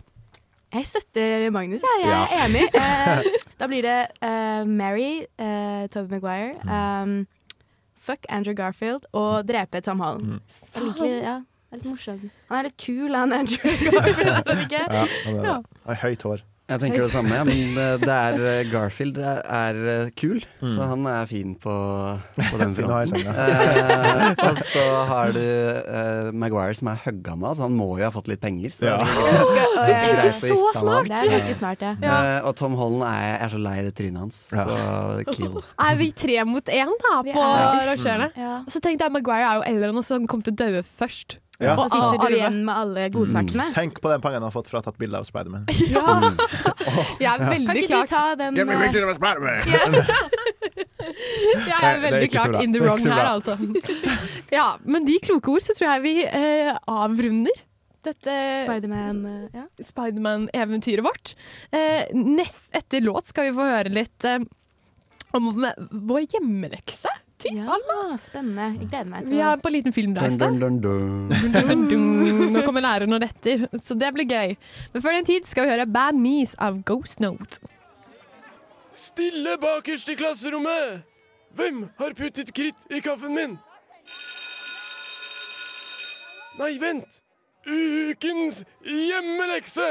[SPEAKER 6] Jeg støtter Magnus, jeg. Jeg er
[SPEAKER 3] Ja.
[SPEAKER 6] enig. Eh, da blir det eh, Mary, uh, Toby Maguire, ehm, fuck Andrew Garfield og drepe Tom Holland. Jeg liker det, ja. Det er litt morsomt. Han er litt kul, han Andrew Garfield. er han ikke?
[SPEAKER 7] Ja, han er det.
[SPEAKER 6] Ja.
[SPEAKER 7] Har Høyt hår.
[SPEAKER 8] Jeg tenker det samme, ja, men eh, det er eh, Garfield er, er eh, kul, så han er fin på, på den
[SPEAKER 7] Fin å ha i
[SPEAKER 8] fronten.
[SPEAKER 7] senga.
[SPEAKER 8] Eh, og så har du eh, Maguire som er høggammal, så han må jo ha fått litt penger. Så
[SPEAKER 7] Ja.
[SPEAKER 8] det
[SPEAKER 6] Ganske-
[SPEAKER 8] er greit å gifte
[SPEAKER 6] tenker
[SPEAKER 8] seg med.
[SPEAKER 6] Det er ganske smart, ja.
[SPEAKER 8] Eh, og Tom Holland er jeg er så lei det trynet hans, så kill.
[SPEAKER 3] Er vi tre mot én da, på
[SPEAKER 8] er-
[SPEAKER 3] rangerende?
[SPEAKER 6] Mm.
[SPEAKER 3] Og så tenkte jeg Maguire er jo eldre enn oss, så han kom til å daue først.
[SPEAKER 7] Ja.
[SPEAKER 3] Og
[SPEAKER 7] Da sitter du
[SPEAKER 3] arve.
[SPEAKER 6] igjen med alle
[SPEAKER 7] Mm. Tenk på den pengen han har fått for å ha tatt bilde av
[SPEAKER 3] <laughs>
[SPEAKER 7] Spiderman.
[SPEAKER 3] Jeg er
[SPEAKER 7] Ja.
[SPEAKER 6] Kan
[SPEAKER 3] veldig
[SPEAKER 6] ikke du
[SPEAKER 3] klart
[SPEAKER 6] ta den
[SPEAKER 7] Give me a
[SPEAKER 6] eh,
[SPEAKER 7] picture of Spider-Man.
[SPEAKER 3] Jeg
[SPEAKER 7] Nei,
[SPEAKER 3] er
[SPEAKER 7] det er
[SPEAKER 3] veldig
[SPEAKER 7] ikke så
[SPEAKER 3] klart
[SPEAKER 7] bra.
[SPEAKER 3] in the
[SPEAKER 7] Det er
[SPEAKER 3] wrong
[SPEAKER 7] ikke så
[SPEAKER 3] her,
[SPEAKER 7] bra.
[SPEAKER 3] altså. <laughs> Ja, men de kloke ord så tror jeg vi eh, avrunder dette
[SPEAKER 6] Spiderman, eh, ja.
[SPEAKER 3] Spiderman-eventyret vårt. Eh, nest etter låt skal vi få høre litt eh, om vår hjemmelekse. Typ,
[SPEAKER 6] Alma. Spennende. Jeg gleder meg til
[SPEAKER 3] Vi er på en liten filmreise.
[SPEAKER 8] Dun, dun, dun, dun.
[SPEAKER 3] Dun-dun-dun. Nå kommer læreren og retter, så det blir gøy. Men før den tid skal vi høre Bad Knees av Ghost Note.
[SPEAKER 18] Stille bakerst i klasserommet! Hvem har puttet kritt i kaffen min? Nei, vent! Ukens hjemmelekse!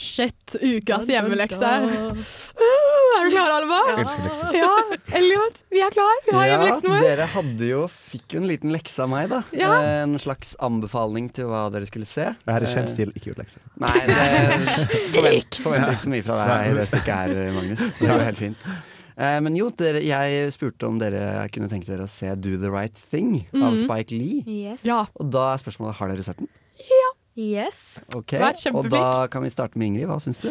[SPEAKER 3] Shit, ukas hjemmelekse.
[SPEAKER 18] Da-da-da.
[SPEAKER 3] Uh, <laughs> Er du klar, Alva?
[SPEAKER 8] Ja. Elsker lekser.
[SPEAKER 3] Ja, Elliot, vi er klar. Vi har hjemmeleksen vår.
[SPEAKER 8] dere hadde jo, fikk jo en liten lekse av meg, da. Eh,
[SPEAKER 3] Ja.
[SPEAKER 8] En slags anbefaling til hva dere skulle se.
[SPEAKER 7] Jeg har i kjent
[SPEAKER 8] Eh,
[SPEAKER 7] stil ikke gjort lekser.
[SPEAKER 8] Nei, det forvent,
[SPEAKER 7] Stikk!
[SPEAKER 8] forventer ikke så mye fra deg i det stykket her, Magnus. Det går helt fint. Eh, Men jo, dere, jeg spurte om dere kunne tenke dere å se Do the Right Thing av
[SPEAKER 3] Mhm.
[SPEAKER 8] Spike Lee.
[SPEAKER 6] Yes.
[SPEAKER 8] Og da er spørsmålet har dere sett den.
[SPEAKER 6] Yes.
[SPEAKER 8] Ok,
[SPEAKER 3] Vær
[SPEAKER 8] Og
[SPEAKER 3] kjempeflink.
[SPEAKER 8] da kan vi starte med Ingrid. Hva syns du?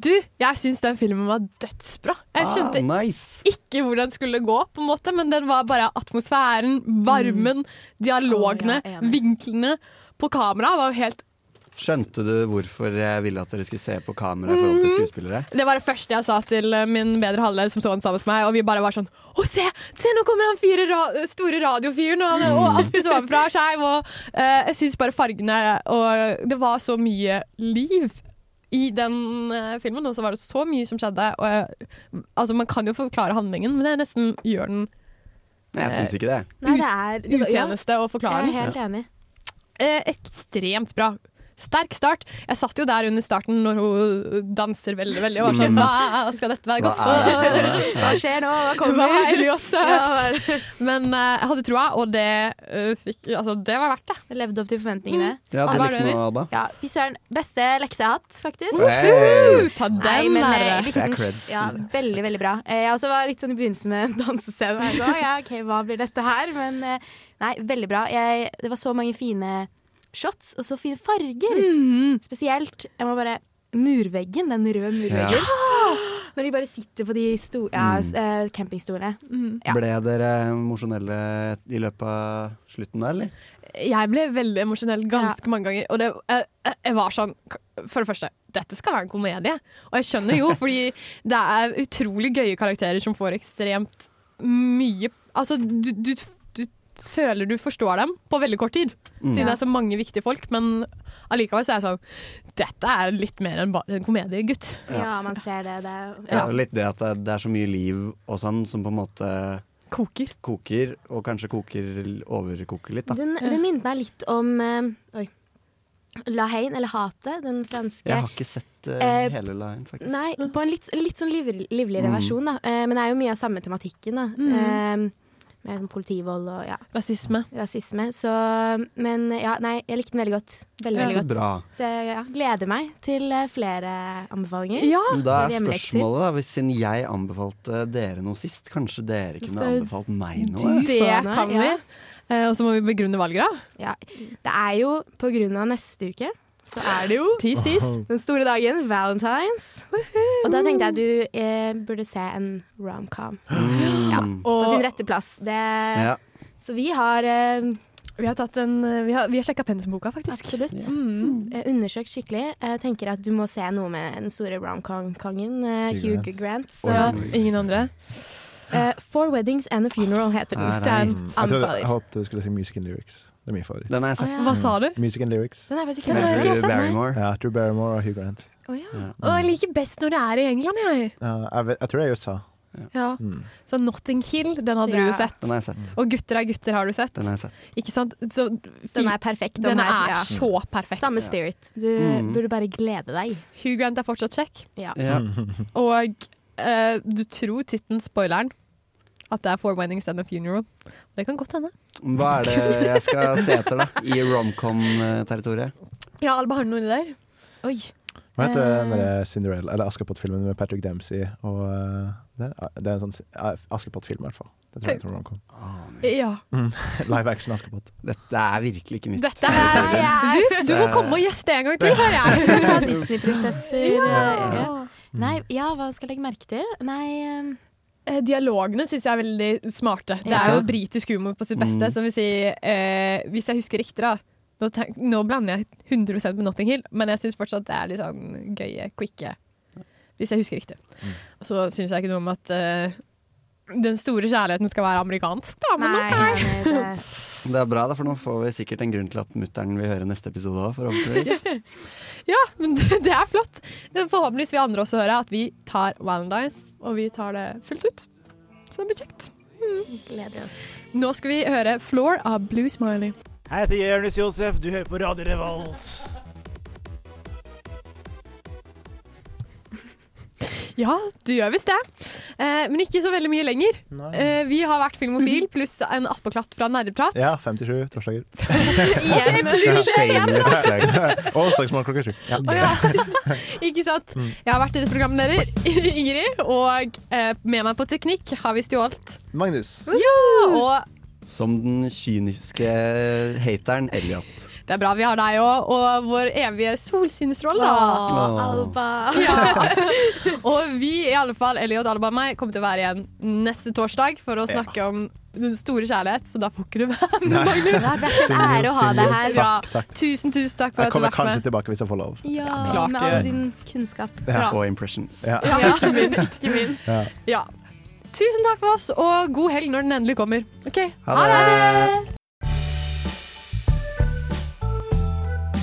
[SPEAKER 3] Du, jeg syns den filmen var dødsbra. Jeg
[SPEAKER 8] Ah,
[SPEAKER 3] skjønte
[SPEAKER 8] nice.
[SPEAKER 3] ikke hvor den skulle gå, på en måte, men den var bare atmosfæren, varmen, dialogene, vinklene på kamera var jo helt
[SPEAKER 8] Skjønte du hvorfor jeg ville at dere skulle se på kamera i forhold
[SPEAKER 6] Mm.
[SPEAKER 8] til
[SPEAKER 3] Mhm.
[SPEAKER 8] skuespillere?
[SPEAKER 3] Det var det første jeg sa til eh, min bedre halvdel som så den sammen med meg, og vi bare var sånn Å, se! Se, nå kommer han fire ra store radiofyren, og, han- og alt det så ovenfra er skeiv, og eh, jeg syns bare fargene Og det var så mye liv i den eh, filmen, og så var det så mye som skjedde, og jeg, Altså, man kan jo forklare handlingen, men det er nesten gjør den
[SPEAKER 8] Nei,
[SPEAKER 6] Eh.
[SPEAKER 8] jeg syns ikke det.
[SPEAKER 6] Nei, det er det var- ja.
[SPEAKER 3] utjeneste å forklare
[SPEAKER 6] Jeg er helt
[SPEAKER 3] den.
[SPEAKER 6] enig.
[SPEAKER 3] Eh, ekstremt bra. Sterk start. Jeg satt jo der under starten når hun danser veldig, veldig. Og var
[SPEAKER 6] Mm.
[SPEAKER 3] sånn, Hva skal dette være
[SPEAKER 6] Hva
[SPEAKER 3] godt
[SPEAKER 6] er
[SPEAKER 3] for?
[SPEAKER 6] dette? Hva skjer nå? Hva kommer?
[SPEAKER 3] Hva er
[SPEAKER 6] <laughs>
[SPEAKER 3] Elliot
[SPEAKER 6] Ja, hva
[SPEAKER 3] søkt? Men eh, jeg hadde troa, og det eh, fikk Altså, det var verdt det.
[SPEAKER 6] Levde opp til forventningene.
[SPEAKER 8] Ja, du
[SPEAKER 3] Alba, er
[SPEAKER 8] likte
[SPEAKER 3] enig?
[SPEAKER 8] noe, Alba?
[SPEAKER 6] Ja, fy søren. Beste lekse jeg har hatt, faktisk.
[SPEAKER 8] Hey!
[SPEAKER 3] Ta den,
[SPEAKER 6] Nei, men, eh,
[SPEAKER 3] lærere.
[SPEAKER 6] jeg likte
[SPEAKER 8] Det er
[SPEAKER 6] den
[SPEAKER 8] creds.
[SPEAKER 6] Ja, veldig, veldig bra. Eh, Jeg også var litt sånn i begynnelsen med dansescenen. og jeg så, Ja, ok, hva blir dette her? Men eh, nei, veldig bra. Jeg, det var så mange fine shots, og så fine farger. Mm-hmm. Spesielt, jeg må bare Murveggen, den røde murveggen. Når de bare sitter på de sto ja,
[SPEAKER 8] Mm.
[SPEAKER 6] eh, campingstolene. Ja.
[SPEAKER 8] Ble dere emosjonelle i løpet av slutten der, eller?
[SPEAKER 3] Jeg ble veldig emosjonell ganske mange ganger. Og det, jeg, jeg- jeg var sånn For det første, dette skal være en komedie. Og jeg skjønner <laughs> jo, fordi det er utrolig gøye karakterer som får ekstremt mye Altså, du, du, du føler du forstår dem på veldig kort tid.
[SPEAKER 19] Mm.
[SPEAKER 3] Siden det er så mange viktige folk. Men allikevel så er jeg sånn Dette er litt mer enn bare en komedie, gutt.
[SPEAKER 6] Ja, man ser det. det er,
[SPEAKER 8] Det er jo litt det at det, det er så mye liv og sånn som på en måte
[SPEAKER 3] Koker.
[SPEAKER 8] Koker, og kanskje koker overkoker litt, da.
[SPEAKER 6] Den, den minnet meg litt om eh, oi, La Haine, eller Hatet, den franske
[SPEAKER 8] Jeg har ikke sett eh,
[SPEAKER 6] Eh,
[SPEAKER 8] hele Lion, faktisk.
[SPEAKER 6] Nei, på en litt, litt sånn livlig, livligere
[SPEAKER 8] Mm.
[SPEAKER 6] versjon, da. Eh, men det er jo mye av samme tematikken, da.
[SPEAKER 3] Mm.
[SPEAKER 6] Eh, med sånn politivold og ja.
[SPEAKER 3] Rasisme.
[SPEAKER 6] Så, men ja, nei, jeg likte den veldig godt. Veldig,
[SPEAKER 8] Ja.
[SPEAKER 6] veldig
[SPEAKER 8] Så
[SPEAKER 6] godt.
[SPEAKER 8] bra.
[SPEAKER 6] Så jeg ja, gleder meg til eh, flere anbefalinger.
[SPEAKER 8] Men Da er
[SPEAKER 6] Flere hjemmelekser.
[SPEAKER 8] spørsmålet, da, hvis siden jeg anbefalte dere noe sist, kanskje dere kunne
[SPEAKER 6] skal
[SPEAKER 8] anbefalt meg noe?
[SPEAKER 3] Det kan vi.
[SPEAKER 6] ja.
[SPEAKER 3] Eh, Og så må vi begrunne valget, da.
[SPEAKER 6] Ja. Det er jo på grunn av neste uke, så er
[SPEAKER 8] <gasps>
[SPEAKER 6] det jo
[SPEAKER 3] Tis, tis.
[SPEAKER 8] mm.
[SPEAKER 6] den store dagen, valentines. Og da tenkte jeg du eh, burde se en romcom.
[SPEAKER 8] Mm.
[SPEAKER 6] Ja, eh, på sin rette plass. Det,
[SPEAKER 8] Ja.
[SPEAKER 6] Så vi har eh,
[SPEAKER 3] Vi har, tatt en, eh, vi har, vi har sjekka pensumboka, faktisk. Mm.
[SPEAKER 6] Absolutt. Eh, undersøkt skikkelig. Jeg tenker at du må se noe med den store romcom-kongen, eh,
[SPEAKER 3] Hugh
[SPEAKER 6] Hugh
[SPEAKER 3] Grant.
[SPEAKER 6] Grant. Så.
[SPEAKER 3] Og Ja, ingen andre.
[SPEAKER 6] Eh, Four Weddings and a Funeral heter den.
[SPEAKER 7] Mm. Jeg
[SPEAKER 6] Den
[SPEAKER 7] trodde jeg
[SPEAKER 6] anbefaler.
[SPEAKER 7] håpet du skulle si Music and Lyrics. Det er min favoritt. Mm.
[SPEAKER 8] Den har jeg sett.
[SPEAKER 3] Hva sa du?
[SPEAKER 7] Music and Lyrics.
[SPEAKER 3] Den har jeg faktisk ikke- Den har jeg ikke sett, nei. Barrymore.
[SPEAKER 7] Ja, Drew Barrymore og Hugh Grant. Mm.
[SPEAKER 3] Å ja. Å, jeg liker best når det er i England, jeg.
[SPEAKER 7] Ja, jeg, vet, jeg tror det er i USA.
[SPEAKER 3] Ja.
[SPEAKER 7] Mm.
[SPEAKER 3] Så Notting Hill, den hadde du
[SPEAKER 6] Ja.
[SPEAKER 3] jo sett.
[SPEAKER 8] Den har jeg sett.
[SPEAKER 3] Og Gutter er gutter har du sett.
[SPEAKER 8] Den har jeg sett.
[SPEAKER 3] Ikke sant? Så,
[SPEAKER 6] Den er perfekt.
[SPEAKER 3] Den
[SPEAKER 6] den her,
[SPEAKER 3] er
[SPEAKER 6] ja.
[SPEAKER 3] så perfekt.
[SPEAKER 6] Samme spirit. Du
[SPEAKER 3] Mm.
[SPEAKER 6] burde bare glede <laughs> deg.
[SPEAKER 3] Hugh Grant er fortsatt kjekk.
[SPEAKER 6] Ja.
[SPEAKER 3] Og eh, du tror tittelen, spoileren, at det er Four Weddings and a Funeral. Det kan godt hende.
[SPEAKER 8] Hva er det jeg skal se etter, da? I romcom-territoriet?
[SPEAKER 3] Ja, Alba, har du noen ideer? Oi.
[SPEAKER 7] <laughs> Hva heter den
[SPEAKER 3] Eh,
[SPEAKER 7] der Cinderella, eller Askepott-filmen med Patrick Dempsey og eh, Det er, det er en sånn eh, Askepott-film, i hvert fall. Det tror jeg tror romcom.
[SPEAKER 3] Ja.
[SPEAKER 7] Mm. <laughs> Live action Askepott.
[SPEAKER 8] Dette er virkelig ikke mitt.
[SPEAKER 3] Dette er Du, du
[SPEAKER 6] Eh,
[SPEAKER 3] må komme og gjeste en gang til,
[SPEAKER 6] <laughs>
[SPEAKER 3] hører jeg.
[SPEAKER 6] Ta Disney-prinsesser.
[SPEAKER 3] Ja.
[SPEAKER 6] eh, ja.
[SPEAKER 7] Mm.
[SPEAKER 6] Nei, ja, hva skal jeg legge merke til? Nei
[SPEAKER 3] Eh, Dialogene syns jeg er veldig smarte. Det
[SPEAKER 6] Ja.
[SPEAKER 3] er jo britisk humor på sitt beste.
[SPEAKER 6] Mm.
[SPEAKER 3] Som vil si, eh, hvis jeg husker riktig, da Nå, tenk, nå blander jeg 100 med Notting Hill, men jeg syns fortsatt det er litt sånn gøye, quicke Hvis jeg husker riktig.
[SPEAKER 6] Mm.
[SPEAKER 3] Og så syns jeg ikke noe om at eh, den store kjærligheten skal være amerikansk, da. Men
[SPEAKER 6] Nei, eh,
[SPEAKER 3] ok.
[SPEAKER 8] Det er bra, da, for nå får vi sikkert en grunn til at mutter'n vil høre neste episode òg, forhåpentligvis.
[SPEAKER 3] ja, men <laughs> det, det er flott. Forhåpentligvis vil andre også høre at vi tar Valentine's, og vi tar det fullt ut. Så det blir kjekt.
[SPEAKER 6] Gleder oss.
[SPEAKER 3] Nå skal vi høre Floor av Blue Smiley.
[SPEAKER 19] Hei, jeg heter Jonis Josef, du hører på Radio Revolt.
[SPEAKER 3] Ja, du gjør visst det. Eh, men ikke så veldig mye lenger.
[SPEAKER 7] Nei.
[SPEAKER 3] Eh, vi har vært Filmofil pluss en attpåklatt fra Nerdeprat. <laughs>
[SPEAKER 7] Ja, 57 torsdager. <laughs>
[SPEAKER 3] Igjen. <laughs>
[SPEAKER 7] Shameless plug. Og Onsdagsmorgen klokka sju. Ja.
[SPEAKER 3] Ikke sant?
[SPEAKER 7] Mm.
[SPEAKER 3] Jeg har vært deres programleder, <laughs> Ingrid, og eh, med meg på teknikk har vi stjålet
[SPEAKER 7] Magnus.
[SPEAKER 3] Og
[SPEAKER 8] Som den kyniske hateren Elliot.
[SPEAKER 3] det er bra vi har deg òg, og vår evige solsynsrolle, da.
[SPEAKER 8] Åh,
[SPEAKER 3] Alba. Ja. Og vi, i alle fall Elliot, Alba og meg, kommer til å være igjen neste torsdag for å
[SPEAKER 8] Ja.
[SPEAKER 3] snakke om den store kjærlighet, så da får ikke du være med,
[SPEAKER 7] Nei.
[SPEAKER 3] Magnus.
[SPEAKER 7] Det har vært en Synd, ære å ha synd. deg her.
[SPEAKER 3] Ja,
[SPEAKER 7] Takk, takk.
[SPEAKER 3] Tusen, tusen takk for at du
[SPEAKER 7] Jeg
[SPEAKER 3] har
[SPEAKER 7] kommer
[SPEAKER 3] vært
[SPEAKER 7] kanskje
[SPEAKER 3] med.
[SPEAKER 7] tilbake hvis jeg får lov.
[SPEAKER 6] Ja,
[SPEAKER 3] Klart
[SPEAKER 6] med
[SPEAKER 3] du
[SPEAKER 6] all
[SPEAKER 3] gjør.
[SPEAKER 6] din kunnskap.
[SPEAKER 7] Ja.
[SPEAKER 8] Og impressions.
[SPEAKER 7] Ja.
[SPEAKER 3] Ja, ikke minst.
[SPEAKER 6] Ikke minst.
[SPEAKER 7] Ja.
[SPEAKER 3] Ja. Tusen takk for oss, og god helg når den endelig kommer. Ok,
[SPEAKER 8] Ha det!